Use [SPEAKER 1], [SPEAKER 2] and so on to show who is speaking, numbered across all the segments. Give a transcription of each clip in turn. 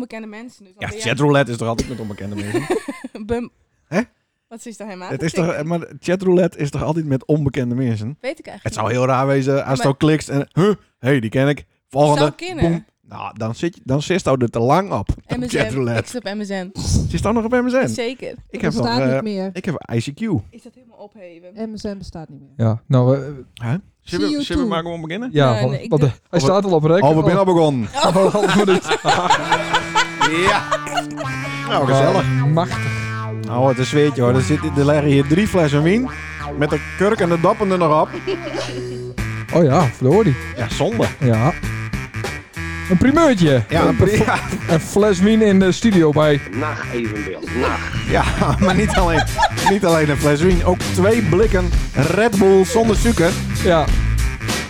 [SPEAKER 1] onbekende mensen. Dus dan
[SPEAKER 2] Ja,
[SPEAKER 1] ben jij-
[SPEAKER 2] chatroulette is toch altijd met onbekende mensen?
[SPEAKER 1] Bum.
[SPEAKER 2] Hè?
[SPEAKER 1] Wat is daar helemaal?
[SPEAKER 2] het is toch, maar chatroulette is toch altijd met onbekende mensen?
[SPEAKER 1] Weet ik eigenlijk
[SPEAKER 2] Het
[SPEAKER 1] niet.
[SPEAKER 2] zou heel raar wezen als
[SPEAKER 1] maar-
[SPEAKER 2] het al klikt en... Huh, hey, die ken ik. Volgende.
[SPEAKER 1] Zou kunnen.
[SPEAKER 2] boem. Nou, dan zit je, dan zit je er te lang op. op
[SPEAKER 1] MSN. Ik
[SPEAKER 2] Chatroulette.
[SPEAKER 1] zit op MSN.
[SPEAKER 2] Zit dan nog op MSN?
[SPEAKER 1] Zeker.
[SPEAKER 2] Ik heb,
[SPEAKER 3] Het
[SPEAKER 2] nog,
[SPEAKER 3] bestaat
[SPEAKER 2] eh,
[SPEAKER 3] niet meer.
[SPEAKER 2] ik heb ICQ.
[SPEAKER 1] Is dat helemaal opheven?
[SPEAKER 2] Eh,
[SPEAKER 3] MSN bestaat niet meer.
[SPEAKER 4] Ja, nou, eh,
[SPEAKER 2] Zullen we,
[SPEAKER 3] CO2.
[SPEAKER 2] zullen we maar gewoon beginnen?
[SPEAKER 4] ja,
[SPEAKER 1] Nee,
[SPEAKER 4] want-
[SPEAKER 1] nee, ik
[SPEAKER 4] want,
[SPEAKER 1] doe-
[SPEAKER 4] eh, hij staat al op rek.
[SPEAKER 2] Oh, we zijn al begonnen.
[SPEAKER 4] Oh, we hadden hem niet.
[SPEAKER 2] Ja. Nou, gezellig.
[SPEAKER 4] Ah, Machtig.
[SPEAKER 2] Nou, wat een zweetje hoor. Er, zit, er liggen hier drie flessen wien. Met de kurk en de dappen er nog op.
[SPEAKER 4] Oh ja, verdorie.
[SPEAKER 2] Ja, zonde.
[SPEAKER 4] Ja. Een primeurtje.
[SPEAKER 2] Ja,
[SPEAKER 4] een,
[SPEAKER 2] ja,
[SPEAKER 4] een fles wien in de studio bij.
[SPEAKER 5] Nacht evenbeeld. Nacht.
[SPEAKER 2] ja, maar niet alleen, niet alleen een fles wien. Ook twee blikken Red Bull zonder suiker
[SPEAKER 4] Ja.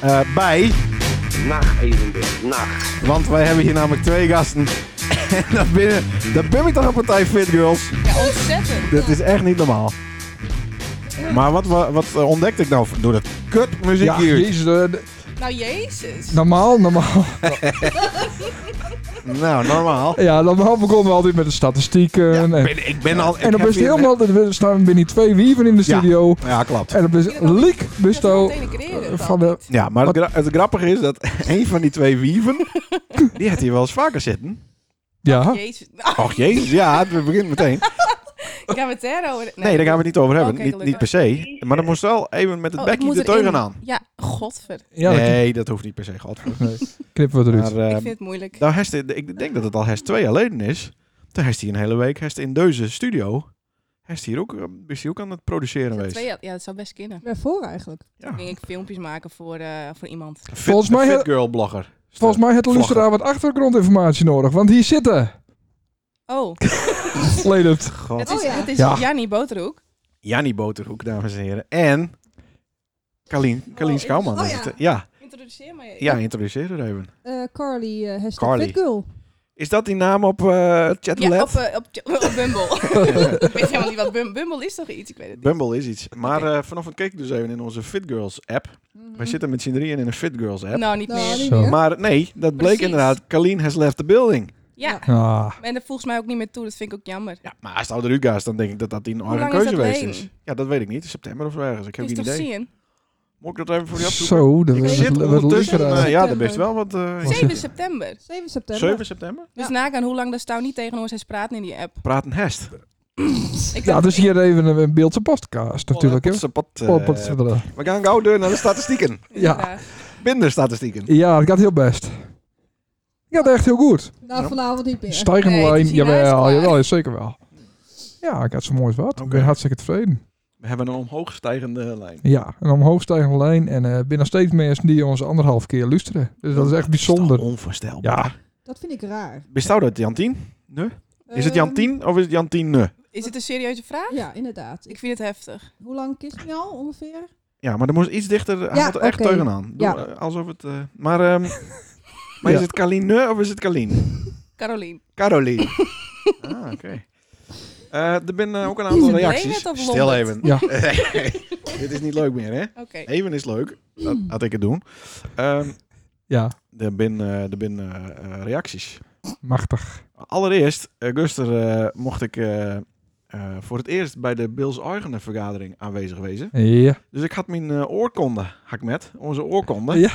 [SPEAKER 2] eh, bij.
[SPEAKER 5] Nacht evenbeeld. Nacht.
[SPEAKER 2] Want wij hebben hier namelijk twee gasten. En dat binnen, dat ben ik toch een partij Fit Girls.
[SPEAKER 1] Ja, ontzettend.
[SPEAKER 2] Dit is echt niet normaal. Maar wat, wa- wat, eh, ontdekte ik nou door dat kut muziek
[SPEAKER 4] Ja,
[SPEAKER 2] hier?
[SPEAKER 4] jezus. eh, d-
[SPEAKER 1] Nou, jezus.
[SPEAKER 4] normaal, normaal.
[SPEAKER 2] Nou, normaal.
[SPEAKER 4] Ja, normaal begonnen we altijd met de statistieken. en,
[SPEAKER 2] Ben- ik ben al. ik
[SPEAKER 4] eh, en dan
[SPEAKER 2] heb
[SPEAKER 4] ben je
[SPEAKER 2] hier-
[SPEAKER 4] helemaal... Er staan binnen twee wieven in de
[SPEAKER 2] Ja.
[SPEAKER 4] studio.
[SPEAKER 2] Ja, klopt.
[SPEAKER 4] En dan ben je... Liek,
[SPEAKER 1] Dat is
[SPEAKER 4] besto...
[SPEAKER 1] meteen een creëren,
[SPEAKER 4] eh,
[SPEAKER 1] dat
[SPEAKER 4] van de-
[SPEAKER 1] niet.
[SPEAKER 2] Ja, maar het, gra- het grappige is dat een van die twee wieven, die had hier wel eens vaker zitten.
[SPEAKER 4] Ja.
[SPEAKER 1] Jezus. Nou,
[SPEAKER 2] Och jezus, ja, het begint meteen.
[SPEAKER 1] gaan we het daarover...
[SPEAKER 2] Nee, daar gaan we het niet over hebben.
[SPEAKER 1] Oh, Oké,
[SPEAKER 2] niet,
[SPEAKER 1] gelukkig.
[SPEAKER 2] niet per se. Maar dan moest wel even met het
[SPEAKER 1] Oh, ik
[SPEAKER 2] bekje
[SPEAKER 1] moet
[SPEAKER 2] de
[SPEAKER 1] erin.
[SPEAKER 2] teugen aan.
[SPEAKER 1] Ja, godver.
[SPEAKER 4] Ja, dan
[SPEAKER 2] nee, dat hoeft niet per se. Godver.
[SPEAKER 4] knippen we
[SPEAKER 2] Maar
[SPEAKER 4] eruit.
[SPEAKER 1] Ik
[SPEAKER 2] eh,
[SPEAKER 1] vind het moeilijk.
[SPEAKER 2] nou, heeft hij- ik denk dat het al Hest 2 alleen is. Toen heeft hij een hele week heeft hij in deze studio. Heeft hij hier ook, eh, is hij ook aan het produceren
[SPEAKER 1] Dat
[SPEAKER 2] geweest.
[SPEAKER 1] twee, ja, dat zou best kunnen.
[SPEAKER 3] Waarvoor eigenlijk?
[SPEAKER 2] Ja.
[SPEAKER 1] Toen ging ik filmpjes maken voor, eh, voor iemand.
[SPEAKER 2] Fit-
[SPEAKER 4] Volgens mij- eh,
[SPEAKER 2] de Fit Girl blogger.
[SPEAKER 4] Volgens mij had de
[SPEAKER 2] Vlaggen.
[SPEAKER 4] luisteraar wat achtergrondinformatie nodig. Want hier zitten...
[SPEAKER 1] Oh,
[SPEAKER 4] Leendert.
[SPEAKER 2] God.
[SPEAKER 1] dat is,
[SPEAKER 3] Oh, ja.
[SPEAKER 1] dat is
[SPEAKER 4] Ja.
[SPEAKER 1] Jannie Boterhoek.
[SPEAKER 2] Jannie Boterhoek, dames en heren. En Kalien, Kalien
[SPEAKER 1] ik-
[SPEAKER 2] Schouwman.
[SPEAKER 3] oh
[SPEAKER 2] is
[SPEAKER 3] ja.
[SPEAKER 2] het, eh, ja.
[SPEAKER 1] Introduceer mij
[SPEAKER 2] ja, introduceer haar even.
[SPEAKER 3] Eh, Carly, eh hashtag
[SPEAKER 2] Carly.
[SPEAKER 3] Fitgirl.
[SPEAKER 2] Is dat die naam op eh Chatelet?
[SPEAKER 1] Ja, op, eh, op, op Bumble. ik weet helemaal niet wat Bumble... Bumble is toch iets? Ik weet het niet.
[SPEAKER 2] Bumble is iets. Maar eh vanochtend keek ik dus even in onze Fit Girls app. Wij zitten met z'n drieën in een Fit Girls app.
[SPEAKER 1] Mhm. Nou, niet
[SPEAKER 3] Nou,
[SPEAKER 1] meer.
[SPEAKER 3] niet
[SPEAKER 4] Zo.
[SPEAKER 3] meer.
[SPEAKER 2] Maar nee, dat bleek
[SPEAKER 1] Precies.
[SPEAKER 2] inderdaad. Kalien has left the building.
[SPEAKER 1] Ja,
[SPEAKER 4] Ah.
[SPEAKER 1] en dat voegt mij ook niet meer toe. Dat vind ik ook jammer.
[SPEAKER 2] Ja, maar als het oude Ruga's, dan denk ik dat dat die een eigen
[SPEAKER 1] lang is
[SPEAKER 2] keuze
[SPEAKER 1] dat
[SPEAKER 2] geweest
[SPEAKER 1] geleden?
[SPEAKER 2] is. Ja, dat weet ik niet. September of zo ergens. Ik heb
[SPEAKER 1] is
[SPEAKER 2] geen
[SPEAKER 1] toch
[SPEAKER 2] idee.
[SPEAKER 1] zien?
[SPEAKER 2] Moet ik dat even voor je opzoeken?
[SPEAKER 4] Zo, dat
[SPEAKER 2] Ik
[SPEAKER 4] was
[SPEAKER 2] zit
[SPEAKER 4] wat
[SPEAKER 2] ondertussen.
[SPEAKER 4] luisteraar.
[SPEAKER 2] eh, ja, dat best wel wat. eh,
[SPEAKER 1] 7 september.
[SPEAKER 3] 7 september.
[SPEAKER 2] 7 september?
[SPEAKER 1] Dus
[SPEAKER 3] Ja.
[SPEAKER 1] nagaan hoe lang dat Stouw niet tegen ons is praten in die app.
[SPEAKER 2] Praten Hest.
[SPEAKER 1] Ik
[SPEAKER 4] Ja,
[SPEAKER 1] dacht-
[SPEAKER 4] dus hier even een- een beeldse
[SPEAKER 2] Oh,
[SPEAKER 4] podcast natuurlijk. hè.
[SPEAKER 2] Pot, eh,
[SPEAKER 4] Pot, pot, pot.
[SPEAKER 2] We gaan gauw door naar de statistieken.
[SPEAKER 1] ik-
[SPEAKER 4] ja.
[SPEAKER 1] inderdaad.
[SPEAKER 2] Binderstatistieken.
[SPEAKER 4] Ja, het gaat heel best. Het gaat echt heel goed.
[SPEAKER 3] Nou, vanavond niet meer.
[SPEAKER 4] Stijgende
[SPEAKER 1] Nee, het is
[SPEAKER 4] lijn,
[SPEAKER 1] niet wijs,
[SPEAKER 4] jawel,
[SPEAKER 1] maar-
[SPEAKER 4] jawel, zeker wel. Ja, ik had zo mooi als wat. Ik
[SPEAKER 2] Oké.
[SPEAKER 4] ben hartstikke tevreden.
[SPEAKER 2] We hebben een omhoogstijgende lijn.
[SPEAKER 4] Ja, een omhoogstijgende lijn en eh binnen steeds mensen die ons anderhalf keer luisteren. Dus dat is echt bijzonder.
[SPEAKER 2] onvoorstelbaar.
[SPEAKER 4] Ja,
[SPEAKER 3] Dat vind ik raar.
[SPEAKER 2] Bestaat dat Jantien? Nee? Is het
[SPEAKER 3] Ehm,
[SPEAKER 2] Jantien of is het Jantien? Nee.
[SPEAKER 1] Is het een serieuze vraag?
[SPEAKER 3] Ja, inderdaad.
[SPEAKER 1] Ik
[SPEAKER 3] Ik,
[SPEAKER 1] vind het heftig.
[SPEAKER 3] hoe lang is het nou ongeveer?
[SPEAKER 2] Ja, maar er moest iets dichter. Hij
[SPEAKER 3] Ja,
[SPEAKER 2] had er echt
[SPEAKER 3] oké.
[SPEAKER 2] teugen aan. Doe,
[SPEAKER 3] Ja.
[SPEAKER 2] eh, Alsof het. eh, maar ehm, maar
[SPEAKER 4] Ja.
[SPEAKER 2] is het Kalien nee of is het Kalien?
[SPEAKER 1] Caroline.
[SPEAKER 2] Caroline. ah, oké. Eh, er zijn ook een aantal
[SPEAKER 1] het
[SPEAKER 2] reacties.
[SPEAKER 1] Leonard of
[SPEAKER 2] Stil
[SPEAKER 1] Lombard?
[SPEAKER 2] even.
[SPEAKER 4] Ja.
[SPEAKER 2] Dit is niet leuk meer, hè?
[SPEAKER 1] Oké.
[SPEAKER 2] Even is leuk. Dat had ik het doen. Ehm
[SPEAKER 4] ja,
[SPEAKER 2] er zijn eh, er zijn, eh, eh, reacties.
[SPEAKER 4] machtig.
[SPEAKER 2] Allereerst, eh, Guster, eh, mocht ik eh, eh, voor het eerst bij de Bills Eigenen vergadering aanwezig wezen.
[SPEAKER 4] Ja,
[SPEAKER 2] Dus ik had mijn eh, oorkonde, hak met, onze oorkonde.
[SPEAKER 4] Ja.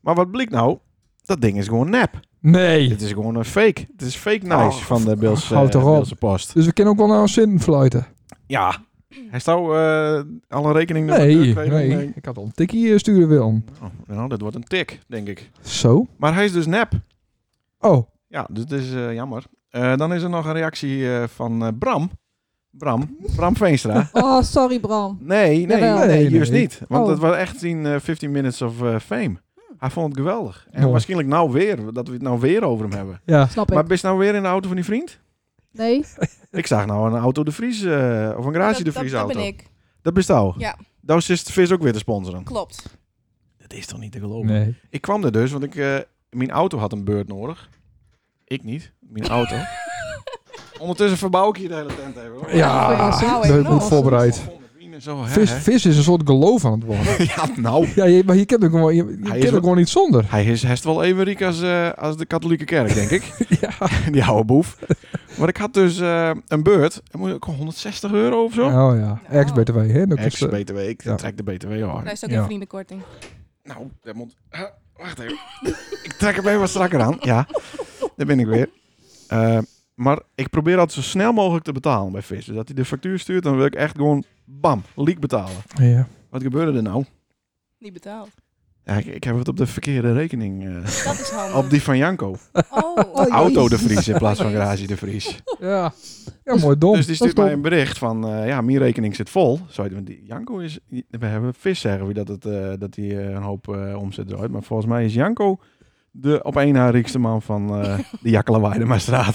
[SPEAKER 2] Maar wat bleek nou? Dat ding is gewoon nep.
[SPEAKER 4] nee.
[SPEAKER 2] Het is gewoon een fake. Het is fake nice
[SPEAKER 4] Oh,
[SPEAKER 2] van de Bills,
[SPEAKER 4] hou
[SPEAKER 2] eh,
[SPEAKER 4] toch op.
[SPEAKER 2] Bills Post.
[SPEAKER 4] Dus we kunnen ook wel naar een zin fluiten.
[SPEAKER 2] Ja. Hij zou eh, al een rekening naar de
[SPEAKER 4] Nee,
[SPEAKER 2] deur kregen.
[SPEAKER 4] nee. Ik had al een tikkie eh, sturen willen.
[SPEAKER 2] Oh, nou, dat wordt een tik, denk ik.
[SPEAKER 4] Zo.
[SPEAKER 2] Maar hij is dus nep.
[SPEAKER 4] Oh,
[SPEAKER 2] Ja, dus dat is eh, jammer. Eh, dan is er nog een reactie eh, van eh, Bram. Bram. Bram Veenstra.
[SPEAKER 3] Oh, sorry Bram.
[SPEAKER 2] Nee, nee,
[SPEAKER 3] Jawel.
[SPEAKER 2] nee,
[SPEAKER 4] Nee,
[SPEAKER 2] juist
[SPEAKER 4] nee.
[SPEAKER 2] niet. Want
[SPEAKER 3] Oh.
[SPEAKER 2] het was echt in eh, 15 Minutes of eh, Fame.
[SPEAKER 1] Hm.
[SPEAKER 2] Hij vond het geweldig. En
[SPEAKER 4] Mooi.
[SPEAKER 2] waarschijnlijk nou weer, dat we het nou weer over hem hebben.
[SPEAKER 4] ja.
[SPEAKER 3] Snap
[SPEAKER 2] Maar
[SPEAKER 3] ik.
[SPEAKER 2] bist nou weer in de auto van die vriend?
[SPEAKER 3] Nee?
[SPEAKER 2] Ik zag nou een auto de Vries, eh, of een garage
[SPEAKER 1] Dat-
[SPEAKER 2] de Vries
[SPEAKER 1] dat, dat
[SPEAKER 2] auto.
[SPEAKER 1] ben ik.
[SPEAKER 2] Dat bist nou.
[SPEAKER 1] Ja.
[SPEAKER 2] Dat is de vis ook weer te sponsoren.
[SPEAKER 1] Klopt.
[SPEAKER 2] Dat is toch niet te geloven?
[SPEAKER 4] Nee.
[SPEAKER 2] Ik kwam er dus, want ik, eh, mijn auto had een beurt nodig. Ik niet, mijn auto. Ondertussen verbouw ik hier de hele tent even. hoor.
[SPEAKER 4] Ja,
[SPEAKER 1] Nou,
[SPEAKER 4] dat
[SPEAKER 1] even
[SPEAKER 4] moet
[SPEAKER 1] nog.
[SPEAKER 4] voorbereid.
[SPEAKER 2] Wien Zo, hè,
[SPEAKER 4] Vis,
[SPEAKER 2] hè?
[SPEAKER 4] vis is een soort geloof aan het worden.
[SPEAKER 2] Ja, nou.
[SPEAKER 4] ja, je, maar je kent ook gewoon, je, je
[SPEAKER 2] Hij is
[SPEAKER 4] kent
[SPEAKER 2] wel-
[SPEAKER 4] ook gewoon niet zonder.
[SPEAKER 2] Hij is hest wel even riek als, eh, als de katholieke kerk, denk ik.
[SPEAKER 4] ja.
[SPEAKER 2] Die oude boef. Maar ik had dus eh, een beurt. En moet ik 160 euro of zo?
[SPEAKER 4] Oh ja,
[SPEAKER 1] Ja.
[SPEAKER 4] ex-BTW. hè? Dat is,
[SPEAKER 2] Ex
[SPEAKER 4] eh,
[SPEAKER 2] BTW. Ik
[SPEAKER 4] ja.
[SPEAKER 2] trek de BTW hoor.
[SPEAKER 1] Daar is ook
[SPEAKER 4] Ja.
[SPEAKER 1] een vriendenkorting.
[SPEAKER 2] Nou, Raymond. eh, wacht even. ik trek hem even wat strakker aan. Ja, daar ben ik weer. Eh, maar ik probeer altijd zo snel mogelijk te betalen bij Vis. Dus dat hij de factuur stuurt, dan wil ik echt gewoon bam, leak betalen.
[SPEAKER 4] ja.
[SPEAKER 2] Wat gebeurde er nou?
[SPEAKER 1] Niet betaald.
[SPEAKER 2] Ja, ik, ik heb het op de verkeerde rekening. eh,
[SPEAKER 1] Dat is handig.
[SPEAKER 2] op die van Janko.
[SPEAKER 1] Oh,
[SPEAKER 3] Oh, ja.
[SPEAKER 2] Auto de
[SPEAKER 3] jezus.
[SPEAKER 2] Vries in plaats van garage de Vries.
[SPEAKER 4] ja. Ja, mooi dom.
[SPEAKER 2] Dus die
[SPEAKER 3] dat is
[SPEAKER 2] stuurt mij
[SPEAKER 3] dom.
[SPEAKER 2] een bericht van, eh, ja, mijn rekening zit vol. Zou je, want die- Janko is, we hebben vis zeggen we dat het, eh, dat hij eh, een hoop eh, omzet draait. Maar volgens mij is Janko de op één na rijkste man van eh de Jakkelewaardemaarstraat.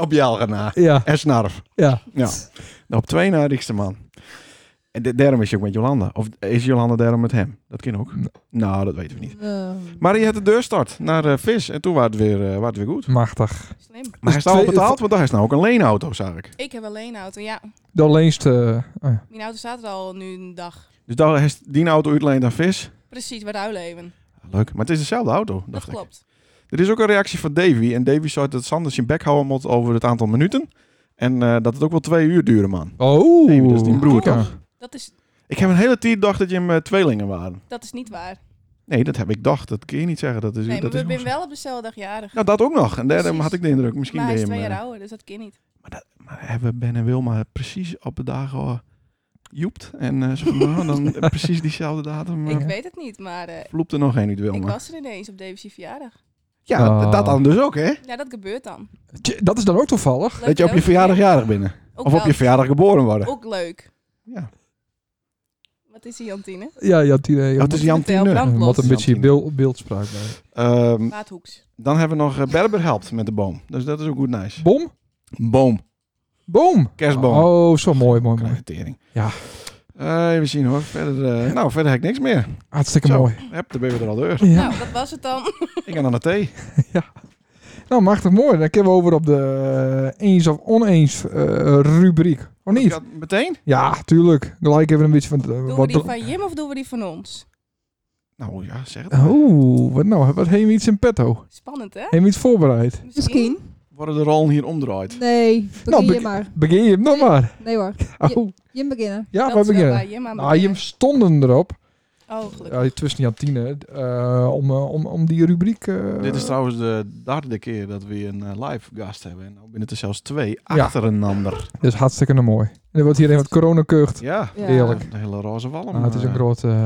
[SPEAKER 2] op Jalgena.
[SPEAKER 4] Ja,
[SPEAKER 2] En Snarf.
[SPEAKER 4] ja.
[SPEAKER 2] Ja. De op twee na rijkste man. En de, daarom is je ook met Jolanda. Of is Jolanda daarom met hem? Dat kan ook.
[SPEAKER 4] Nee.
[SPEAKER 2] Nou, dat weten we niet.
[SPEAKER 3] Ehm,
[SPEAKER 2] Maar je had de deurstart naar eh, vis. En toen was het weer, eh, was het weer goed.
[SPEAKER 4] Machtig.
[SPEAKER 1] slim.
[SPEAKER 2] Maar hij
[SPEAKER 4] Dus
[SPEAKER 2] is nou al
[SPEAKER 4] twee-
[SPEAKER 2] betaald, want daar is nou ook een leenauto, zag ik.
[SPEAKER 1] Ik heb alleen auto. Ja,
[SPEAKER 4] De alleenste... eh, oh ja.
[SPEAKER 1] mijn auto staat er al nu een dag.
[SPEAKER 2] Dus daar is die auto uitleend aan vis.
[SPEAKER 1] Precies, bij Ruileven.
[SPEAKER 2] Leuk, maar het is dezelfde auto,
[SPEAKER 1] Dat
[SPEAKER 2] dacht ik.
[SPEAKER 1] klopt.
[SPEAKER 2] Er is ook een reactie van Davy. En Davy zei dat Sander zijn bek houden moet over het aantal minuten. En eh, dat het ook wel twee uur duren, man.
[SPEAKER 4] Oh.
[SPEAKER 2] Davy, dat is die broer,
[SPEAKER 4] ja.
[SPEAKER 2] toch?
[SPEAKER 1] Dat is,
[SPEAKER 2] Ik heb een hele tijd gedacht dat je hem eh, tweelingen waren.
[SPEAKER 1] dat is niet waar.
[SPEAKER 2] Nee, dat heb ik gedacht. Dat kun je niet zeggen. Dat is,
[SPEAKER 1] Nee, maar
[SPEAKER 2] Dus dat
[SPEAKER 1] we
[SPEAKER 2] is
[SPEAKER 1] zijn wel op dezelfde dag jarig.
[SPEAKER 2] Nou, dat ook nog. En daarom
[SPEAKER 1] Precies.
[SPEAKER 2] had ik de indruk. Misschien
[SPEAKER 1] maar hij
[SPEAKER 2] ben
[SPEAKER 1] is
[SPEAKER 2] je
[SPEAKER 1] twee
[SPEAKER 2] hem...
[SPEAKER 1] jaar
[SPEAKER 2] eh,
[SPEAKER 1] ouder, dus dat kan niet.
[SPEAKER 2] maar, dat, maar hebben Ben en Wilma precies op de dagen al joept. En eh, zo van, nou, dan precies diezelfde datum.
[SPEAKER 1] Ik
[SPEAKER 2] eh
[SPEAKER 1] weet het niet, maar eh,
[SPEAKER 2] Vloept er nog één uit
[SPEAKER 1] ik
[SPEAKER 2] Wilma.
[SPEAKER 1] was er ineens op Davis' verjaardag.
[SPEAKER 2] Ja,
[SPEAKER 4] Ah.
[SPEAKER 2] dat dan dus ook, hè?
[SPEAKER 1] Ja, dat gebeurt dan.
[SPEAKER 4] Tje, Dat is dan ook toevallig.
[SPEAKER 1] Leuk
[SPEAKER 2] Dat je op je
[SPEAKER 1] cadeautje.
[SPEAKER 2] verjaardag jarig binnen.
[SPEAKER 1] Ook
[SPEAKER 2] Of op
[SPEAKER 1] dat.
[SPEAKER 2] je verjaardag geboren worden.
[SPEAKER 1] Ook leuk.
[SPEAKER 2] Ja.
[SPEAKER 1] Wat is die Jantine?
[SPEAKER 4] Ja, ja, die, eh,
[SPEAKER 2] Dat is Jan
[SPEAKER 1] vertel,
[SPEAKER 2] Tiene.
[SPEAKER 1] brand-
[SPEAKER 4] eh, wat een
[SPEAKER 2] Jan
[SPEAKER 4] beetje
[SPEAKER 2] Tiene.
[SPEAKER 4] beeld, beeldspraak bij.
[SPEAKER 2] Ehm,
[SPEAKER 1] Maathoeks.
[SPEAKER 2] dan hebben we nog eh, Berber helpt met de boom. Dus dat is ook goed nice.
[SPEAKER 4] Bom?
[SPEAKER 2] Boom.
[SPEAKER 4] Boom.
[SPEAKER 2] Kerstboom.
[SPEAKER 4] Oh, zo mooi, mooi, mooi.
[SPEAKER 2] Kleine tering.
[SPEAKER 4] Ja.
[SPEAKER 2] Eh, even zien hoor. Verder, eh, nou, verder heb ik niks meer.
[SPEAKER 4] Hartstikke
[SPEAKER 2] Zo.
[SPEAKER 4] mooi.
[SPEAKER 2] Heb, dan ben je er al deur.
[SPEAKER 4] Ja.
[SPEAKER 1] Nou, dat was het dan.
[SPEAKER 2] Ik ga naar de thee.
[SPEAKER 4] Nou, machtig mooi. Dan kunnen we over op de eh, eens of oneens eh, rubriek. Of
[SPEAKER 2] Ik
[SPEAKER 4] niet?
[SPEAKER 2] had meteen?
[SPEAKER 4] Ja, tuurlijk. Gelijk even een beetje van... eh,
[SPEAKER 1] Doen we
[SPEAKER 4] wat
[SPEAKER 1] die van Jim of doen we die van ons?
[SPEAKER 2] Nou ja, zeg het.
[SPEAKER 4] Oh, wat nou? Wat heeft iets in petto?
[SPEAKER 1] Spannend, hè?
[SPEAKER 4] Heeft iets voorbereid?
[SPEAKER 3] Misschien.
[SPEAKER 2] Worden de rollen hier omdraaid?
[SPEAKER 3] Nee, begin
[SPEAKER 4] Nou,
[SPEAKER 3] je
[SPEAKER 4] beg-
[SPEAKER 3] maar.
[SPEAKER 4] Begin je hem nog maar.
[SPEAKER 3] Nee hoor,
[SPEAKER 4] Oh,
[SPEAKER 3] Jim beginnen.
[SPEAKER 4] ja,
[SPEAKER 1] Dat
[SPEAKER 4] we
[SPEAKER 1] is wel
[SPEAKER 4] beginnen.
[SPEAKER 1] waar Jim aan
[SPEAKER 2] Ah,
[SPEAKER 4] Nou, Jim
[SPEAKER 1] begint.
[SPEAKER 4] stonden erop.
[SPEAKER 1] Oh, gelukkig.
[SPEAKER 4] Ja, tussen Jan Tiene. eh, om, eh, om, om die rubriek... eh,
[SPEAKER 2] Dit is trouwens de derde keer dat we een eh, live gast hebben. En nou binnen er zelfs twee
[SPEAKER 4] Ja.
[SPEAKER 2] achter een ander.
[SPEAKER 4] Dat is hartstikke nou mooi. En er wordt hier even wat coronakeucht.
[SPEAKER 2] Ja.
[SPEAKER 3] Ja.
[SPEAKER 4] Heerlijk.
[SPEAKER 2] De hele roze walm.
[SPEAKER 4] Nou, het is een
[SPEAKER 2] eh,
[SPEAKER 4] groot... eh,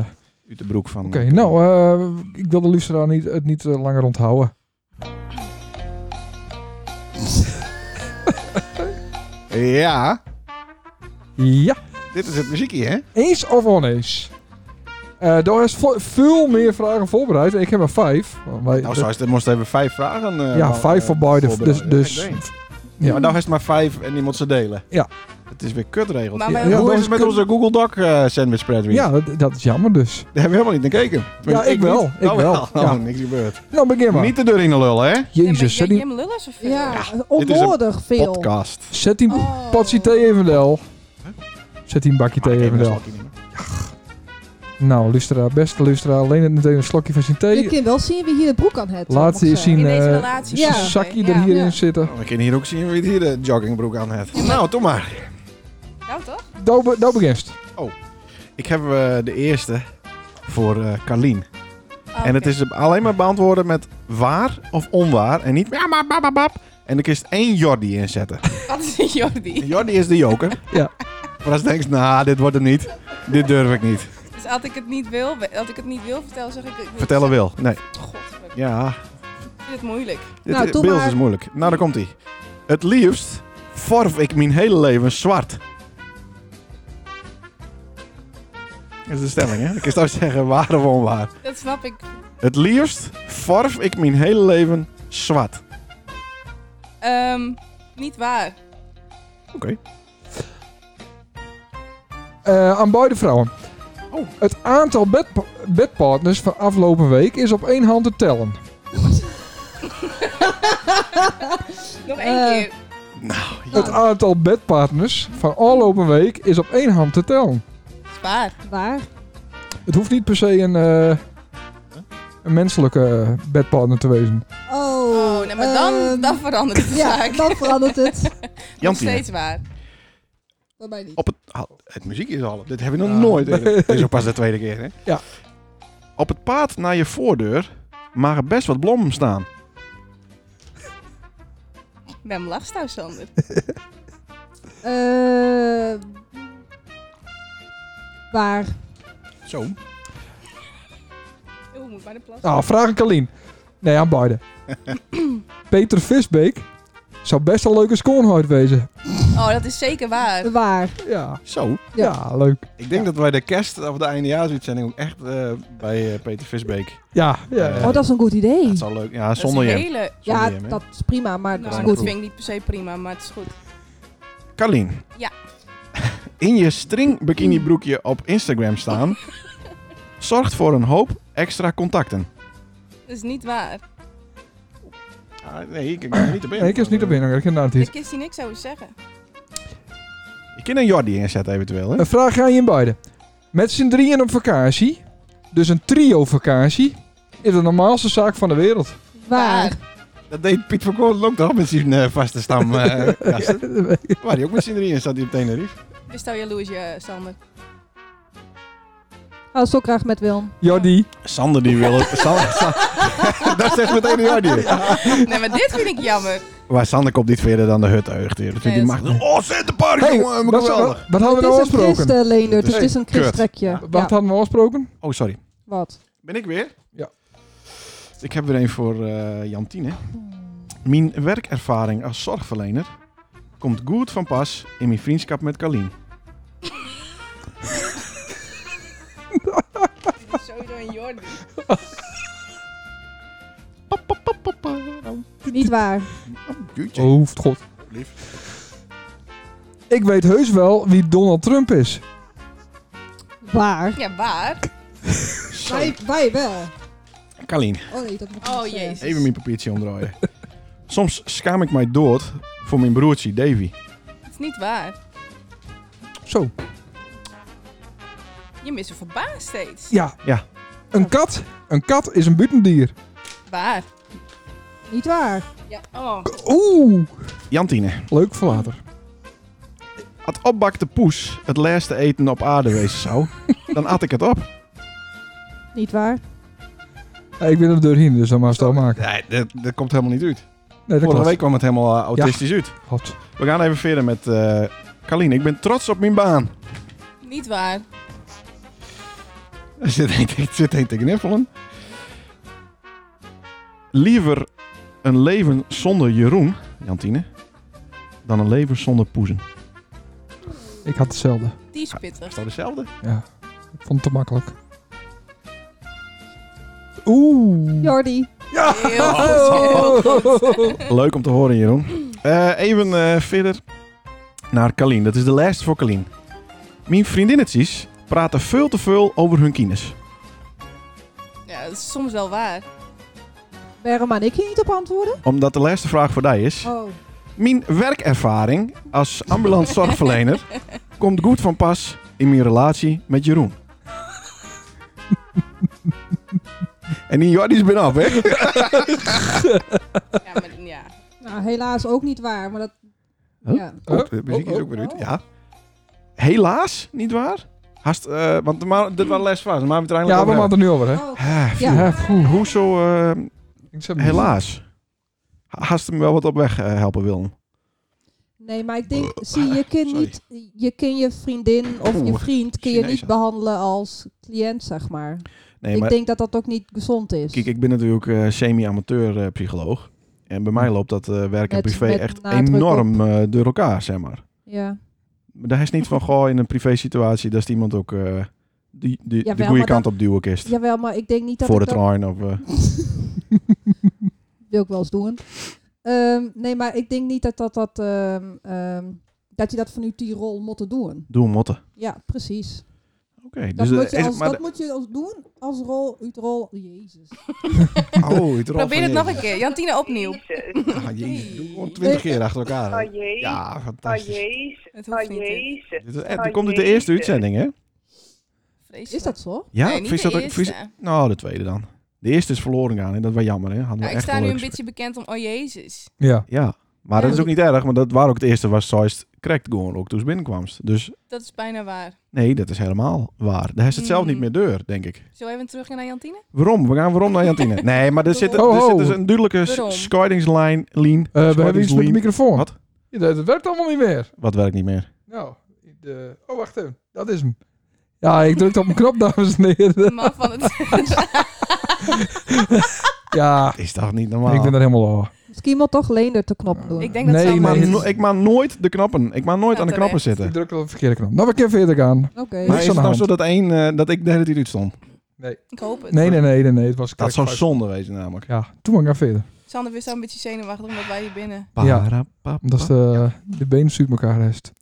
[SPEAKER 2] uit de broek van.
[SPEAKER 4] Oké, nou, eh, ik wil de luisteraar niet, het niet eh, langer onthouden.
[SPEAKER 2] Ja,
[SPEAKER 4] Ja,
[SPEAKER 2] dit is het muziekje, hè?
[SPEAKER 4] eens of oneens? Eh daar is vo- veel meer vragen voorbereid. Ik heb er vijf. Want wij-
[SPEAKER 2] Nou, zoals dit moest even vijf vragen. eh,
[SPEAKER 4] ja,
[SPEAKER 2] wel,
[SPEAKER 4] vijf
[SPEAKER 2] eh,
[SPEAKER 4] voor beide. Dus,
[SPEAKER 2] voorbereiden.
[SPEAKER 4] dus,
[SPEAKER 2] Ja, ik weet.
[SPEAKER 4] ja.
[SPEAKER 2] Maar nou is het maar vijf en die moet ze delen.
[SPEAKER 4] Ja.
[SPEAKER 2] Het is weer kutregel.
[SPEAKER 1] Maar wij-
[SPEAKER 2] Hoe
[SPEAKER 4] Ja, dat
[SPEAKER 2] is
[SPEAKER 4] is
[SPEAKER 2] het met
[SPEAKER 4] kut-
[SPEAKER 2] onze Google Doc eh, sandwich spreadsheet?
[SPEAKER 4] ja, dat, dat is jammer dus.
[SPEAKER 2] Daar hebben we helemaal niet naar gekeken. Tenminste,
[SPEAKER 4] Ja, ik wel,
[SPEAKER 2] niet.
[SPEAKER 4] ik
[SPEAKER 2] Nou,
[SPEAKER 4] wel,
[SPEAKER 2] Nou,
[SPEAKER 4] ja.
[SPEAKER 2] niks gebeurd.
[SPEAKER 4] Nou, begin maar.
[SPEAKER 2] Niet de deur in de lullen, hè?
[SPEAKER 1] Nee, maar
[SPEAKER 4] Jezus, zet die,
[SPEAKER 1] Jim Lullis of
[SPEAKER 3] Ja,
[SPEAKER 1] veel?
[SPEAKER 3] onnodig veel.
[SPEAKER 2] Podcast.
[SPEAKER 4] zet die
[SPEAKER 1] Oh.
[SPEAKER 4] potje thee even wel.
[SPEAKER 2] Huh?
[SPEAKER 4] Zet die een bakje
[SPEAKER 2] Maar
[SPEAKER 4] thee
[SPEAKER 2] ik
[SPEAKER 4] even
[SPEAKER 2] neem een
[SPEAKER 4] wel.
[SPEAKER 2] slokje niet meer.
[SPEAKER 4] Nou, luisteraar, beste luisteraar, leen het meteen een slokje van zijn
[SPEAKER 3] Je
[SPEAKER 4] thee.
[SPEAKER 3] kunt wel zien wie hier de broek aan heeft.
[SPEAKER 4] Laat
[SPEAKER 3] mag
[SPEAKER 4] je
[SPEAKER 3] ik
[SPEAKER 4] zien
[SPEAKER 3] zeggen.
[SPEAKER 1] In deze
[SPEAKER 4] eh,
[SPEAKER 1] relatie.
[SPEAKER 3] ja.
[SPEAKER 4] Een zakje
[SPEAKER 1] Oké,
[SPEAKER 4] er
[SPEAKER 1] ja.
[SPEAKER 4] hierin
[SPEAKER 3] Ja.
[SPEAKER 4] zitten.
[SPEAKER 2] Nou, we kunnen hier ook zien wie hier de joggingbroek aan heeft. Nou, toch maar.
[SPEAKER 1] Nou, toch?
[SPEAKER 4] Nou, be- nou begint.
[SPEAKER 2] Ik heb eh, de eerste voor eh Carlien.
[SPEAKER 1] Ah,
[SPEAKER 2] En het
[SPEAKER 1] oké.
[SPEAKER 2] is alleen maar beantwoorden met waar of onwaar. En niet ja, maar bab, bab, bab. En dan kun je één Jordi inzetten.
[SPEAKER 1] Wat is een
[SPEAKER 2] En
[SPEAKER 1] Jordi?
[SPEAKER 2] Jordi is de joker.
[SPEAKER 4] Ja.
[SPEAKER 2] Maar als je denkt, nou, dit wordt hem niet. Dit durf ik niet.
[SPEAKER 1] Dus als ik het niet wil, als ik het niet wil vertellen, zeg ik... ik wil-
[SPEAKER 2] Vertellen wil. Nee.
[SPEAKER 1] God, wat
[SPEAKER 2] Ja.
[SPEAKER 1] vind het moeilijk.
[SPEAKER 2] Dit
[SPEAKER 3] Nou,
[SPEAKER 2] is-
[SPEAKER 3] doe
[SPEAKER 2] Beels
[SPEAKER 3] maar.
[SPEAKER 2] is moeilijk. Nou, daar komt hij. Het liefst vorf ik mijn hele leven zwart. Dat is de stelling, hè? Ik kan straks zeggen waar of onwaar.
[SPEAKER 1] Dat snap ik.
[SPEAKER 2] Het liefst vorf ik mijn hele leven zwart.
[SPEAKER 1] Ehm, niet waar.
[SPEAKER 2] Oké.
[SPEAKER 4] Eh, aan beide vrouwen.
[SPEAKER 2] Oh.
[SPEAKER 4] Het aantal bed bedpartners van afgelopen week is op één hand te tellen.
[SPEAKER 1] Nog één
[SPEAKER 3] Eh,
[SPEAKER 1] keer.
[SPEAKER 2] Nou,
[SPEAKER 4] Het aantal bedpartners van afgelopen week is op één hand te tellen.
[SPEAKER 1] Spaar.
[SPEAKER 3] Waar?
[SPEAKER 4] Het hoeft niet per se een, eh, een menselijke eh, bedpartner te wezen.
[SPEAKER 3] Oh,
[SPEAKER 1] Oh, nee, maar dan,
[SPEAKER 3] ehm,
[SPEAKER 1] dan verandert de
[SPEAKER 3] Ja,
[SPEAKER 1] zaak.
[SPEAKER 3] dan verandert het.
[SPEAKER 1] Nog
[SPEAKER 2] Jantine,
[SPEAKER 1] steeds waar.
[SPEAKER 3] Waarbij niet.
[SPEAKER 2] op het, ah, het muziek is al. Dit hebben we nog
[SPEAKER 4] Ja.
[SPEAKER 2] nooit. eerder. Dit is ook pas de tweede keer, hè?
[SPEAKER 4] Ja.
[SPEAKER 2] Op het paad naar je voordeur mogen best wat blommen staan.
[SPEAKER 1] Wem lacht nou, Sander?
[SPEAKER 3] Eh, waar?
[SPEAKER 2] Zo.
[SPEAKER 1] Oeh, Oh, moet maar de plas.
[SPEAKER 4] Nou, vraag ik Aline. Nee, aan beide. Peter Visbeek zou best een leuke schoonheid wezen.
[SPEAKER 1] Oh, dat is zeker
[SPEAKER 3] Eh,
[SPEAKER 1] waar.
[SPEAKER 3] Waar?
[SPEAKER 4] Ja,
[SPEAKER 2] Zo.
[SPEAKER 4] ja.
[SPEAKER 3] Ja.
[SPEAKER 4] leuk.
[SPEAKER 2] Ik denk dat wij de kerst of de eindejaarsuitzending ook echt eh, bij eh, Peter Visbeek.
[SPEAKER 4] Ja, ja.
[SPEAKER 2] Eh,
[SPEAKER 3] Oh, dat is een goed idee.
[SPEAKER 2] Dat is al leuk. Ja,
[SPEAKER 1] Dat is
[SPEAKER 2] zonder
[SPEAKER 1] een
[SPEAKER 2] je.
[SPEAKER 1] hele...
[SPEAKER 3] ja,
[SPEAKER 2] Zonder hem, hè?
[SPEAKER 3] dat is prima, maar dat is
[SPEAKER 1] Nou,
[SPEAKER 3] goed.
[SPEAKER 1] dat vind ik niet per se prima, maar het is goed.
[SPEAKER 2] Carlien.
[SPEAKER 1] Ja.
[SPEAKER 2] In je string bikini broekje op Instagram staan zorgt voor een hoop extra contacten.
[SPEAKER 1] Dat is niet waar.
[SPEAKER 2] Ah, nee, ik kan er niet op in.
[SPEAKER 4] Nee, ik is niet op in, ik inderdaad
[SPEAKER 1] Daar
[SPEAKER 4] niet.
[SPEAKER 1] kist hij niks over zeggen.
[SPEAKER 2] Je kan een Jordi inzetten eventueel. Hè?
[SPEAKER 4] Een vraag aan je beiden. Met z'n drieën op vakantie, dus een trio-vakantie, is de normaalste zaak van de wereld.
[SPEAKER 3] Waar?
[SPEAKER 2] Dat deed Piet van Koorn ook toch met zijn eh, vaste stam. eh, gasten. Waar die ook met z'n drieën zat hij op Tenerife.
[SPEAKER 1] Wist jou jaloers, je, Sander?
[SPEAKER 3] Oh, zo graag met Wilm.
[SPEAKER 4] Jordi,
[SPEAKER 2] Sander die wil... Sander, dat zegt meteen de Jordi.
[SPEAKER 1] Nee, maar dit vind ik jammer.
[SPEAKER 2] Maar Sander komt niet verder dan de hut uit. Dat
[SPEAKER 1] Nee,
[SPEAKER 2] vindt hij
[SPEAKER 1] dat
[SPEAKER 2] macht. Oh, Centerpark,
[SPEAKER 4] hey,
[SPEAKER 2] jongen,
[SPEAKER 4] wat,
[SPEAKER 2] geweldig.
[SPEAKER 4] wat hadden we nou
[SPEAKER 3] het is een
[SPEAKER 4] afgesproken?
[SPEAKER 3] christen, Leendert, dus
[SPEAKER 2] Nee,
[SPEAKER 3] het is een
[SPEAKER 2] kut.
[SPEAKER 3] christrekje. Ja.
[SPEAKER 4] Wat hadden we nou afgesproken?
[SPEAKER 2] Oh, sorry.
[SPEAKER 3] Wat?
[SPEAKER 2] Ben ik weer? Dus
[SPEAKER 4] Ja.
[SPEAKER 2] Ik heb weer een voor eh Jantine. Mijn werkervaring als zorgverlener komt goed van pas in mijn vriendschap met Carlien.
[SPEAKER 1] Dit is sowieso een Jordi.
[SPEAKER 3] Niet waar.
[SPEAKER 2] Guutje.
[SPEAKER 4] Oh, hoeft god.
[SPEAKER 2] Lief.
[SPEAKER 4] Ik weet heus wel wie Donald Trump is.
[SPEAKER 3] Waar?
[SPEAKER 1] Ja, waar?
[SPEAKER 3] Wij, wij wel.
[SPEAKER 2] Carlien,
[SPEAKER 3] Oh nee, dat moet ik
[SPEAKER 1] Oh,
[SPEAKER 3] niet zeggen.
[SPEAKER 1] jezus.
[SPEAKER 2] even mijn papiertje omdraaien. Soms schaam ik mij dood voor mijn broertje Davy.
[SPEAKER 1] Dat is niet waar.
[SPEAKER 4] Zo,
[SPEAKER 1] Je mist er verbaasd steeds.
[SPEAKER 4] ja.
[SPEAKER 2] Ja.
[SPEAKER 4] Een kat. Een kat is een buitendier.
[SPEAKER 1] Waar?
[SPEAKER 3] Niet waar.
[SPEAKER 1] Ja. Oh,
[SPEAKER 4] Oeh,
[SPEAKER 2] Jantine,
[SPEAKER 4] leuk voor later.
[SPEAKER 2] had opbakte poes het laatste eten op aarde wezen zou, dan at ik het op.
[SPEAKER 3] Niet waar.
[SPEAKER 4] Ja, ik ben er doorheen, dus dan maar het maken.
[SPEAKER 2] Nee, dat, dat komt helemaal niet uit.
[SPEAKER 4] Nee, dat
[SPEAKER 2] Vorige
[SPEAKER 4] klopt.
[SPEAKER 2] week kwam het helemaal eh, autistisch uit.
[SPEAKER 4] God.
[SPEAKER 2] We gaan even verder met eh Carlien. Ik ben trots op mijn baan.
[SPEAKER 1] niet waar.
[SPEAKER 2] Er zit een, er zit een te kniffelen. Liever een leven zonder Jeroen, Jantine, dan een leven zonder Poezen.
[SPEAKER 4] Ik had hetzelfde.
[SPEAKER 1] Die is pittig.
[SPEAKER 2] dat hetzelfde?
[SPEAKER 4] Ja, ik vond het te makkelijk. Oeh.
[SPEAKER 3] Jordi.
[SPEAKER 4] Ja.
[SPEAKER 1] Heel
[SPEAKER 3] Oh.
[SPEAKER 1] goed, heel
[SPEAKER 2] Leuk om te horen, Jeroen. Eh, even eh, verder naar Kalien. Dat is de lijst voor Kalien. Mijn vriendinnetjes praten veel te veel over hun kines.
[SPEAKER 1] Ja, dat is soms wel waar.
[SPEAKER 3] Waarom aan ik hier niet op antwoorden?
[SPEAKER 2] Omdat de laatste vraag voor die is.
[SPEAKER 3] Oh.
[SPEAKER 2] Mijn werkervaring als ambulant zorgverlener komt goed van pas in mijn relatie met Jeroen. en die Jordi's ben af, hè?
[SPEAKER 1] Ja, maar ja.
[SPEAKER 3] Nou, helaas ook niet waar, maar dat...
[SPEAKER 2] Huh?
[SPEAKER 3] Ja.
[SPEAKER 2] Oh, de muziek is ook weer uit. Ja. Helaas, niet waar? Hast, eh, want de ma- dit was les waar, maar we het er
[SPEAKER 4] Ja,
[SPEAKER 2] eigenlijk
[SPEAKER 4] we
[SPEAKER 2] over
[SPEAKER 4] maken
[SPEAKER 2] hebben.
[SPEAKER 4] het nu over, hè?
[SPEAKER 3] Oh,
[SPEAKER 2] Ah,
[SPEAKER 3] Ja.
[SPEAKER 2] phew.
[SPEAKER 4] Ja, poeh.
[SPEAKER 2] Hoezo, eh,
[SPEAKER 4] Ik zet hem
[SPEAKER 2] helaas? Hast hem wel wat op weg eh, helpen, Willem?
[SPEAKER 3] Nee, maar ik denk, zie, je kunt
[SPEAKER 2] Eh, Sorry.
[SPEAKER 3] niet, je, kun je vriendin of
[SPEAKER 2] Oeh,
[SPEAKER 3] je vriend kun je
[SPEAKER 2] Chinezen.
[SPEAKER 3] niet behandelen als cliënt, zeg maar.
[SPEAKER 2] Nee,
[SPEAKER 3] ik
[SPEAKER 2] maar
[SPEAKER 3] denk dat dat ook niet gezond is.
[SPEAKER 2] kijk, ik ben natuurlijk eh, semi-amateur eh, psycholoog. En bij mij loopt dat eh, werk en
[SPEAKER 3] Met-
[SPEAKER 2] privé
[SPEAKER 3] met
[SPEAKER 2] echt
[SPEAKER 3] nadruk
[SPEAKER 2] enorm eh, door elkaar, zeg maar.
[SPEAKER 3] Ja,
[SPEAKER 2] Maar daar is niet van, goh, in een privé situatie, dat is iemand ook eh, die, die, de
[SPEAKER 3] Jawel,
[SPEAKER 2] goede
[SPEAKER 3] maar
[SPEAKER 2] kant op duwen kist.
[SPEAKER 3] jawel, maar ik denk niet dat
[SPEAKER 2] voor de
[SPEAKER 3] ik dat
[SPEAKER 2] trein of... eh,
[SPEAKER 3] wil ik wel eens doen. Ehm, nee, maar ik denk niet dat dat, dat, ehm, ehm, dat je dat vanuit die rol moet doen.
[SPEAKER 2] doe motten.
[SPEAKER 3] Ja, precies.
[SPEAKER 2] Oké.
[SPEAKER 3] Dat,
[SPEAKER 2] dus
[SPEAKER 3] moet, je
[SPEAKER 2] is-
[SPEAKER 3] als,
[SPEAKER 2] maar
[SPEAKER 3] dat moet je als doen als rol, uit rol. Jezus.
[SPEAKER 2] de- oh, het
[SPEAKER 1] Probeer het nog een keer. Jantine
[SPEAKER 6] Oh,
[SPEAKER 1] opnieuw.
[SPEAKER 6] Jezus.
[SPEAKER 2] keer. Ah, jezus, doe gewoon twintig keer achter elkaar. hè.
[SPEAKER 6] Oh jee.
[SPEAKER 2] Ja,
[SPEAKER 6] Oh
[SPEAKER 2] fantastisch.
[SPEAKER 6] jezus.
[SPEAKER 1] Het
[SPEAKER 6] Oh
[SPEAKER 1] hoeft niet. hè.
[SPEAKER 6] jezus.
[SPEAKER 2] Dit is echt,
[SPEAKER 6] Oh,
[SPEAKER 2] dit komt uit de
[SPEAKER 6] jezus.
[SPEAKER 2] eerste uitzending, hè?
[SPEAKER 1] Vreselijk.
[SPEAKER 3] Is dat zo?
[SPEAKER 2] Ja,
[SPEAKER 1] nee, niet
[SPEAKER 2] vies
[SPEAKER 1] de
[SPEAKER 2] dat ook-
[SPEAKER 1] eerste.
[SPEAKER 2] vies- Nou, de tweede dan. De eerste is verloren gaan en dat was jammer, hè? Hadden we
[SPEAKER 1] Nou, ik
[SPEAKER 2] echt
[SPEAKER 1] sta nu
[SPEAKER 2] wel
[SPEAKER 1] een
[SPEAKER 2] leuk
[SPEAKER 1] beetje bekend om Oh Jezus.
[SPEAKER 4] Ja.
[SPEAKER 2] gesprek. Ja, maar dat is ook niet erg, want dat waar ook het eerste was, zoals correct gewoon ook toen ze binnenkwamst. Dus
[SPEAKER 1] Dat is bijna waar.
[SPEAKER 2] nee, dat is helemaal waar. Daar is het zelf niet
[SPEAKER 1] Mm.
[SPEAKER 2] meer deur, denk ik.
[SPEAKER 1] Zullen we even terug gaan naar Jantine?
[SPEAKER 2] Waarom? We gaan waarom naar Jantine. Nee, maar er zit, er,
[SPEAKER 4] Ho, ho.
[SPEAKER 2] zit dus een duidelijke
[SPEAKER 1] Waarom?
[SPEAKER 2] s- scheidingslijn. Lien.
[SPEAKER 4] Eh, we hebben iets met de
[SPEAKER 2] Scheidingslien.
[SPEAKER 4] microfoon.
[SPEAKER 2] Wat?
[SPEAKER 4] Ja, dat, dat werkt allemaal niet meer.
[SPEAKER 2] Wat werkt niet meer?
[SPEAKER 4] Nou, de... oh wacht even. Dat is hem. Ja, ik drukte op een knop, dames en heren.
[SPEAKER 1] De man van
[SPEAKER 3] Oh.
[SPEAKER 1] het...
[SPEAKER 4] Ja,
[SPEAKER 2] Is dat niet normaal?
[SPEAKER 4] ik
[SPEAKER 2] Ik,
[SPEAKER 4] ben er helemaal over.
[SPEAKER 3] Misschien moet toch Leender te knop doen.
[SPEAKER 1] ik denk dat
[SPEAKER 4] Nee,
[SPEAKER 1] zou
[SPEAKER 4] maar
[SPEAKER 2] maak
[SPEAKER 1] maar...
[SPEAKER 4] niet.
[SPEAKER 2] no- ik maak nooit de knoppen. Ik maak nooit
[SPEAKER 1] Ja,
[SPEAKER 2] aan de knoppen
[SPEAKER 4] Ik
[SPEAKER 2] zitten.
[SPEAKER 4] drukte op de verkeerde knop. Nou, we kunnen verder gaan.
[SPEAKER 3] Oké.
[SPEAKER 2] Maar
[SPEAKER 4] Niks
[SPEAKER 2] is
[SPEAKER 4] aan
[SPEAKER 2] het
[SPEAKER 4] de
[SPEAKER 2] nou
[SPEAKER 4] hand.
[SPEAKER 2] zo dat één, eh, dat ik de hele tijd uit stond?
[SPEAKER 1] Ik hoop het.
[SPEAKER 4] Nee, nee, nee, nee, nee. Het was
[SPEAKER 2] Dat zou
[SPEAKER 4] correct.
[SPEAKER 2] zonde wezen namelijk.
[SPEAKER 4] Ja, toen gaan we verder.
[SPEAKER 1] Sander weer zo een beetje zenuwachtig omdat wij hier binnen...
[SPEAKER 4] Ja.
[SPEAKER 2] Parapapa.
[SPEAKER 4] Omdat de, de benen uit elkaar rest.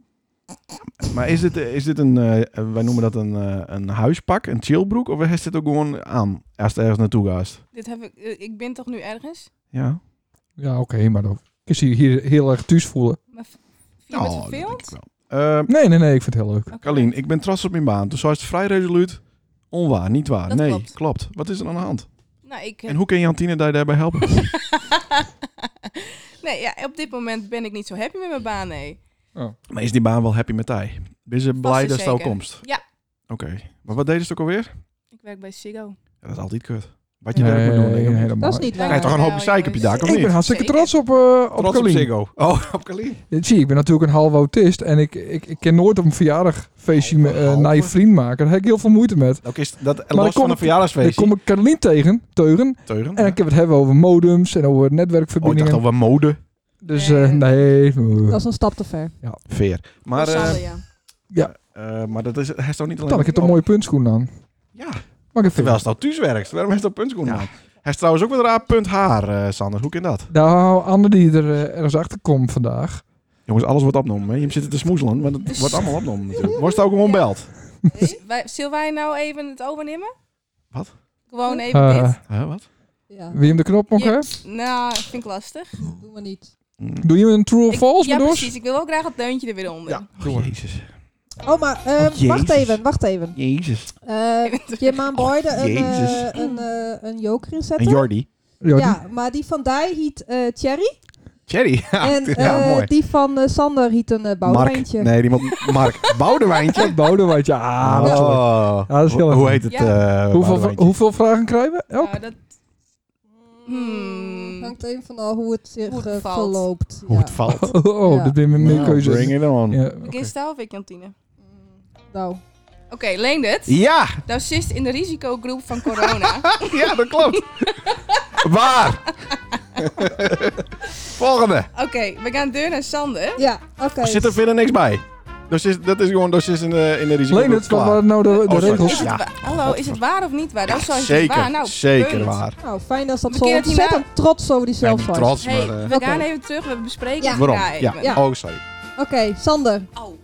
[SPEAKER 2] Maar is dit, eh, is dit een, eh, wij noemen dat een, eh, een huispak, een chillbroek? Of is dit ook gewoon aan als het ergens naartoe gaat?
[SPEAKER 1] Dit heb ik... eh, Ik ben toch nu ergens?
[SPEAKER 2] Ja.
[SPEAKER 4] Ja, oké, maar dan kun je je hier heel erg thuis voelen.
[SPEAKER 1] Maar v- vind je het
[SPEAKER 2] Oh, dat denk
[SPEAKER 1] vervelend?
[SPEAKER 2] ik wel. Eh,
[SPEAKER 4] Nee, nee, nee, ik vind het heel leuk.
[SPEAKER 1] Oké.
[SPEAKER 2] Carlien, ik ben trots op mijn baan. Dus zo is het vrij resoluut. Onwaar, niet waar.
[SPEAKER 1] Dat
[SPEAKER 2] nee,
[SPEAKER 1] klopt.
[SPEAKER 2] Wat is er aan de hand?
[SPEAKER 1] Nou, ik... eh,
[SPEAKER 2] En hoe kan Jantine daar daarbij helpen?
[SPEAKER 1] nee, ja, op dit moment ben ik niet zo happy met mijn baan, nee.
[SPEAKER 2] maar is die baan wel happy met hij? Ben ze blij
[SPEAKER 1] is
[SPEAKER 2] dat ze al
[SPEAKER 1] zeker.
[SPEAKER 2] komst?
[SPEAKER 1] Ja.
[SPEAKER 2] Oké. Maar wat deden ze ook alweer?
[SPEAKER 1] Ik werk bij Siggo.
[SPEAKER 2] Ja, dat is altijd kut. Wat je werk moet doen, denk ik. niet.
[SPEAKER 4] helemaal.
[SPEAKER 3] dat is niet
[SPEAKER 1] Krijg
[SPEAKER 2] Krijg
[SPEAKER 3] waar.
[SPEAKER 2] je toch een hoop
[SPEAKER 1] Ja,
[SPEAKER 2] zeik op je dak, of
[SPEAKER 4] Ik ben
[SPEAKER 2] niet?
[SPEAKER 4] hartstikke
[SPEAKER 1] Zeker.
[SPEAKER 4] trots op, eh op
[SPEAKER 2] Trots op
[SPEAKER 4] Carlien.
[SPEAKER 2] Ziggo. Oh, op Carlien.
[SPEAKER 4] Dit zie je, ik ben natuurlijk een halve autist en ik, ik, ik ken nooit op een verjaardagfeestje
[SPEAKER 2] Halve,
[SPEAKER 4] me- eh,
[SPEAKER 2] halve?
[SPEAKER 4] naar je vriend maken. Daar heb ik heel veel moeite met.
[SPEAKER 2] Ook is dat
[SPEAKER 4] dan
[SPEAKER 2] los
[SPEAKER 4] kom
[SPEAKER 2] van een
[SPEAKER 4] ik- Dan
[SPEAKER 2] verjaardagsfeestje.
[SPEAKER 4] kom ik Carolien tegen, teugen,
[SPEAKER 2] Teuren.
[SPEAKER 4] en ik heb het hebben over modems en over
[SPEAKER 2] Oh, ik dacht
[SPEAKER 4] netwerkverbindingen.
[SPEAKER 2] al wel mode.
[SPEAKER 4] dus eh, nee,
[SPEAKER 3] Dat is een stap te ver.
[SPEAKER 2] Veer. Maar, eh,
[SPEAKER 1] Sander, ja.
[SPEAKER 2] eh, maar dat is, hij is toch niet alleen...
[SPEAKER 4] dan heb ik het een mooie puntschoen aan.
[SPEAKER 2] Ja,
[SPEAKER 4] Mag ik even?
[SPEAKER 2] terwijl ze nou thuis werkt. Waarom is dat puntschoen
[SPEAKER 4] Ja.
[SPEAKER 2] aan? Hij is trouwens ook wat raar punt haar, eh, Sander. Hoe kan dat?
[SPEAKER 4] Nou, Anne die er eh, ergens achter komt vandaag.
[SPEAKER 2] Jongens, alles wordt opgenomen. Hè? Je zit te smoezelen, maar het wordt allemaal opgenomen natuurlijk. Wordt het ook gewoon belt?
[SPEAKER 1] Dus wij- Zullen wij nou even het overnemen?
[SPEAKER 2] Wat?
[SPEAKER 1] Gewoon even
[SPEAKER 4] Eh,
[SPEAKER 1] dit?
[SPEAKER 2] Huh, wat?
[SPEAKER 3] Ja,
[SPEAKER 4] Wie hem de knop nog
[SPEAKER 1] Ja.
[SPEAKER 4] heeft?
[SPEAKER 1] Nou, ik vind ik lastig.
[SPEAKER 3] dat doen we niet.
[SPEAKER 2] Mm.
[SPEAKER 4] Doe je een true of
[SPEAKER 1] Ik-
[SPEAKER 4] false,
[SPEAKER 1] Ja,
[SPEAKER 4] Medoos?
[SPEAKER 1] precies. Ik wil wel graag het deuntje er weer onder.
[SPEAKER 2] Ja.
[SPEAKER 4] Doe maar.
[SPEAKER 2] Jezus.
[SPEAKER 3] Oh, maar ehm,
[SPEAKER 2] Oh, Jezus.
[SPEAKER 3] wacht even, wacht even.
[SPEAKER 2] Jezus.
[SPEAKER 3] Eh je maan boyde een, eh,
[SPEAKER 2] Jezus.
[SPEAKER 3] een, eh, een joker
[SPEAKER 2] En
[SPEAKER 3] inzetten.
[SPEAKER 2] Jordi.
[SPEAKER 4] Ja, die-
[SPEAKER 3] Ja, maar die van Dij hiet eh Thierry.
[SPEAKER 2] Thierry. Ja,
[SPEAKER 3] en
[SPEAKER 2] ja,
[SPEAKER 3] eh,
[SPEAKER 2] mooi.
[SPEAKER 3] die van eh, Sander hiet een eh
[SPEAKER 2] Mark.
[SPEAKER 3] bouwwijntje.
[SPEAKER 2] Nee, die moet Mark. Boudewijntje.
[SPEAKER 4] Dat Boudewijntje. Ah,
[SPEAKER 2] Oh.
[SPEAKER 4] dat is leuk. Ja, dat is heel
[SPEAKER 2] Hoe- Hoe
[SPEAKER 4] erg.
[SPEAKER 2] heet het?
[SPEAKER 1] Ja.
[SPEAKER 2] eh,
[SPEAKER 4] hoeveel,
[SPEAKER 2] Boudewijntje?
[SPEAKER 4] hoeveel vragen krijgen we? Elk?
[SPEAKER 1] Nou, dat, Hmm.
[SPEAKER 3] Hangt even van af hoe het zich
[SPEAKER 1] Hoe het
[SPEAKER 3] eh,
[SPEAKER 1] valt.
[SPEAKER 3] verloopt.
[SPEAKER 2] Hoe
[SPEAKER 3] ja.
[SPEAKER 2] het valt.
[SPEAKER 4] Oh, oh,
[SPEAKER 3] Ja.
[SPEAKER 4] dit ben mijn
[SPEAKER 2] Nou,
[SPEAKER 4] keuze.
[SPEAKER 2] Bring it on.
[SPEAKER 4] Ja,
[SPEAKER 1] begin
[SPEAKER 4] oké.
[SPEAKER 1] stijl of ik Jantine?
[SPEAKER 3] Nou,
[SPEAKER 1] Oké, Leendert.
[SPEAKER 2] Ja,
[SPEAKER 1] Nou zit in de risicogroep van corona.
[SPEAKER 2] ja, dat klopt. Waar? Volgende.
[SPEAKER 1] Oké, we gaan deur naar Sander.
[SPEAKER 3] ja, oké.
[SPEAKER 2] Er zit er verder niks bij. Dus is, dat is gewoon dus is in de, in de risico.
[SPEAKER 4] Leendert, wat
[SPEAKER 2] Klaar. Oh,
[SPEAKER 4] waren nou de, de
[SPEAKER 2] sorry.
[SPEAKER 1] Is
[SPEAKER 4] regels?
[SPEAKER 1] het
[SPEAKER 2] Ja.
[SPEAKER 1] wa- Hallo, is het waar of niet waar? Dat zou je
[SPEAKER 2] Zeker,
[SPEAKER 1] waar. Nou,
[SPEAKER 2] zeker
[SPEAKER 1] punt.
[SPEAKER 2] waar.
[SPEAKER 3] Nou, fijn dat ze dat
[SPEAKER 1] We
[SPEAKER 3] zo
[SPEAKER 1] kunnen het hierna-
[SPEAKER 3] ontzettend trots over die zelf
[SPEAKER 2] Ik ben
[SPEAKER 3] zijn.
[SPEAKER 2] trots,
[SPEAKER 1] Hey,
[SPEAKER 2] maar... eh,
[SPEAKER 1] we gaan
[SPEAKER 3] Oké.
[SPEAKER 1] even terug. We bespreken
[SPEAKER 3] Ja.
[SPEAKER 1] het
[SPEAKER 2] waarom?
[SPEAKER 1] daarna
[SPEAKER 2] Ja.
[SPEAKER 1] even.
[SPEAKER 3] Ja.
[SPEAKER 2] Oh, sorry.
[SPEAKER 3] Oké, Sander.
[SPEAKER 1] Oh,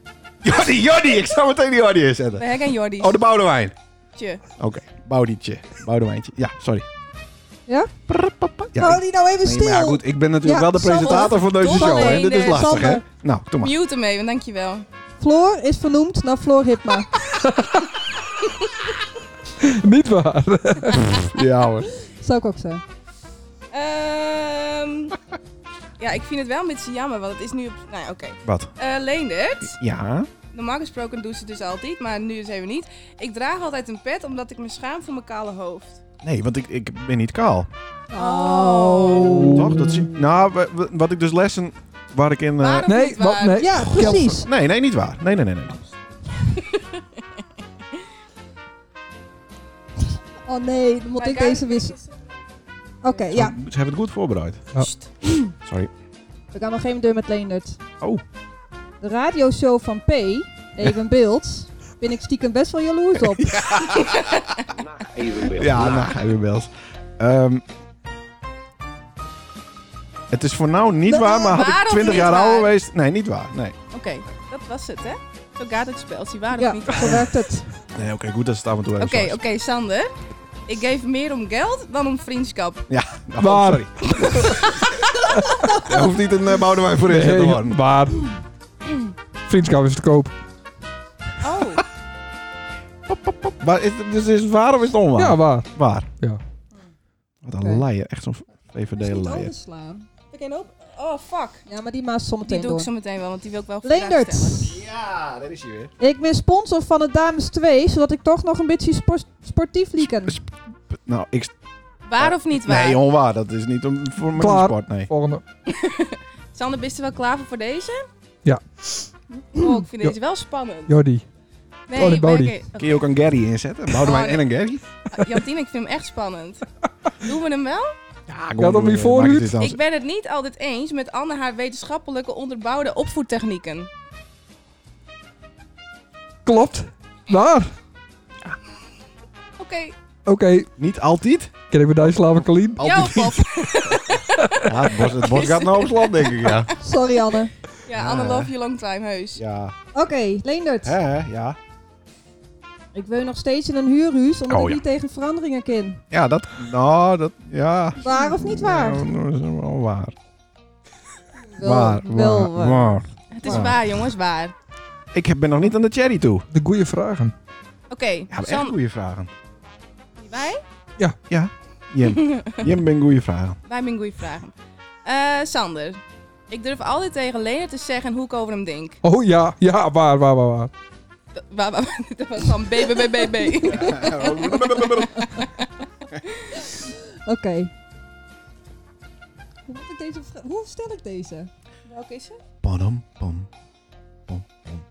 [SPEAKER 2] Jordi, Jordi! Ik zou meteen die Jordi
[SPEAKER 1] we
[SPEAKER 2] inzetten.
[SPEAKER 1] herkennen Jordi.
[SPEAKER 2] Oh, de Boudewijn.
[SPEAKER 1] Tje.
[SPEAKER 2] Oké, Boudietje. Boudewijntje. Ja, sorry.
[SPEAKER 3] Ja?
[SPEAKER 2] Prrrpapa. Ja,
[SPEAKER 3] Hou
[SPEAKER 2] ik-
[SPEAKER 3] die nou even
[SPEAKER 2] nee,
[SPEAKER 3] stil.
[SPEAKER 2] maar ja, goed, ik ben natuurlijk wel
[SPEAKER 3] Ja,
[SPEAKER 2] de
[SPEAKER 3] Sander,
[SPEAKER 2] presentator van deze
[SPEAKER 1] Sander,
[SPEAKER 2] show, hè.
[SPEAKER 1] Sander.
[SPEAKER 2] Dit is lastig, hè.
[SPEAKER 3] Sander.
[SPEAKER 2] Nou, doe maar.
[SPEAKER 1] Mute hem even, dankjewel.
[SPEAKER 3] Floor is vernoemd naar Floor Hipma.
[SPEAKER 4] Niet waar.
[SPEAKER 2] Ja, hoor.
[SPEAKER 3] Zou ik ook zeggen.
[SPEAKER 1] Ehm ja, ik vind het wel een beetje jammer, want het is nu op... Nou ja, oké.
[SPEAKER 2] Wat?
[SPEAKER 1] Eh, Leendert,
[SPEAKER 2] Ja?
[SPEAKER 1] normaal gesproken doen ze het dus altijd, maar nu dus even niet. Ik draag altijd een pet omdat ik me schaam voor mijn kale hoofd.
[SPEAKER 2] Nee, want ik, ik ben niet kaal.
[SPEAKER 1] Oh.
[SPEAKER 2] Toch? Dat zie- nou, we- we- wat ik dus lessen waar ik in. eh,
[SPEAKER 1] Waarom
[SPEAKER 4] Nee,
[SPEAKER 1] niet waar?
[SPEAKER 4] wat- nee.
[SPEAKER 3] Ja, precies.
[SPEAKER 2] nee, nee, niet waar. Nee, nee, nee, nee.
[SPEAKER 3] Oh nee, dan moet
[SPEAKER 1] Maar
[SPEAKER 3] ik
[SPEAKER 1] kijk,
[SPEAKER 3] deze wisselen. Oké, ja.
[SPEAKER 2] Ze hebben het goed voorbereid.
[SPEAKER 4] Ja.
[SPEAKER 1] Sst.
[SPEAKER 2] Sorry.
[SPEAKER 3] We gaan nog even deur met Leendert.
[SPEAKER 2] Oh.
[SPEAKER 3] De radioshow van P, Even Beeld, ben ik stiekem best wel jaloers op.
[SPEAKER 5] Nacht evenbeeld.
[SPEAKER 2] Ja,
[SPEAKER 5] Nacht.
[SPEAKER 2] nou, hij weer belt. Ehm, het is voor nou niet
[SPEAKER 3] Nee,
[SPEAKER 2] waar, maar had
[SPEAKER 1] waar
[SPEAKER 2] ik
[SPEAKER 1] of
[SPEAKER 2] 20
[SPEAKER 1] niet
[SPEAKER 2] jaar ouder
[SPEAKER 1] waar?
[SPEAKER 2] geweest. Nee, niet waar. Nee.
[SPEAKER 1] Oké, dat was het, hè? Zo gaat het spel, zie waar
[SPEAKER 3] Ja,
[SPEAKER 1] het niet.
[SPEAKER 3] zo werkt het.
[SPEAKER 2] Nee, oké, goed dat ze het af en toe
[SPEAKER 1] Oké,
[SPEAKER 2] even
[SPEAKER 1] oké, Sander. Ik geef meer om geld dan om vriendschap.
[SPEAKER 2] Ja, Oh,
[SPEAKER 4] Waar?
[SPEAKER 2] sorry. Er hoeft niet een uh, Boudewijn voor in te worden.
[SPEAKER 4] waar? Vriendschap is te koop.
[SPEAKER 1] Oh,
[SPEAKER 2] Maar is, het- dus is het waar of is het onwaar?
[SPEAKER 4] Ja, waar?
[SPEAKER 2] waar.
[SPEAKER 4] Ja.
[SPEAKER 2] Wat een
[SPEAKER 3] Oké.
[SPEAKER 2] leier. Echt zo'n VVD-leier.
[SPEAKER 3] overslaan.
[SPEAKER 1] oh fuck.
[SPEAKER 3] Ja, maar die maas
[SPEAKER 1] Die
[SPEAKER 3] zometeen
[SPEAKER 1] doe ik
[SPEAKER 3] door.
[SPEAKER 1] zo meteen wel, want die wil ik wel vragen
[SPEAKER 3] Leendert,
[SPEAKER 1] stellen.
[SPEAKER 2] Ja, daar is hij weer.
[SPEAKER 3] ik ben sponsor van het Dames 2, zodat ik toch nog een beetje spor- sportief lieken.
[SPEAKER 2] Sp- Nou, ik... st-
[SPEAKER 1] Waar of niet waar?
[SPEAKER 2] Nee, onwaar. Dat is niet om, voor mijn
[SPEAKER 4] Klaar.
[SPEAKER 2] sport, nee.
[SPEAKER 4] Volgende.
[SPEAKER 1] Sander, ben je wel klaar voor, voor deze?
[SPEAKER 4] Ja.
[SPEAKER 1] Oh, ik vind
[SPEAKER 4] Jo-
[SPEAKER 1] deze wel spannend.
[SPEAKER 4] Jordi.
[SPEAKER 1] nee,
[SPEAKER 4] Tony
[SPEAKER 1] ik ben-
[SPEAKER 4] Oh, Bodie.
[SPEAKER 1] oké, oké.
[SPEAKER 2] Kun je ook een Gary inzetten? Boudewijn
[SPEAKER 1] Oh, nee.
[SPEAKER 2] en een Gary?
[SPEAKER 1] Jantien, ik vind hem echt spannend. Doen we hem wel?
[SPEAKER 2] Ja,
[SPEAKER 4] had hem niet vooruit.
[SPEAKER 1] Ik ben het niet altijd eens met Anne haar wetenschappelijke onderbouwde opvoedtechnieken.
[SPEAKER 4] Klopt. Waar?
[SPEAKER 1] Oké,
[SPEAKER 4] Oké.
[SPEAKER 2] Niet altijd.
[SPEAKER 4] Ken ik bij Dijsselhaven Kalien?
[SPEAKER 1] jouw
[SPEAKER 2] Altijd.
[SPEAKER 1] pop.
[SPEAKER 2] Ja, het bos, het bos gaat naar Hoogland, denk ik, ja.
[SPEAKER 3] Sorry Anne.
[SPEAKER 1] Ja, Anne love you long time, heus.
[SPEAKER 2] Ah. Ja,
[SPEAKER 3] Oké, Leendert.
[SPEAKER 2] hè, hè, ja.
[SPEAKER 3] Ik woon nog steeds in een huurhuis, omdat
[SPEAKER 2] Oh,
[SPEAKER 3] ik
[SPEAKER 2] ja.
[SPEAKER 3] niet tegen veranderingen ken.
[SPEAKER 2] Ja, dat... Nou, dat... Ja.
[SPEAKER 3] Waar of niet waar?
[SPEAKER 2] Ja, dat is wel waar.
[SPEAKER 3] Wel-
[SPEAKER 2] waar,
[SPEAKER 3] wel
[SPEAKER 2] waar,
[SPEAKER 3] waar.
[SPEAKER 2] waar.
[SPEAKER 1] Het is
[SPEAKER 2] Ja.
[SPEAKER 1] waar, jongens, waar.
[SPEAKER 2] Ik heb- ben nog niet aan de cherry toe.
[SPEAKER 4] De goede vragen.
[SPEAKER 1] Oké,
[SPEAKER 2] Ja, maar echt
[SPEAKER 1] San-
[SPEAKER 2] goede vragen.
[SPEAKER 1] wij?
[SPEAKER 2] Jim, Jim ben goede vragen.
[SPEAKER 1] Wij hebben goede vragen. Eh, Sander, ik durf altijd tegen Lena te zeggen hoe ik over hem denk.
[SPEAKER 4] Oh ja, ja, waar, waar, waar, waar.
[SPEAKER 1] Dat- Waar, waar- waar- dat was van BBBBB.
[SPEAKER 3] Oké. Hoe, moet ik deze vra- Hoe stel ik deze?
[SPEAKER 1] Welke is het?
[SPEAKER 2] Padam, pam, pam, pam.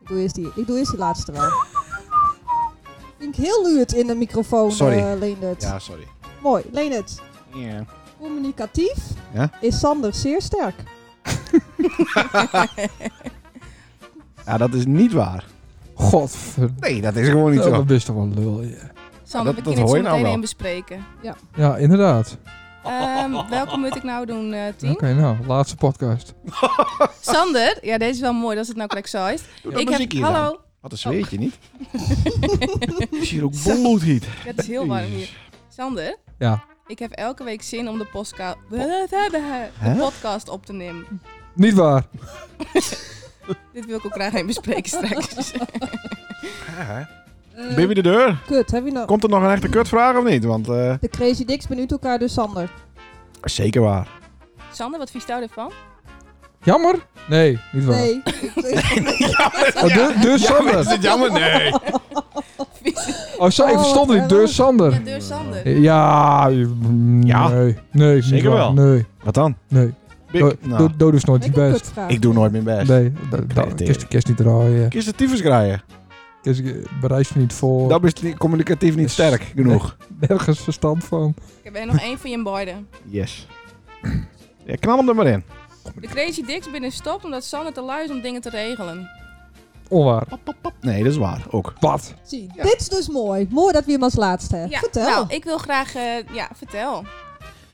[SPEAKER 3] Ik doe eerst die, ik doe eerst die laatste wel. Vind ik heel luid in de microfoon,
[SPEAKER 2] Sorry.
[SPEAKER 3] eh, Leendert.
[SPEAKER 2] Ja, sorry.
[SPEAKER 3] Mooi, Leendert.
[SPEAKER 2] Ja.
[SPEAKER 3] Communicatief
[SPEAKER 2] Ja?
[SPEAKER 3] is Sander zeer sterk.
[SPEAKER 2] dat is niet waar.
[SPEAKER 4] Godverdomme.
[SPEAKER 2] Nee, dat is gewoon niet
[SPEAKER 4] Dat
[SPEAKER 2] zo.
[SPEAKER 4] is toch wel lul, ja.
[SPEAKER 1] Sander,
[SPEAKER 2] dat-
[SPEAKER 1] we
[SPEAKER 2] dat
[SPEAKER 1] kunnen het
[SPEAKER 2] hoor
[SPEAKER 1] zo
[SPEAKER 2] je nou
[SPEAKER 1] meteen
[SPEAKER 2] wel.
[SPEAKER 1] even bespreken.
[SPEAKER 4] Ja, inderdaad.
[SPEAKER 3] Hm?
[SPEAKER 1] Ehm, welke moet ik nou doen, eh
[SPEAKER 4] Oké,
[SPEAKER 1] Tien?
[SPEAKER 4] nou, laatste podcast.
[SPEAKER 1] Sander, ja, deze is wel mooi, dat is het nou correct zo is.
[SPEAKER 2] Doe dat
[SPEAKER 1] ik
[SPEAKER 2] muziek hier
[SPEAKER 1] hallo,
[SPEAKER 2] dan. Wat een zweetje, niet? is hier ook bloedheat.
[SPEAKER 1] het is heel warm hier. Sander,
[SPEAKER 4] Ja.
[SPEAKER 1] ik heb elke week zin om de, postka- de
[SPEAKER 2] Hè?
[SPEAKER 1] podcast op te nemen.
[SPEAKER 4] Niet waar.
[SPEAKER 1] Dit wil ik ook graag even bespreken straks.
[SPEAKER 3] Eh,
[SPEAKER 2] Baby de deur.
[SPEAKER 3] Kut, heb je nou...
[SPEAKER 2] Komt er nog een echte kutvraag of niet? Want eh,
[SPEAKER 3] De Crazy Dicks benieuwt elkaar dus Sander.
[SPEAKER 2] zeker waar.
[SPEAKER 1] Sander, wat vies jou ervan?
[SPEAKER 4] Jammer? Nee, niet waar.
[SPEAKER 3] Nee.
[SPEAKER 4] Oh, de, de Sander.
[SPEAKER 2] dit jammer? Nee.
[SPEAKER 1] Vies.
[SPEAKER 4] Oh, sorry, ik
[SPEAKER 3] Oh,
[SPEAKER 4] verstond
[SPEAKER 3] wat
[SPEAKER 4] het niet. De
[SPEAKER 1] Ja,
[SPEAKER 2] Eh,
[SPEAKER 3] erg.
[SPEAKER 4] Sander.
[SPEAKER 1] deur Sander.
[SPEAKER 4] Ja. mm,
[SPEAKER 2] Ja.
[SPEAKER 4] Nee. Nee, is
[SPEAKER 2] Zeker
[SPEAKER 4] niet waar.
[SPEAKER 2] wel.
[SPEAKER 4] Nee,
[SPEAKER 2] Wat dan?
[SPEAKER 4] nee.
[SPEAKER 2] Bik-
[SPEAKER 4] Do-
[SPEAKER 2] nou,
[SPEAKER 4] do- Dood is nooit je
[SPEAKER 3] Ik heb een
[SPEAKER 4] best.
[SPEAKER 3] kutvraag.
[SPEAKER 2] ik doe nooit mijn best.
[SPEAKER 4] Nee, dat da,
[SPEAKER 2] Nee,
[SPEAKER 4] kist, kist niet draaien.
[SPEAKER 2] Kies de tyfus graaien.
[SPEAKER 4] Kist, bereis me niet voor.
[SPEAKER 2] Dat is niet- communicatief niet
[SPEAKER 4] Yes.
[SPEAKER 2] sterk genoeg.
[SPEAKER 4] Nergens verstand van.
[SPEAKER 1] Ik heb er nog één van je beiden.
[SPEAKER 2] Yes. Ja, knal hem er maar in.
[SPEAKER 1] De Crazy Dicks binnen stopt omdat Sander te lui is om dingen te regelen.
[SPEAKER 4] Onwaar.
[SPEAKER 2] Nee, dat is waar. Ook.
[SPEAKER 4] Wat?
[SPEAKER 3] Zie, dit is dus mooi. Mooi dat we hem als laatste hebben.
[SPEAKER 1] Ja,
[SPEAKER 3] Eh, Vertel.
[SPEAKER 1] nou, ik wil graag... eh, ja, vertel.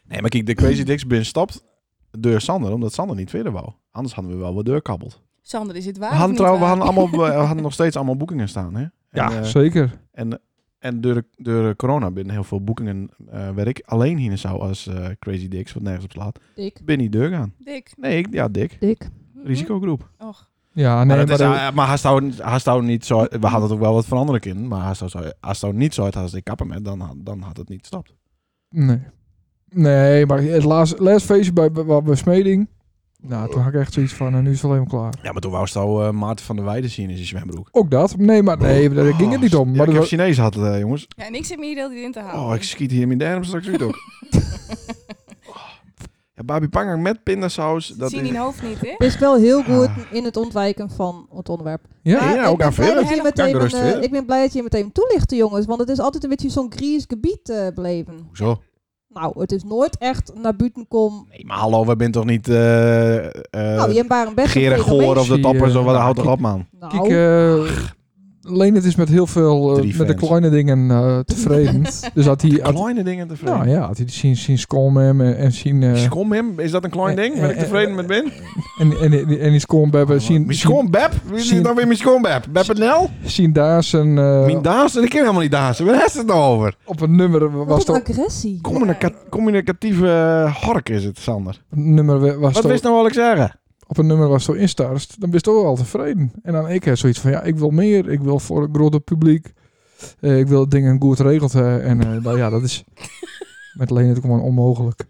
[SPEAKER 2] Nee, maar kijk, de Crazy Dicks bin stapt door Sander, omdat Sander niet verder wou. Anders hadden we wel wat deurkabbeld.
[SPEAKER 1] Sander, is dit
[SPEAKER 2] We
[SPEAKER 1] waar of
[SPEAKER 2] hadden,
[SPEAKER 1] niet
[SPEAKER 2] trouw, we
[SPEAKER 1] waar?
[SPEAKER 2] hadden, allemaal, we hadden nog steeds allemaal boekingen staan, hè? En,
[SPEAKER 4] Ja,
[SPEAKER 2] eh,
[SPEAKER 4] zeker.
[SPEAKER 2] en, en door, de- door de corona binnen heel veel boekingen eh waar ik alleen hier zou als eh, Crazy Dicks, wat nergens op slaat,
[SPEAKER 3] Dik.
[SPEAKER 2] ben niet deur gaan.
[SPEAKER 1] Dik.
[SPEAKER 2] Nee, ik, ja, dik.
[SPEAKER 3] Dik.
[SPEAKER 1] Mhm.
[SPEAKER 2] Risicogroep.
[SPEAKER 1] Och.
[SPEAKER 4] Ja, nee,
[SPEAKER 2] maar
[SPEAKER 4] maar,
[SPEAKER 2] dat is,
[SPEAKER 4] dat-
[SPEAKER 2] eh, maar hij zou- hij zou niet zo... We hadden ook wel wat van andere kinderen, maar hij zou, zo- hij zou niet zo uit als ik kappen met, dan, had- dan had het niet gestapt.
[SPEAKER 4] Nee. Nee, maar het laatste, laatste feestje bij, bij, bij Smeding. Nou, toen had ik echt zoiets van, nou, nu is het alleen maar klaar.
[SPEAKER 2] Ja, maar toen wou ze al eh, Maarten van der Weijden zien in zijn zwembroek.
[SPEAKER 4] Ook dat. Nee, maar nee, daar ging het niet om.
[SPEAKER 2] Ja,
[SPEAKER 4] Maar
[SPEAKER 2] ik
[SPEAKER 4] dat
[SPEAKER 2] heb
[SPEAKER 4] was-
[SPEAKER 2] Chinees had, eh, jongens.
[SPEAKER 1] Ja, en ik zit me hier de hele tijd in te houden.
[SPEAKER 2] Oh, ik schiet hier mijn derm straks uit ook. Oh. Ja, Babi Pangang met pindasaus.
[SPEAKER 1] dat
[SPEAKER 2] Dat
[SPEAKER 1] zie
[SPEAKER 2] is...
[SPEAKER 1] je in hoofd niet, hè?
[SPEAKER 3] Het is wel
[SPEAKER 2] Ah.
[SPEAKER 3] heel goed in het ontwijken van het onderwerp.
[SPEAKER 4] ja,
[SPEAKER 2] Ja,
[SPEAKER 3] Maar
[SPEAKER 2] ook
[SPEAKER 3] ik ben
[SPEAKER 2] aan
[SPEAKER 3] blij
[SPEAKER 2] verder.
[SPEAKER 3] dat je
[SPEAKER 1] Kan
[SPEAKER 2] ik
[SPEAKER 3] meteen
[SPEAKER 2] gerust
[SPEAKER 3] een, eh,
[SPEAKER 2] verder.
[SPEAKER 3] Ik ben blij dat je meteen toelichtte, jongens. Want het is altijd een beetje zo'n gries gebied eh, bleven.
[SPEAKER 2] Hoezo?
[SPEAKER 3] Nou, het is nooit echt naar buiten kom.
[SPEAKER 2] Nee, maar hallo, we zijn toch niet... eh eh
[SPEAKER 3] nou, je hebt maar een best
[SPEAKER 2] Gerard
[SPEAKER 3] een fenomeen.
[SPEAKER 2] Goor of de
[SPEAKER 4] Zie,
[SPEAKER 2] toppers
[SPEAKER 4] eh,
[SPEAKER 2] of wat,
[SPEAKER 4] nou,
[SPEAKER 2] houd toch
[SPEAKER 4] kijk.
[SPEAKER 2] op, man.
[SPEAKER 3] Nou,
[SPEAKER 4] Kijk, eh, Leen het is met heel veel, eh,
[SPEAKER 2] Drie
[SPEAKER 4] met de
[SPEAKER 2] fans.
[SPEAKER 4] kleine dingen eh, tevreden. dus had hij, had,
[SPEAKER 2] Kleine dingen tevreden.
[SPEAKER 4] nou ja, had hij zien, zien Skolmem en, en zien, eh,
[SPEAKER 2] Skom hem, is dat een klein
[SPEAKER 4] eh,
[SPEAKER 2] ding? Ben ik
[SPEAKER 4] eh,
[SPEAKER 2] tevreden
[SPEAKER 4] eh,
[SPEAKER 2] met Ben?
[SPEAKER 4] en, en, en, en die Skolmem eh, zien,
[SPEAKER 2] Mijn schoonbeb? Wie is
[SPEAKER 4] zien-
[SPEAKER 2] nou weer mijn schoonbeb? Beb het Nel?
[SPEAKER 4] zien, zien daar zijn, eh,
[SPEAKER 2] Mijn Daas? Ik ken helemaal niet Daas. Waar is het nou over?
[SPEAKER 4] op een nummer was
[SPEAKER 3] Wat een
[SPEAKER 4] toch,
[SPEAKER 3] agressie.
[SPEAKER 2] Communica- communicatieve eh, hark is het, Sander.
[SPEAKER 4] nummer was
[SPEAKER 2] Wat
[SPEAKER 4] toch,
[SPEAKER 2] wist nou wel ik zeggen?
[SPEAKER 4] op een nummer was zo instarst, dan ben je toch wel tevreden. En dan ik heb zoiets van, ja, ik wil meer, ik wil voor een groter publiek, eh, ik wil dingen goed regeld hebben. En eh, nou ja, dat is met Leen het gewoon onmogelijk.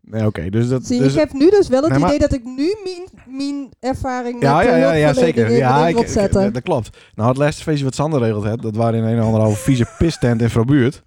[SPEAKER 2] Nee, oké. dus dat...
[SPEAKER 3] Zie,
[SPEAKER 2] dus,
[SPEAKER 3] ik heb nu dus wel het
[SPEAKER 2] Nee, maar-
[SPEAKER 3] idee dat ik nu mijn, mijn ervaring met
[SPEAKER 2] ja, ja, ja, ja,
[SPEAKER 3] hulpverlening
[SPEAKER 2] zeker.
[SPEAKER 3] in
[SPEAKER 2] Ja,
[SPEAKER 3] erin
[SPEAKER 2] ik,
[SPEAKER 3] wil
[SPEAKER 2] ik-
[SPEAKER 3] zetten.
[SPEAKER 2] dat, dat klopt. Nou, het laatste feestje wat Sander regeld had, dat waren in een of andere vieze pistent in Frabuurt.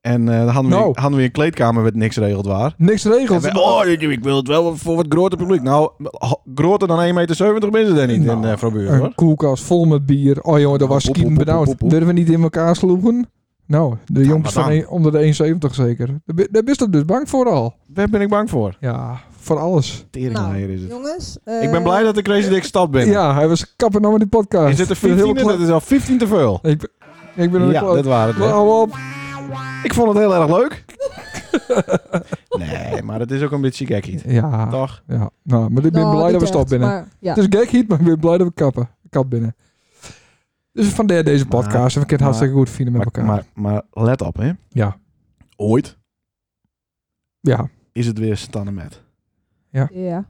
[SPEAKER 2] En eh, dan hadden we,
[SPEAKER 4] Nou.
[SPEAKER 2] hadden we een kleedkamer waar niks regeld waar.
[SPEAKER 4] Niks regelt.
[SPEAKER 2] En we- oh, ik wil het wel voor wat groter publiek. Nou, ho- groter dan 1,70 meter ben je er niet
[SPEAKER 4] Nou,
[SPEAKER 2] in eh Frabuurt, hoor.
[SPEAKER 4] Een koelkast vol met bier. Oh jongen, dat was
[SPEAKER 2] Poep,
[SPEAKER 4] skieten
[SPEAKER 2] poep, poep,
[SPEAKER 4] benauwd.
[SPEAKER 2] poep, poep.
[SPEAKER 4] Durven we niet in elkaar sloegen? Nou, de jongens
[SPEAKER 2] maar
[SPEAKER 4] van
[SPEAKER 2] dan.
[SPEAKER 4] een- onder de 1,70 zeker. Daar ben- Daar bist je dus bang voor al.
[SPEAKER 2] Daar ben ik bang voor.
[SPEAKER 4] Ja, voor alles.
[SPEAKER 2] Teringleier is het.
[SPEAKER 3] Jongens, eh,
[SPEAKER 2] ik ben blij dat ik Crazy Dick stad ben.
[SPEAKER 4] Ja, hij was kapper nou met die podcast.
[SPEAKER 2] Is dit de
[SPEAKER 4] Ik ben
[SPEAKER 2] 15e?
[SPEAKER 4] heel
[SPEAKER 2] Dat is al 15 te veel.
[SPEAKER 4] kla- Ik ben, ik ben aan de
[SPEAKER 2] Ja,
[SPEAKER 4] kla-
[SPEAKER 2] dat waren het.
[SPEAKER 4] Maar
[SPEAKER 2] wel.
[SPEAKER 4] hou op.
[SPEAKER 2] Ik vond het heel erg leuk. nee, maar het is ook een beetje gekkie.
[SPEAKER 4] Ja,
[SPEAKER 2] Toch?
[SPEAKER 4] ja. Nou, maar ik ben blij dat we stap binnen.
[SPEAKER 3] ja.
[SPEAKER 4] Het is gek heat, maar ik ben blij dat we kappen. Kap binnen. Dus vandaar deze
[SPEAKER 2] Maar-
[SPEAKER 4] podcast. en we kunnen het hartstikke goed vinden met
[SPEAKER 2] Maar,
[SPEAKER 4] elkaar.
[SPEAKER 2] maar, maar let op, hè.
[SPEAKER 4] ja,
[SPEAKER 2] Ooit
[SPEAKER 4] ja.
[SPEAKER 2] is het weer Stanne met.
[SPEAKER 3] ja.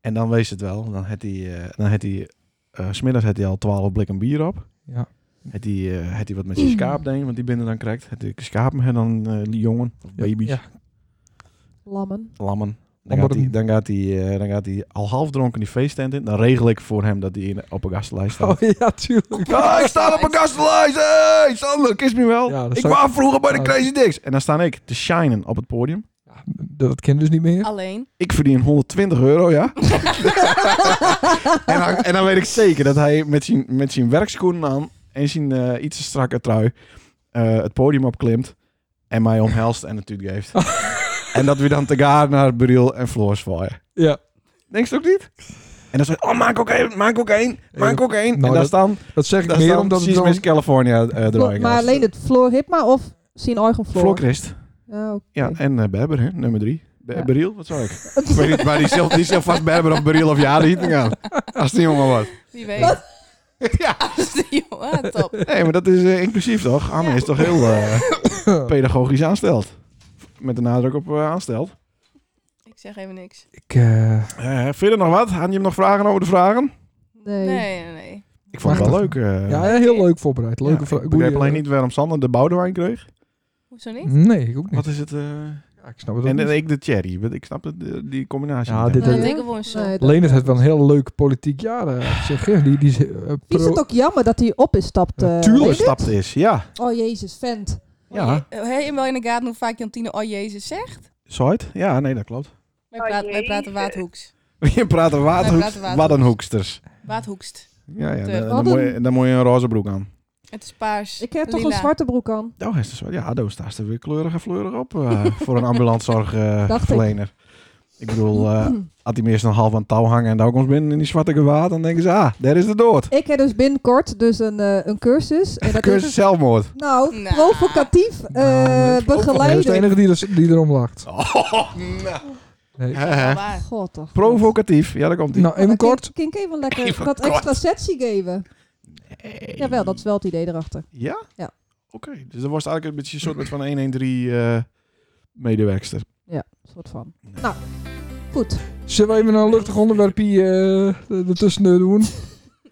[SPEAKER 2] En dan wees het wel. Dan had hij, eh, dan had hij, eh, smiddags had hij al 12 blikken bier op.
[SPEAKER 4] Ja.
[SPEAKER 2] Had hij, eh, had hij wat met zijn schaap deed, want die binnen dan krijgt. Had hij schapen en dan eh, die jongen, of baby's,
[SPEAKER 4] Ja.
[SPEAKER 3] Lammen.
[SPEAKER 2] lammen. Dan gaat,
[SPEAKER 4] Allemaal
[SPEAKER 2] hij,
[SPEAKER 4] een-
[SPEAKER 2] dan, gaat hij, eh, dan gaat hij al half dronken die feesttent in. Dan regel ik voor hem dat hij in, op een gastenlijst staat.
[SPEAKER 4] Oh ja, tuurlijk.
[SPEAKER 2] Ah, ik sta op een gastenlijst! Hey, Sander, kies me wel.
[SPEAKER 4] Ja, dat
[SPEAKER 2] ik
[SPEAKER 4] zou-
[SPEAKER 2] kwam vroeger bij de
[SPEAKER 4] Ja.
[SPEAKER 2] Crazy Dicks. En dan sta ik te shinen op het podium.
[SPEAKER 4] Ja, dat kind dus niet meer.
[SPEAKER 3] Oh.
[SPEAKER 1] Alleen.
[SPEAKER 2] Ik verdien 120 euro, ja. en, dan, en dan weet ik zeker dat hij met zijn, met zijn werkschoenen aan en zijn eh, iets te strakke trui eh, het podium opklimt en mij omhelst en het tuut geeft. en dat we dan te gaar naar Buriel en Floor zwaaien.
[SPEAKER 4] Ja.
[SPEAKER 2] Denk je het ook niet? En dan zeg ik, oh, maak ook één, maak ook één, maak ook één.
[SPEAKER 4] Nou,
[SPEAKER 2] en daar
[SPEAKER 4] dat-
[SPEAKER 2] staan,
[SPEAKER 4] Dat zeg ik
[SPEAKER 2] daar
[SPEAKER 4] meer
[SPEAKER 2] staan
[SPEAKER 4] omdat het
[SPEAKER 2] precies
[SPEAKER 4] dan...
[SPEAKER 2] Miss California eh
[SPEAKER 3] Flo-
[SPEAKER 2] draaien.
[SPEAKER 3] maar alleen het Floor Hipma of zijn eigen Floor?
[SPEAKER 2] Floor Christ.
[SPEAKER 3] Ja, oké.
[SPEAKER 2] Ja, en eh, Berber, hè, nummer drie. Be
[SPEAKER 3] Ja.
[SPEAKER 2] Buriel, wat zou ik? ik weet niet, maar die zal, die zal vast Berber of Buriel of Jade niet gaan. Als die jongen wordt.
[SPEAKER 1] Wie weet.
[SPEAKER 3] Wat?
[SPEAKER 2] ja.
[SPEAKER 1] Jongen, top.
[SPEAKER 2] Nee, maar dat is eh, inclusief toch? Anne
[SPEAKER 1] Ja.
[SPEAKER 2] is toch heel eh, pedagogisch aansteld. Met de nadruk op eh, aansteld.
[SPEAKER 1] Ik zeg even niks.
[SPEAKER 4] Ik, eh,
[SPEAKER 2] Eh, verder nog wat? Had je hem nog vragen over de vragen?
[SPEAKER 3] Nee.
[SPEAKER 1] Nee, nee, nee.
[SPEAKER 2] Ik vond het wel leuk. eh.
[SPEAKER 4] ja, heel leuk voorbereid. Leuke
[SPEAKER 2] Ja,
[SPEAKER 4] vraag.
[SPEAKER 2] ik begrijp alleen niet waarom Sander de Boudewijn kreeg.
[SPEAKER 1] Hoezo niet?
[SPEAKER 4] Nee, ik ook niet.
[SPEAKER 2] Wat is het? eh,
[SPEAKER 4] Ja, ik snap het ook
[SPEAKER 2] en, en
[SPEAKER 4] niet.
[SPEAKER 2] ik de Thierry. want Ik snap het, eh, die combinatie.
[SPEAKER 4] Ja,
[SPEAKER 2] niet
[SPEAKER 4] dit-
[SPEAKER 1] Dat
[SPEAKER 3] Nee,
[SPEAKER 1] denk
[SPEAKER 3] hè?
[SPEAKER 1] ik gewoon zo.
[SPEAKER 3] Nee, dat-
[SPEAKER 4] Leen heeft wel een heel leuk politiek jaar eh, op zich. hè. Die, die, is, eh,
[SPEAKER 3] Is
[SPEAKER 4] pro-
[SPEAKER 3] het ook jammer dat hij op is stapt? eh,
[SPEAKER 4] Natuurlijk.
[SPEAKER 2] helemaal.
[SPEAKER 3] Leendert?
[SPEAKER 2] Gestapt is. Ja.
[SPEAKER 3] Oh jezus, vent.
[SPEAKER 2] Ja.
[SPEAKER 1] Heb je Eh, wel in de gaten hoe vaak Jantine oh jezus zegt?
[SPEAKER 2] Zoid? Ja, nee, dat klopt.
[SPEAKER 3] Oh,
[SPEAKER 1] Wij, praten, wij praten waadhoeks.
[SPEAKER 2] Je praat een
[SPEAKER 1] Wij
[SPEAKER 2] waterhoeks,
[SPEAKER 1] praten waterhoeks.
[SPEAKER 2] waddenhoeksters.
[SPEAKER 1] Waadhoekst.
[SPEAKER 2] Ja, ja.
[SPEAKER 1] De
[SPEAKER 2] Dan, dan,
[SPEAKER 3] wadden-
[SPEAKER 2] moet je, dan moet je een roze broek aan.
[SPEAKER 1] Het is paars.
[SPEAKER 3] Ik heb toch
[SPEAKER 1] lila.
[SPEAKER 3] een zwarte broek aan.
[SPEAKER 2] Nou, hij is dus wel- ja, daar staat ze weer kleurig en fleurig op eh, voor een ambulantzorgverlener. ik. bedoel, eh had hij me eerst nog half aan het touw hangen en daar komt ze binnen in die zwarte gewaad, dan denken ze, ah, daar is de dood.
[SPEAKER 3] Ik heb dus binnenkort dus een, eh, een cursus. En dat
[SPEAKER 2] Cursus
[SPEAKER 3] is
[SPEAKER 2] zelfmoord.
[SPEAKER 3] nou
[SPEAKER 1] Nou.
[SPEAKER 3] provocatief eh,
[SPEAKER 4] Nou, Hij is de
[SPEAKER 3] begeleiding.
[SPEAKER 4] enige die, er, die erom lacht.
[SPEAKER 2] Oh,
[SPEAKER 4] Nee.
[SPEAKER 2] Eh,
[SPEAKER 1] Wel waar.
[SPEAKER 3] God toch.
[SPEAKER 2] Provocatief. Ja, daar komt hij.
[SPEAKER 4] Nou, even kort.
[SPEAKER 3] Kink even lekker
[SPEAKER 2] Even
[SPEAKER 3] wat
[SPEAKER 2] kort.
[SPEAKER 3] extra setje geven. Jawel, dat is wel het idee erachter.
[SPEAKER 2] Ja?
[SPEAKER 3] Ja.
[SPEAKER 2] Oké, dus dat was eigenlijk een beetje een soort met van 113 eh medewerkster.
[SPEAKER 3] soort van.
[SPEAKER 2] Nee.
[SPEAKER 3] Nou, goed.
[SPEAKER 4] Zullen we even een luchtig onderwerpje eh ertussen doen?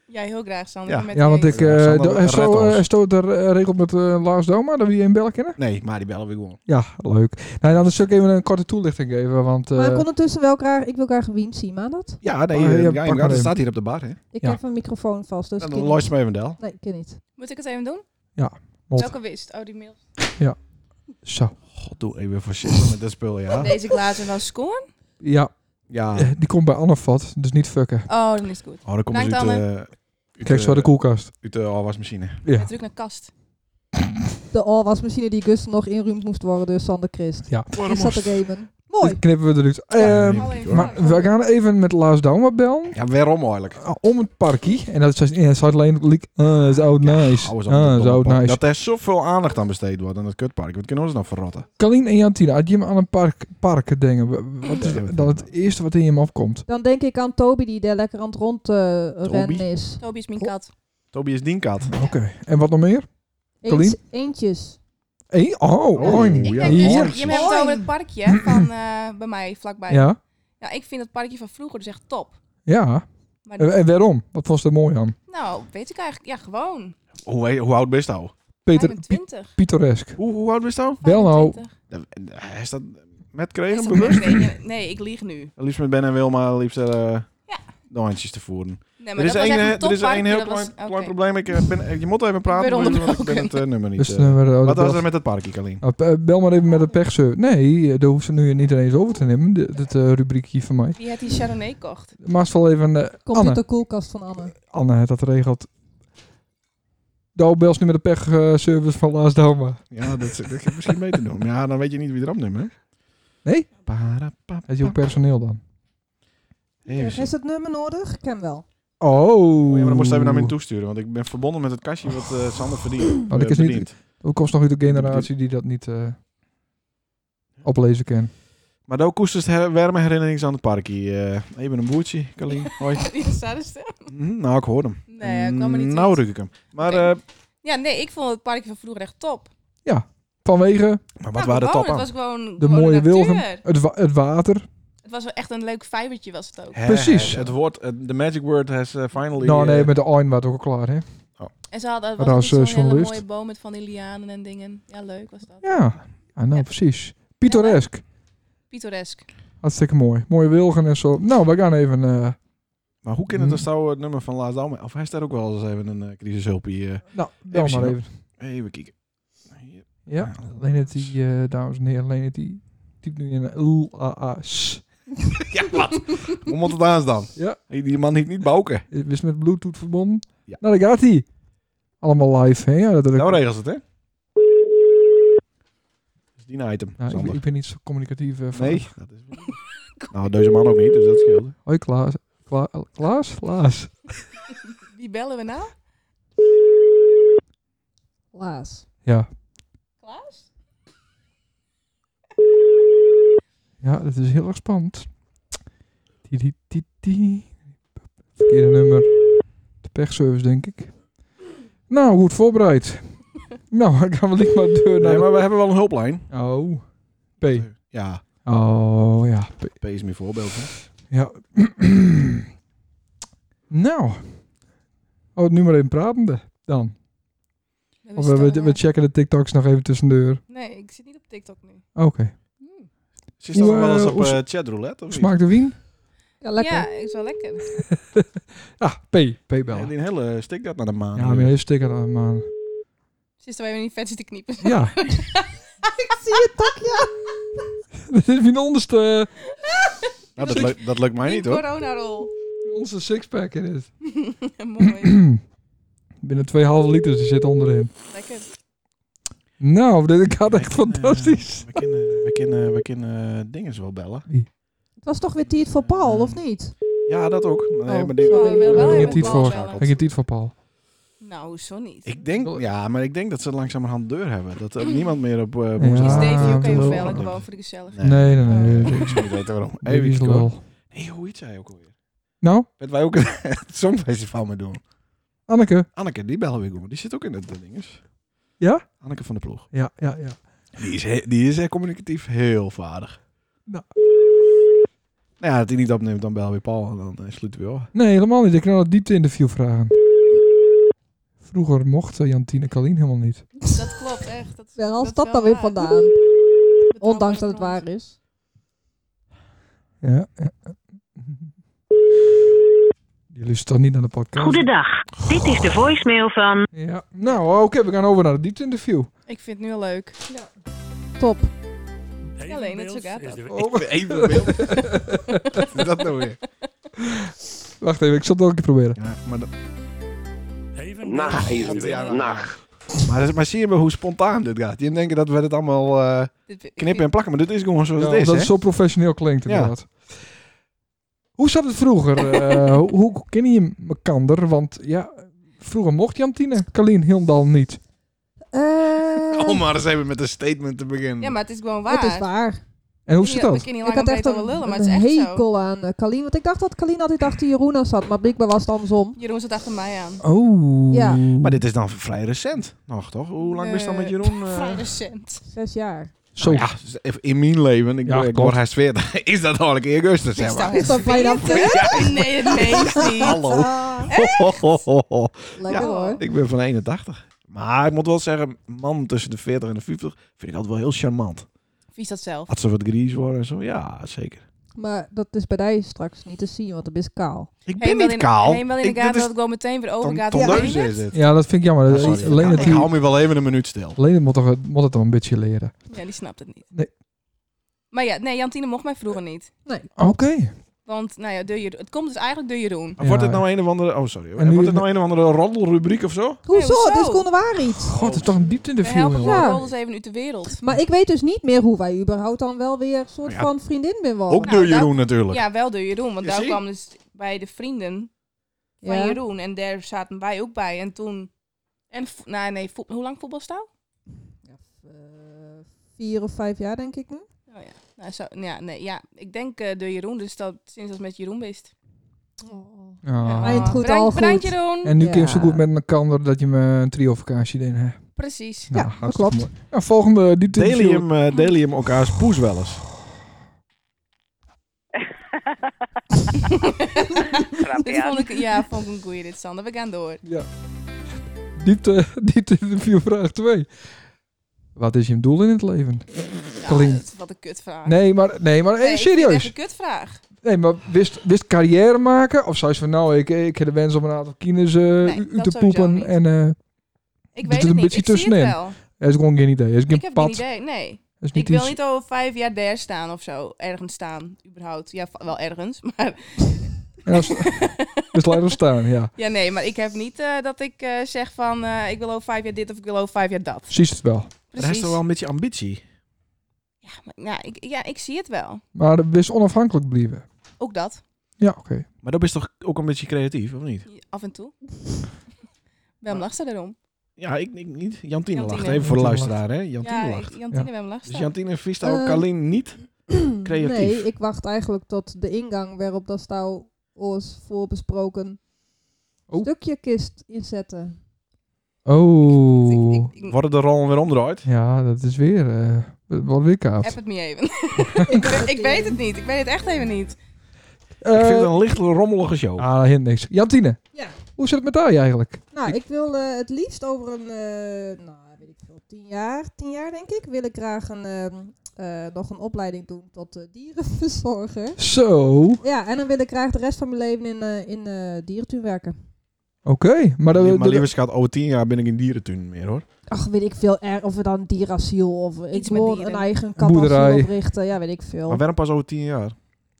[SPEAKER 1] Ja, heel graag, Sander.
[SPEAKER 2] Ja.
[SPEAKER 1] met
[SPEAKER 4] Ja, want
[SPEAKER 1] deze.
[SPEAKER 4] ik... eh
[SPEAKER 2] Sander,
[SPEAKER 4] de- en
[SPEAKER 2] red
[SPEAKER 4] zo
[SPEAKER 2] ons.
[SPEAKER 4] eh, stoot er eh, regel met eh, Lars Doma, dat we je in bellen kennen?
[SPEAKER 2] Nee, maar die bellen we gewoon.
[SPEAKER 4] Ja, leuk. Nou, dan zul ik even een korte toelichting geven, want... eh,
[SPEAKER 3] maar ik ondertussen wel graag, ik wil graag wien zien, maar dat.
[SPEAKER 2] Ja, nee,
[SPEAKER 4] Oh, ja,
[SPEAKER 2] eh, ja,
[SPEAKER 4] pak
[SPEAKER 2] je-
[SPEAKER 4] maar
[SPEAKER 2] dat
[SPEAKER 4] even.
[SPEAKER 2] staat hier op de bar, hè.
[SPEAKER 3] Ik
[SPEAKER 4] Ja.
[SPEAKER 3] heb een microfoon vast, dus
[SPEAKER 2] En
[SPEAKER 3] ik
[SPEAKER 2] dan
[SPEAKER 3] kan
[SPEAKER 2] luistert mee Wendel.
[SPEAKER 3] niet. Nee, ik kan niet.
[SPEAKER 1] Moet ik het even doen?
[SPEAKER 4] Ja, mot.
[SPEAKER 1] Welke wist? Oh, die mail.
[SPEAKER 4] Zo.
[SPEAKER 2] God, doe even voorzichtig met dat spul, ja.
[SPEAKER 1] Deze glazen dan scoren?
[SPEAKER 4] Ja,
[SPEAKER 2] Ja.
[SPEAKER 4] eh, die komt bij Annevat, dus niet fucken.
[SPEAKER 1] Oh, dan is het goed.
[SPEAKER 2] Oh, dan komt
[SPEAKER 1] Dank,
[SPEAKER 2] ze uit,
[SPEAKER 1] Anne.
[SPEAKER 2] eh, uit
[SPEAKER 4] Kijk zo
[SPEAKER 2] eh,
[SPEAKER 4] de koelkast.
[SPEAKER 2] uit de afwasmachine.
[SPEAKER 4] Ja.
[SPEAKER 1] Druk naar kast.
[SPEAKER 3] De oorwasmachine die Gus nog inruimd moest worden door dus Sander Christ.
[SPEAKER 4] Ja.
[SPEAKER 3] Die zat er even. Mooi.
[SPEAKER 4] Dit knippen we eruit.
[SPEAKER 2] Ja,
[SPEAKER 4] Ehm,
[SPEAKER 2] nee,
[SPEAKER 1] Alleen
[SPEAKER 2] hoor.
[SPEAKER 4] maar we gaan even met Lars Douma bellen.
[SPEAKER 2] Ja, waarom eigenlijk?
[SPEAKER 4] Ah, Om het parkie. En dat is in het Zuid-Leendelijk. Ah, dat is oud nice.
[SPEAKER 2] Oude
[SPEAKER 4] Ah,
[SPEAKER 2] zo'n
[SPEAKER 4] dat is oud
[SPEAKER 2] domme-
[SPEAKER 4] nice.
[SPEAKER 2] Dat er zoveel aandacht aan besteed wordt aan het kutpark. Wat kunnen we ons nou verrotten?
[SPEAKER 4] Kalien en Jantina, als je me aan een park, parken denken, wa- wat is
[SPEAKER 2] Ja,
[SPEAKER 4] dan het eerste wat in je opkomt?
[SPEAKER 3] Dan denk ik aan Toby die daar lekker aan het rondrennen is.
[SPEAKER 1] Toby is mijn kat.
[SPEAKER 2] Toby is dienkat.
[SPEAKER 4] Oké. En wat nog meer? Colleen?
[SPEAKER 3] Eens, eentjes.
[SPEAKER 4] Hey, oh,
[SPEAKER 2] Oh,
[SPEAKER 4] oin.
[SPEAKER 1] Ik
[SPEAKER 2] Ja,
[SPEAKER 1] heb dus, je
[SPEAKER 4] Hier.
[SPEAKER 1] hebt het over het parkje hè, van eh, bij mij vlakbij. Ja.
[SPEAKER 4] Ja,
[SPEAKER 1] ik vind het parkje van vroeger dus echt top.
[SPEAKER 4] ja.
[SPEAKER 1] Maar
[SPEAKER 4] En en waarom? Wat vond je er mooi aan?
[SPEAKER 1] nou, weet ik eigenlijk. Ja, gewoon.
[SPEAKER 2] Hoe, he- hoe oud bist nou?
[SPEAKER 4] Peter, pi-
[SPEAKER 1] 25.
[SPEAKER 4] pittoresk.
[SPEAKER 2] Hoe, hoe oud bist nou?
[SPEAKER 4] Wel nou.
[SPEAKER 1] 25.
[SPEAKER 2] Hij is dat met
[SPEAKER 1] Is
[SPEAKER 2] kregen
[SPEAKER 1] dat
[SPEAKER 2] bewust?
[SPEAKER 1] nee, nee, nee, ik lieg nu.
[SPEAKER 2] Liefst met Ben en Wilma, liefst eh
[SPEAKER 1] Ja.
[SPEAKER 2] de handjes te voeren.
[SPEAKER 1] Nee,
[SPEAKER 2] Er
[SPEAKER 1] maar
[SPEAKER 2] is,
[SPEAKER 1] dat was
[SPEAKER 2] één,
[SPEAKER 1] echt
[SPEAKER 2] eh,
[SPEAKER 1] een
[SPEAKER 2] er is één
[SPEAKER 1] topparkje,
[SPEAKER 2] heel
[SPEAKER 1] dat was-
[SPEAKER 2] klein, klein
[SPEAKER 1] oké.
[SPEAKER 2] probleem. Ik, eh, ben, je moet even praten,
[SPEAKER 1] ben
[SPEAKER 2] want ik ben
[SPEAKER 1] onderbroken.
[SPEAKER 2] het eh, nummer niet.
[SPEAKER 4] Dus,
[SPEAKER 2] eh.
[SPEAKER 4] dan werden we-
[SPEAKER 2] wat was
[SPEAKER 4] dat-
[SPEAKER 2] er met het parkje, Kalien?
[SPEAKER 4] Ah, pe- Bel maar even met het pechse. Nee, eh, daar hoeft ze nu niet ineens over te nemen, dit, dit eh, rubriekje van mij.
[SPEAKER 1] Wie had die Chardonnay gekocht?
[SPEAKER 4] Maar het is wel even... eh, Anne.
[SPEAKER 3] Computerkoelkast van Anne.
[SPEAKER 4] Anne had dat regelt. Nou, bel ze nu met de pechservice van Lars Doma.
[SPEAKER 2] Ja, dat, dat heb ik misschien mee te doen. Maar Ja, dan weet je niet wie erop neemt, hè?
[SPEAKER 4] Nee?
[SPEAKER 2] Parapapa.
[SPEAKER 4] Het is ook personeel dan.
[SPEAKER 2] Even zien.
[SPEAKER 3] Is het nummer nodig? Ik ken wel.
[SPEAKER 4] Oh.
[SPEAKER 2] Ja, maar dan moest hij even naar mij toesturen, want ik ben verbonden met het kastje wat eh Sander verdient.
[SPEAKER 4] Oh, dat
[SPEAKER 2] Eh,
[SPEAKER 4] is niet-
[SPEAKER 2] verdient.
[SPEAKER 4] Dat komt nog uit de generatie die dat niet eh, oplezen kan.
[SPEAKER 2] Maar daar koestert her- warme herinneringen aan het parkje. eh even een boertje, Kalien. Hoi.
[SPEAKER 1] Ja, staat er stil?
[SPEAKER 2] Hm, nou, ik hoor hem.
[SPEAKER 1] dus- Nee, ik kwam er niet
[SPEAKER 2] Nou,
[SPEAKER 1] uit.
[SPEAKER 2] ruk ik hem. Maar,
[SPEAKER 1] Oké.
[SPEAKER 2] eh,
[SPEAKER 1] Ja, nee, ik vond het parkje van vroeger echt top.
[SPEAKER 4] Vanwege
[SPEAKER 2] maar
[SPEAKER 1] Nou,
[SPEAKER 2] wat waren de
[SPEAKER 1] gewoon, Het
[SPEAKER 2] toppen?
[SPEAKER 1] was gewoon
[SPEAKER 4] de
[SPEAKER 1] gewoon
[SPEAKER 4] mooie
[SPEAKER 1] natuur.
[SPEAKER 4] wilgen, het, wa- het water.
[SPEAKER 1] Het was wel echt een leuk vijvertje was het ook.
[SPEAKER 2] Hè,
[SPEAKER 4] Precies.
[SPEAKER 2] hè, Het woord, het- de magic word has eh, finally...
[SPEAKER 4] nou nee,
[SPEAKER 2] eh,
[SPEAKER 4] met de Ein was het ook al klaar, hè?
[SPEAKER 1] En ze hadden
[SPEAKER 4] Raas,
[SPEAKER 1] was
[SPEAKER 4] eh,
[SPEAKER 1] zo'n hele
[SPEAKER 4] journalist.
[SPEAKER 1] mooie boom met van die lianen en dingen. Ja, leuk was dat.
[SPEAKER 4] Ja, Ah, nou
[SPEAKER 1] Ja.
[SPEAKER 4] precies. Pittoresk.
[SPEAKER 1] Pittoresk.
[SPEAKER 4] Hartstikke mooi. Mooie wilgen en zo. Nou, we gaan even... eh,
[SPEAKER 2] Maar hoe kan het
[SPEAKER 4] Hm.
[SPEAKER 2] als nou het nummer van Laas Dalme... Of hij staat ook wel eens even een eh, crisishulpje. eh,
[SPEAKER 4] nou, bel
[SPEAKER 2] Even
[SPEAKER 4] maar
[SPEAKER 2] zien,
[SPEAKER 4] even.
[SPEAKER 2] even kijken. Hier.
[SPEAKER 4] Ja, alleen het die, eh, dames en heren, alleen het die... Typ nu in een L-A-A-S.
[SPEAKER 2] Ja, wat? hoe moet het aan dan?
[SPEAKER 4] Ja.
[SPEAKER 2] Die die man heeft niet bouken.
[SPEAKER 4] Is met bluetooth verbonden.
[SPEAKER 2] Ja.
[SPEAKER 4] Nou, daar gaat hij. Allemaal live, hè? Ja, dat
[SPEAKER 2] Nou
[SPEAKER 4] ik,
[SPEAKER 2] regelt het, hè? Dat is die een item,
[SPEAKER 4] Nou, ik,
[SPEAKER 2] Sander.
[SPEAKER 4] ben- ik ben niet zo communicatief. eh, van-
[SPEAKER 2] Nee. Dat is... nou, deze man ook niet, dus dat scheelt.
[SPEAKER 4] Hoi, Klaas. Kla Klaas? Klaas.
[SPEAKER 1] Wie bellen we nou?
[SPEAKER 3] Laas.
[SPEAKER 4] Ja.
[SPEAKER 1] Klaas?
[SPEAKER 4] Ja, dat is heel erg spannend. Die, die, die, die. Verkeerde nummer. De pechservice, denk ik. Nou, goed voorbereid. nou, dan gaan we niet maar deur naar...
[SPEAKER 2] Nee,
[SPEAKER 4] de-
[SPEAKER 2] maar we hebben wel een hulplijn.
[SPEAKER 4] Oh. P.
[SPEAKER 2] Ja,
[SPEAKER 4] Oh, ja. P.
[SPEAKER 2] P is mijn voorbeeld. hè.
[SPEAKER 4] Ja. nou. Oh, nu maar even pratende dan.
[SPEAKER 1] Met
[SPEAKER 4] Of
[SPEAKER 1] wie
[SPEAKER 4] we,
[SPEAKER 1] staan
[SPEAKER 4] we,
[SPEAKER 1] we?
[SPEAKER 4] we checken de TikToks nog even tussendoor.
[SPEAKER 1] Nee, ik zit niet op TikTok nu.
[SPEAKER 4] Oké.
[SPEAKER 1] Hmm.
[SPEAKER 2] Ze staan
[SPEAKER 4] Hoe,
[SPEAKER 2] wel eens
[SPEAKER 4] eh,
[SPEAKER 2] op
[SPEAKER 4] hoe-
[SPEAKER 2] eh, chatroulette, of niet?
[SPEAKER 4] Smaakt de wien?
[SPEAKER 3] Ja, lekker.
[SPEAKER 1] Ja, is wel lekker.
[SPEAKER 4] Ah, P. P
[SPEAKER 2] Ja,
[SPEAKER 4] bellen.
[SPEAKER 2] die hele stik dat naar de maan.
[SPEAKER 4] Ja, maar
[SPEAKER 2] Eh,
[SPEAKER 4] een sticker aan, man.
[SPEAKER 1] Sinds we even niet vet zitten kniepen.
[SPEAKER 4] Ja,
[SPEAKER 3] Ik zie het takje.
[SPEAKER 4] dit is mijn onderste,
[SPEAKER 2] nou, dat, lukt, dat lukt mij niet, hoor.
[SPEAKER 1] Coronarol.
[SPEAKER 4] onze sixpack in dit.
[SPEAKER 1] Mooi.
[SPEAKER 4] Binnen 2,5 liters, die zit onderin.
[SPEAKER 1] lekker.
[SPEAKER 4] Nou, dit gaat
[SPEAKER 2] Wij
[SPEAKER 4] echt
[SPEAKER 2] kunnen, eh,
[SPEAKER 4] fantastisch.
[SPEAKER 2] We kunnen, we kunnen, we kunnen eh, dinges wel bellen.
[SPEAKER 3] Het was toch weer Tiet voor Paul, of niet?
[SPEAKER 2] Ja, dat ook. Nee,
[SPEAKER 3] Oh.
[SPEAKER 2] maar dit-
[SPEAKER 1] Zo, we willen wel
[SPEAKER 4] Ik heb
[SPEAKER 1] even
[SPEAKER 4] het niet
[SPEAKER 1] bal
[SPEAKER 4] voor.
[SPEAKER 1] bellen.
[SPEAKER 4] Ik heb het niet voor Paul.
[SPEAKER 1] Nou, zo niet.
[SPEAKER 2] Ik denk, ja, maar ik denk dat ze langzamerhand deur hebben. Dat er niemand meer op eh
[SPEAKER 1] Is
[SPEAKER 2] woensdag-
[SPEAKER 4] Ah,
[SPEAKER 1] Dus Davy ook even
[SPEAKER 4] wel.
[SPEAKER 1] bellen, gewoon voor de gezelligheid.
[SPEAKER 2] Nee.
[SPEAKER 4] Nee, nee, nee. nee.
[SPEAKER 2] Ik zou niet weten waarom.
[SPEAKER 4] Dit
[SPEAKER 2] Even
[SPEAKER 4] is
[SPEAKER 2] kijken, hoor.
[SPEAKER 4] lul.
[SPEAKER 2] Hé, hoe heet zij ook alweer?
[SPEAKER 4] Nou,
[SPEAKER 2] Dat wij ook het songfestival mee doen.
[SPEAKER 4] Anneke.
[SPEAKER 2] Anneke, die bellen we gewoon. Die zit ook in het dinges.
[SPEAKER 4] Ja?
[SPEAKER 2] Anneke van de ploeg.
[SPEAKER 4] Ja, ja, ja.
[SPEAKER 2] Die is, he- die is eh, communicatief heel vaardig.
[SPEAKER 4] Nou.
[SPEAKER 2] Nou ja, dat hij niet opneemt, dan bellen we Paul en dan eh, sluiten we af.
[SPEAKER 4] Nee, helemaal niet. Ik kan een diepte-interview vragen. Vroeger mocht eh, Jantine Kalien helemaal niet.
[SPEAKER 1] Dat klopt, echt. Dat,
[SPEAKER 3] Waar haalt
[SPEAKER 1] is
[SPEAKER 3] dat
[SPEAKER 1] wel
[SPEAKER 3] dan weer
[SPEAKER 1] waar.
[SPEAKER 3] vandaan?
[SPEAKER 1] Betrouwbare
[SPEAKER 3] Ondanks dat het
[SPEAKER 1] bron.
[SPEAKER 3] waar is.
[SPEAKER 4] Ja. ja. Jullie staan niet naar de podcast.
[SPEAKER 6] Goedendag. Dit is de voicemail van
[SPEAKER 4] Ja. Nou, oké, we gaan over naar het diepte-interview.
[SPEAKER 1] Ik vind het nu al leuk.
[SPEAKER 3] Top.
[SPEAKER 1] alleen het zo gaat dat.
[SPEAKER 4] Oh,
[SPEAKER 2] Even beeld. dat nou weer.
[SPEAKER 4] wacht even, ik zal het nog een keer proberen.
[SPEAKER 2] Ja, maar dat,
[SPEAKER 5] Nacht. Nacht.
[SPEAKER 2] Maar, dat is- maar zie je maar hoe spontaan dit gaat. Je denkt dat we dit allemaal eh,
[SPEAKER 1] Dit-
[SPEAKER 2] knippen en plakken, maar dit is gewoon zoals
[SPEAKER 4] Ja,
[SPEAKER 2] het is.
[SPEAKER 4] dat
[SPEAKER 2] hè?
[SPEAKER 4] het zo professioneel klinkt
[SPEAKER 2] Ja.
[SPEAKER 4] inderdaad. Hoe zat het vroeger? Eh, hoe, hoe ken je elkander? Want ja, vroeger mocht Jantine Kalien Hildal niet.
[SPEAKER 3] Eh,
[SPEAKER 2] Om Oh, maar eens even met een statement te beginnen.
[SPEAKER 1] Ja, maar het is gewoon waar.
[SPEAKER 3] het is waar.
[SPEAKER 4] En hoe
[SPEAKER 1] We
[SPEAKER 4] zit dat?
[SPEAKER 1] kunnen
[SPEAKER 3] Ik
[SPEAKER 1] hier
[SPEAKER 3] had
[SPEAKER 1] lang
[SPEAKER 3] echt
[SPEAKER 1] over
[SPEAKER 3] een,
[SPEAKER 1] lullen, maar het
[SPEAKER 3] een
[SPEAKER 1] is echt zo.
[SPEAKER 3] hekel aan eh, Kalien. Want ik dacht dat Kalien altijd achter Jeroen aan zat. Maar blijkbaar was het andersom.
[SPEAKER 1] Jeroen zat achter mij aan.
[SPEAKER 4] Oh.
[SPEAKER 3] Ja.
[SPEAKER 2] Maar dit is dan vrij recent nog, toch? Hoe lang ben je dan
[SPEAKER 1] Eh,
[SPEAKER 2] met Jeroen? eh?
[SPEAKER 1] Vrij recent.
[SPEAKER 3] Zes jaar.
[SPEAKER 4] Zo.
[SPEAKER 2] Nou ja, dus even in mijn leven, ik,
[SPEAKER 4] Ja,
[SPEAKER 2] ik
[SPEAKER 4] klopt.
[SPEAKER 2] hoor hij zweert, is dat al een keer augustus, zeg
[SPEAKER 1] Is
[SPEAKER 2] maar.
[SPEAKER 1] dat
[SPEAKER 3] Is dat bijna
[SPEAKER 1] veertig? nou Nee, het meest niet.
[SPEAKER 2] Hallo.
[SPEAKER 3] Ah,
[SPEAKER 2] Ho, ho, ho, ho.
[SPEAKER 3] lekker
[SPEAKER 1] Ja.
[SPEAKER 3] hoor.
[SPEAKER 2] Ik ben van 81. Maar ik moet wel zeggen, man tussen de 40 en de 50 vind ik altijd wel heel charmant.
[SPEAKER 1] Vies dat zelf.
[SPEAKER 2] Had ze wat gries worden en zo, ja, zeker.
[SPEAKER 3] Maar dat is bij jou straks niet te zien, want dat is kaal.
[SPEAKER 2] Ik ben
[SPEAKER 1] Heen wel
[SPEAKER 2] niet
[SPEAKER 1] in,
[SPEAKER 2] kaal.
[SPEAKER 1] Heen wel in
[SPEAKER 2] ik,
[SPEAKER 1] de gaten
[SPEAKER 2] dit
[SPEAKER 1] dat ik wel meteen weer
[SPEAKER 2] is ton-
[SPEAKER 1] overgaat.
[SPEAKER 2] tondeuze is dit.
[SPEAKER 4] Ja, dat vind ik jammer.
[SPEAKER 2] Ja, sorry.
[SPEAKER 4] Alleen Lene,
[SPEAKER 2] ik
[SPEAKER 4] die,
[SPEAKER 2] hou me wel even een minuut stil.
[SPEAKER 4] Lene moet, toch, moet het dan een beetje leren.
[SPEAKER 1] Ja, die snapt het niet.
[SPEAKER 4] Nee.
[SPEAKER 1] Maar ja, nee, Jantine mocht mij vroeger niet.
[SPEAKER 4] Oké.
[SPEAKER 1] Want nou ja, de Jeroen- het komt dus eigenlijk door Jeroen.
[SPEAKER 2] Maar
[SPEAKER 4] Ja.
[SPEAKER 2] Wordt het nou een of andere... Oh, sorry. hoor.
[SPEAKER 4] En nu-
[SPEAKER 2] Wordt het nou een of andere roddelrubriek of zo?
[SPEAKER 3] Hoezo?
[SPEAKER 1] hoezo?
[SPEAKER 3] Het is gewoon waar iets.
[SPEAKER 4] God, het is toch een diepte in de
[SPEAKER 1] We
[SPEAKER 4] film,
[SPEAKER 1] helpen
[SPEAKER 4] joh.
[SPEAKER 3] Ja.
[SPEAKER 1] gewoon roddels even uit de wereld.
[SPEAKER 3] Maar ik weet dus niet meer hoe wij überhaupt dan wel weer een soort
[SPEAKER 2] Nou Ja.
[SPEAKER 3] van vriendin ben worden.
[SPEAKER 2] Ook
[SPEAKER 1] Nou,
[SPEAKER 2] door
[SPEAKER 1] dat-
[SPEAKER 2] Jeroen natuurlijk.
[SPEAKER 1] Ja, wel door Jeroen. Want
[SPEAKER 2] Ja,
[SPEAKER 1] daar
[SPEAKER 2] zie.
[SPEAKER 1] kwam dus bij de vrienden van
[SPEAKER 3] Ja.
[SPEAKER 1] Jeroen. En daar zaten wij ook bij. En toen... En vo- nou, nee, vo- hoe lang voetbalstouw?
[SPEAKER 3] Eh, vier of vijf jaar denk ik nu.
[SPEAKER 1] Oh, ja. Nou, zo, ja, nee, ja, ik denk eh, door Jeroen. Dus dat sinds dat met Jeroen best. Oh.
[SPEAKER 4] Ja.
[SPEAKER 3] Eind goed,
[SPEAKER 1] bedankt,
[SPEAKER 3] al
[SPEAKER 1] bedankt,
[SPEAKER 3] goed.
[SPEAKER 1] Jeroen.
[SPEAKER 4] Ah. En nu kun je
[SPEAKER 3] Ja.
[SPEAKER 4] zo goed met elkaar dat je me een trio-vakantie deed. Hè?
[SPEAKER 1] Precies.
[SPEAKER 3] Ja,
[SPEAKER 4] Nou,
[SPEAKER 3] dat
[SPEAKER 4] hartstikke
[SPEAKER 3] klopt.
[SPEAKER 4] mooi. Nou, volgende diepte in de
[SPEAKER 2] Delen je
[SPEAKER 4] film.
[SPEAKER 2] hem, eh, delen je hem elkaars poes wel eens?
[SPEAKER 6] Grapje,
[SPEAKER 1] Dit
[SPEAKER 6] ja.
[SPEAKER 1] vond ik, ja, vond ik een goeie dit, Sander. We gaan door.
[SPEAKER 4] Diepte, diepte eh, in de film, vraag 2. Wat is je doel in het leven?
[SPEAKER 1] Ja,
[SPEAKER 4] Colleen.
[SPEAKER 1] dat is Eh, wat een kutvraag.
[SPEAKER 4] Nee, maar, nee, maar eh,
[SPEAKER 1] Nee, ik vind het
[SPEAKER 4] serieus.
[SPEAKER 1] echt een kutvraag.
[SPEAKER 4] Nee, maar wist, wist carrière maken? Of zei ze van nou, ik, ik heb de wens om een aantal kinderen eh,
[SPEAKER 1] Nee,
[SPEAKER 4] uit
[SPEAKER 1] dat
[SPEAKER 4] te
[SPEAKER 1] sowieso
[SPEAKER 4] poepen.
[SPEAKER 1] niet.
[SPEAKER 4] En eh
[SPEAKER 1] Ik weet
[SPEAKER 4] Doet het
[SPEAKER 1] het
[SPEAKER 4] een
[SPEAKER 1] niet.
[SPEAKER 4] beetje
[SPEAKER 1] Ik zie het
[SPEAKER 4] tussenin?
[SPEAKER 1] wel.
[SPEAKER 4] dat is gewoon geen idee. Dat is geen
[SPEAKER 1] Ik heb
[SPEAKER 4] pad.
[SPEAKER 1] geen idee. Nee.
[SPEAKER 4] Dat is
[SPEAKER 1] Ik
[SPEAKER 4] niet
[SPEAKER 1] wil
[SPEAKER 4] iets-
[SPEAKER 1] niet over vijf jaar daar staan of zo. Ergens staan, überhaupt. Ja, va- wel ergens. Maar
[SPEAKER 4] En als, dus laat het staan, ja.
[SPEAKER 1] ja, nee. Maar ik heb niet eh, dat ik eh, zeg van... eh, ik wil over vijf jaar dit of ik wil over vijf jaar dat.
[SPEAKER 4] Precies het wel.
[SPEAKER 2] Maar Hij is
[SPEAKER 1] Precies.
[SPEAKER 2] toch wel een beetje ambitie?
[SPEAKER 1] Ja, maar, nou, ik, ja, ik zie het wel.
[SPEAKER 4] Maar wist onafhankelijk blijven.
[SPEAKER 1] Ook dat.
[SPEAKER 4] Ja, oké.
[SPEAKER 2] Maar dat is toch ook een beetje creatief, of niet?
[SPEAKER 1] Af en toe. Wem lacht ze erom?
[SPEAKER 2] Ja, ik, ik niet. Jantine lacht.
[SPEAKER 1] Jantine.
[SPEAKER 2] Even voor de
[SPEAKER 4] Jantine
[SPEAKER 2] luisteraar, hè? Jantine
[SPEAKER 1] Ja,
[SPEAKER 2] lacht.
[SPEAKER 1] ik- Jantine Wem lacht
[SPEAKER 2] Dus
[SPEAKER 1] ze.
[SPEAKER 2] Jantine vist ook
[SPEAKER 3] Eh,
[SPEAKER 2] alleen niet creatief.
[SPEAKER 3] Nee, ik wacht eigenlijk tot de ingang waarop dat stouw oors voorbesproken
[SPEAKER 4] Oh.
[SPEAKER 3] stukje kist inzetten.
[SPEAKER 4] Oh.
[SPEAKER 1] Dus Ik- ik- ik-
[SPEAKER 2] Worden de rollen weer omdraaid?
[SPEAKER 4] Ja, dat is weer... eh wat weer kaart.
[SPEAKER 1] App het me even. ik, ik weet het niet. Ik weet het echt even niet.
[SPEAKER 2] ik vind
[SPEAKER 4] Eh,
[SPEAKER 2] het een licht rommelige show.
[SPEAKER 4] Ah, hint niks. Jantine.
[SPEAKER 3] Ja.
[SPEAKER 4] Hoe zit het met haar eigenlijk?
[SPEAKER 3] Nou, ik, wil eh, het liefst over een, eh, nou weet ik veel, tien jaar, tien jaar denk ik, wil ik graag een, ehm, eh, nog een opleiding doen tot eh, dierenverzorger.
[SPEAKER 4] Zo. Oké,
[SPEAKER 3] Ja, en dan wil ik graag de rest van mijn leven in, eh in eh dierentuin werken.
[SPEAKER 4] maar dat...
[SPEAKER 2] maar
[SPEAKER 4] dat-
[SPEAKER 2] lieve schat, over tien jaar ben ik in dierentuin meer, hoor.
[SPEAKER 3] Ach, weet ik veel, er, of we dan dierasiel of eh, ik
[SPEAKER 1] Iets met
[SPEAKER 3] wil
[SPEAKER 1] dieren.
[SPEAKER 3] een eigen
[SPEAKER 4] Boerderij.
[SPEAKER 3] katasiel oprichten. Ja, weet ik veel.
[SPEAKER 2] Maar waarom pas over tien jaar?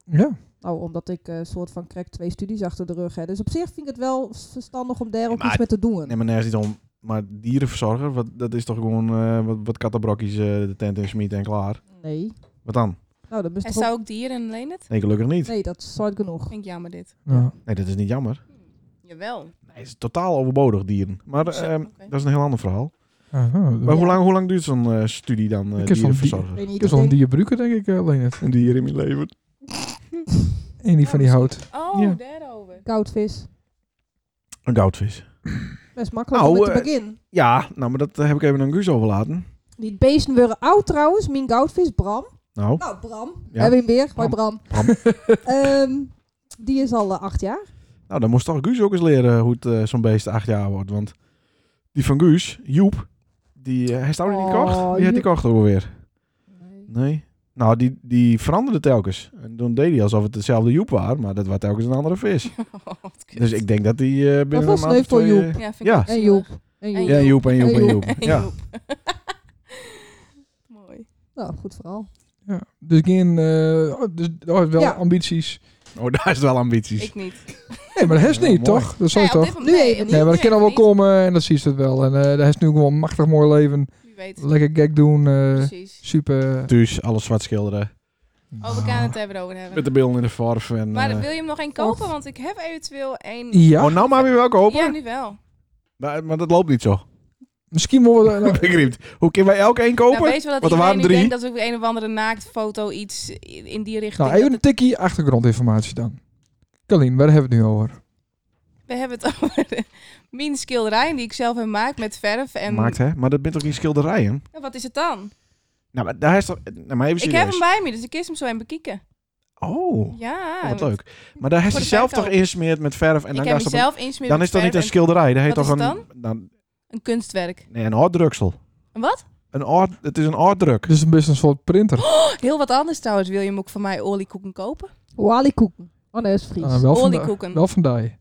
[SPEAKER 4] ja.
[SPEAKER 3] Nou, omdat ik een soort van krijg twee studies achter de rug. Hè. Dus op zich vind ik het wel verstandig om daar
[SPEAKER 2] Ja,
[SPEAKER 3] ook
[SPEAKER 2] maar-
[SPEAKER 3] iets mee te doen.
[SPEAKER 2] Nee, maar nergens niet om. Maar dierenverzorger, wat, dat is toch gewoon eh, wat, wat kattenbrokjes eh, de tent in smeten en klaar.
[SPEAKER 3] Nee.
[SPEAKER 2] Wat dan?
[SPEAKER 3] Nou, dat is
[SPEAKER 1] En
[SPEAKER 3] toch
[SPEAKER 1] zou ook dieren alleen het?
[SPEAKER 2] Nee, gelukkig niet.
[SPEAKER 3] ook- Nee, dat is hard genoeg.
[SPEAKER 1] Vind ik jammer dit.
[SPEAKER 4] Nou,
[SPEAKER 2] Nee, dat is niet jammer.
[SPEAKER 1] Jawel.
[SPEAKER 2] Nee, het is totaal overbodig, dieren. Maar
[SPEAKER 1] Zo,
[SPEAKER 2] ehm,
[SPEAKER 1] oké.
[SPEAKER 2] dat is een heel ander verhaal.
[SPEAKER 4] aha.
[SPEAKER 2] Maar hoe
[SPEAKER 3] Ja.
[SPEAKER 2] lang, hoe lang duurt zo'n eh, studie dan, eh
[SPEAKER 4] Ik heb zo'n
[SPEAKER 3] Ik
[SPEAKER 2] dierenverzorger?
[SPEAKER 3] weet
[SPEAKER 4] Ik
[SPEAKER 3] niet.
[SPEAKER 4] heb
[SPEAKER 3] Ik
[SPEAKER 4] zo'n
[SPEAKER 3] denk,
[SPEAKER 4] dierbruiker, denk ik, eh, alleen het.
[SPEAKER 2] Een dier in mijn leven.
[SPEAKER 4] En die van die hout.
[SPEAKER 1] Oh,
[SPEAKER 4] Ja.
[SPEAKER 1] daarover.
[SPEAKER 3] koudvis.
[SPEAKER 2] Een goudvis.
[SPEAKER 3] Best makkelijk
[SPEAKER 2] Nou,
[SPEAKER 3] om mee
[SPEAKER 2] eh,
[SPEAKER 3] te beginnen.
[SPEAKER 2] Ja, nou, maar dat eh, heb ik even aan Guus overlaten.
[SPEAKER 3] Die beesten worden oud trouwens. Mijn goudvis, Bram.
[SPEAKER 2] Nou,
[SPEAKER 3] Nou, Bram.
[SPEAKER 2] Ja.
[SPEAKER 3] Hebben we hem weer? Hoi, Bram.
[SPEAKER 2] Bram.
[SPEAKER 3] Ehm, die is al eh, acht jaar.
[SPEAKER 2] nou dan moest toch Guus ook eens leren hoe het eh, zo'n beest acht jaar wordt. Want die van Guus, Joep, die, eh hij is ouder niet
[SPEAKER 3] Oh,
[SPEAKER 2] kocht. Die had die
[SPEAKER 3] Joep.
[SPEAKER 2] kocht ook weer. Nee. Nou, die, die veranderde telkens. En toen deed hij alsof het dezelfde Joep was, maar dat was telkens een andere vis. Dus ik denk dat die eh, binnen
[SPEAKER 3] was
[SPEAKER 2] een maand
[SPEAKER 3] sneu
[SPEAKER 2] of
[SPEAKER 3] voor
[SPEAKER 2] twee,
[SPEAKER 3] Joep.
[SPEAKER 2] eh,
[SPEAKER 1] Oh, Ja, vind ik
[SPEAKER 2] Ja.
[SPEAKER 1] ook
[SPEAKER 3] En
[SPEAKER 1] zielig.
[SPEAKER 3] Joep. En Joep.
[SPEAKER 1] En
[SPEAKER 2] Ja, Joep en Joep en
[SPEAKER 3] En
[SPEAKER 2] Joep. Ja.
[SPEAKER 1] Mooi.
[SPEAKER 3] Nou, goed vooral.
[SPEAKER 4] Ja. Dus geen... eh, oh, dus, oh, wel
[SPEAKER 3] Ja.
[SPEAKER 4] ambities.
[SPEAKER 2] Oh, daar is het wel ambities.
[SPEAKER 1] Ik niet.
[SPEAKER 4] Nee, maar dat is
[SPEAKER 2] Ja,
[SPEAKER 4] niet,
[SPEAKER 2] mooi.
[SPEAKER 4] toch? Dat
[SPEAKER 1] Nee,
[SPEAKER 4] zou
[SPEAKER 1] op dit
[SPEAKER 4] toch?
[SPEAKER 1] moment-
[SPEAKER 3] Nu even niet.
[SPEAKER 4] Nee, maar dat kan al wel
[SPEAKER 1] niet.
[SPEAKER 4] komen eh, en dat zie je het wel. En eh daar is nu gewoon een machtig mooi leven.
[SPEAKER 1] Wie weet het.
[SPEAKER 4] Lekker gek doen. eh,
[SPEAKER 1] Precies.
[SPEAKER 4] super.
[SPEAKER 2] Dus alles zwart schilderen.
[SPEAKER 1] Oh, we gaan het er weer over hebben.
[SPEAKER 2] Met de beelden in de verf. En,
[SPEAKER 1] Maar
[SPEAKER 2] eh,
[SPEAKER 1] wil je hem nog één kopen? Want ik heb eventueel één.
[SPEAKER 4] Ja,
[SPEAKER 2] Oh, nou maar weer wel kopen.
[SPEAKER 1] Ja, nu wel. Nou,
[SPEAKER 2] Maar, maar dat loopt niet zo.
[SPEAKER 4] misschien moeten
[SPEAKER 3] nou-
[SPEAKER 4] we...
[SPEAKER 2] Ik riep, hoe kunnen wij elk één
[SPEAKER 1] Nou,
[SPEAKER 2] kopen?
[SPEAKER 1] weet je wel dat
[SPEAKER 2] Want
[SPEAKER 1] iedereen
[SPEAKER 2] er waren
[SPEAKER 1] nu
[SPEAKER 2] drie.
[SPEAKER 1] denkt dat we een of andere naaktfoto iets in in die richting...
[SPEAKER 4] Nou, even een
[SPEAKER 1] dat
[SPEAKER 4] tikkie achtergrondinformatie dan. Kalien, waar hebben we het nu over?
[SPEAKER 1] het- we hebben het over mijn schilderij die ik zelf heb gemaakt met verf. En
[SPEAKER 2] Maakt hè? Maar dat bent toch geen schilderijen?
[SPEAKER 1] Ja, wat is het dan?
[SPEAKER 2] Nou, maar daar is toch... Nou, maar even
[SPEAKER 1] Ik heb hem
[SPEAKER 2] serieus.
[SPEAKER 1] bij me, dus ik kies hem zo en bekijken.
[SPEAKER 2] Oh,
[SPEAKER 1] Ja.
[SPEAKER 2] wat
[SPEAKER 1] want
[SPEAKER 2] leuk. Maar daar heeft
[SPEAKER 1] voor
[SPEAKER 2] hij
[SPEAKER 1] de
[SPEAKER 2] zelf toch
[SPEAKER 1] verkoop.
[SPEAKER 2] ingesmeerd met verf en
[SPEAKER 1] Ik
[SPEAKER 2] dan
[SPEAKER 1] heb
[SPEAKER 2] gaat
[SPEAKER 1] hem
[SPEAKER 2] dat-
[SPEAKER 1] zelf ingesmeerd
[SPEAKER 2] Dan
[SPEAKER 1] met
[SPEAKER 2] is dat niet een
[SPEAKER 1] verf
[SPEAKER 2] schilderij, dat heeft
[SPEAKER 1] Wat
[SPEAKER 2] toch een
[SPEAKER 1] is het
[SPEAKER 2] dan
[SPEAKER 1] en een kunstwerk.
[SPEAKER 2] nee, een afdruksel.
[SPEAKER 1] Een wat?
[SPEAKER 2] Een art, het is een artdruk.
[SPEAKER 4] Dus een best een soort printer.
[SPEAKER 1] Oh,
[SPEAKER 3] Oh.
[SPEAKER 1] Heel wat anders trouwens. Wil je hem ook van mij oliekoeken kopen?
[SPEAKER 3] Walikoeken. Oh nee, dat is Fries.
[SPEAKER 4] Ah, wel van die-
[SPEAKER 1] Oliekoeken.
[SPEAKER 4] wel van die.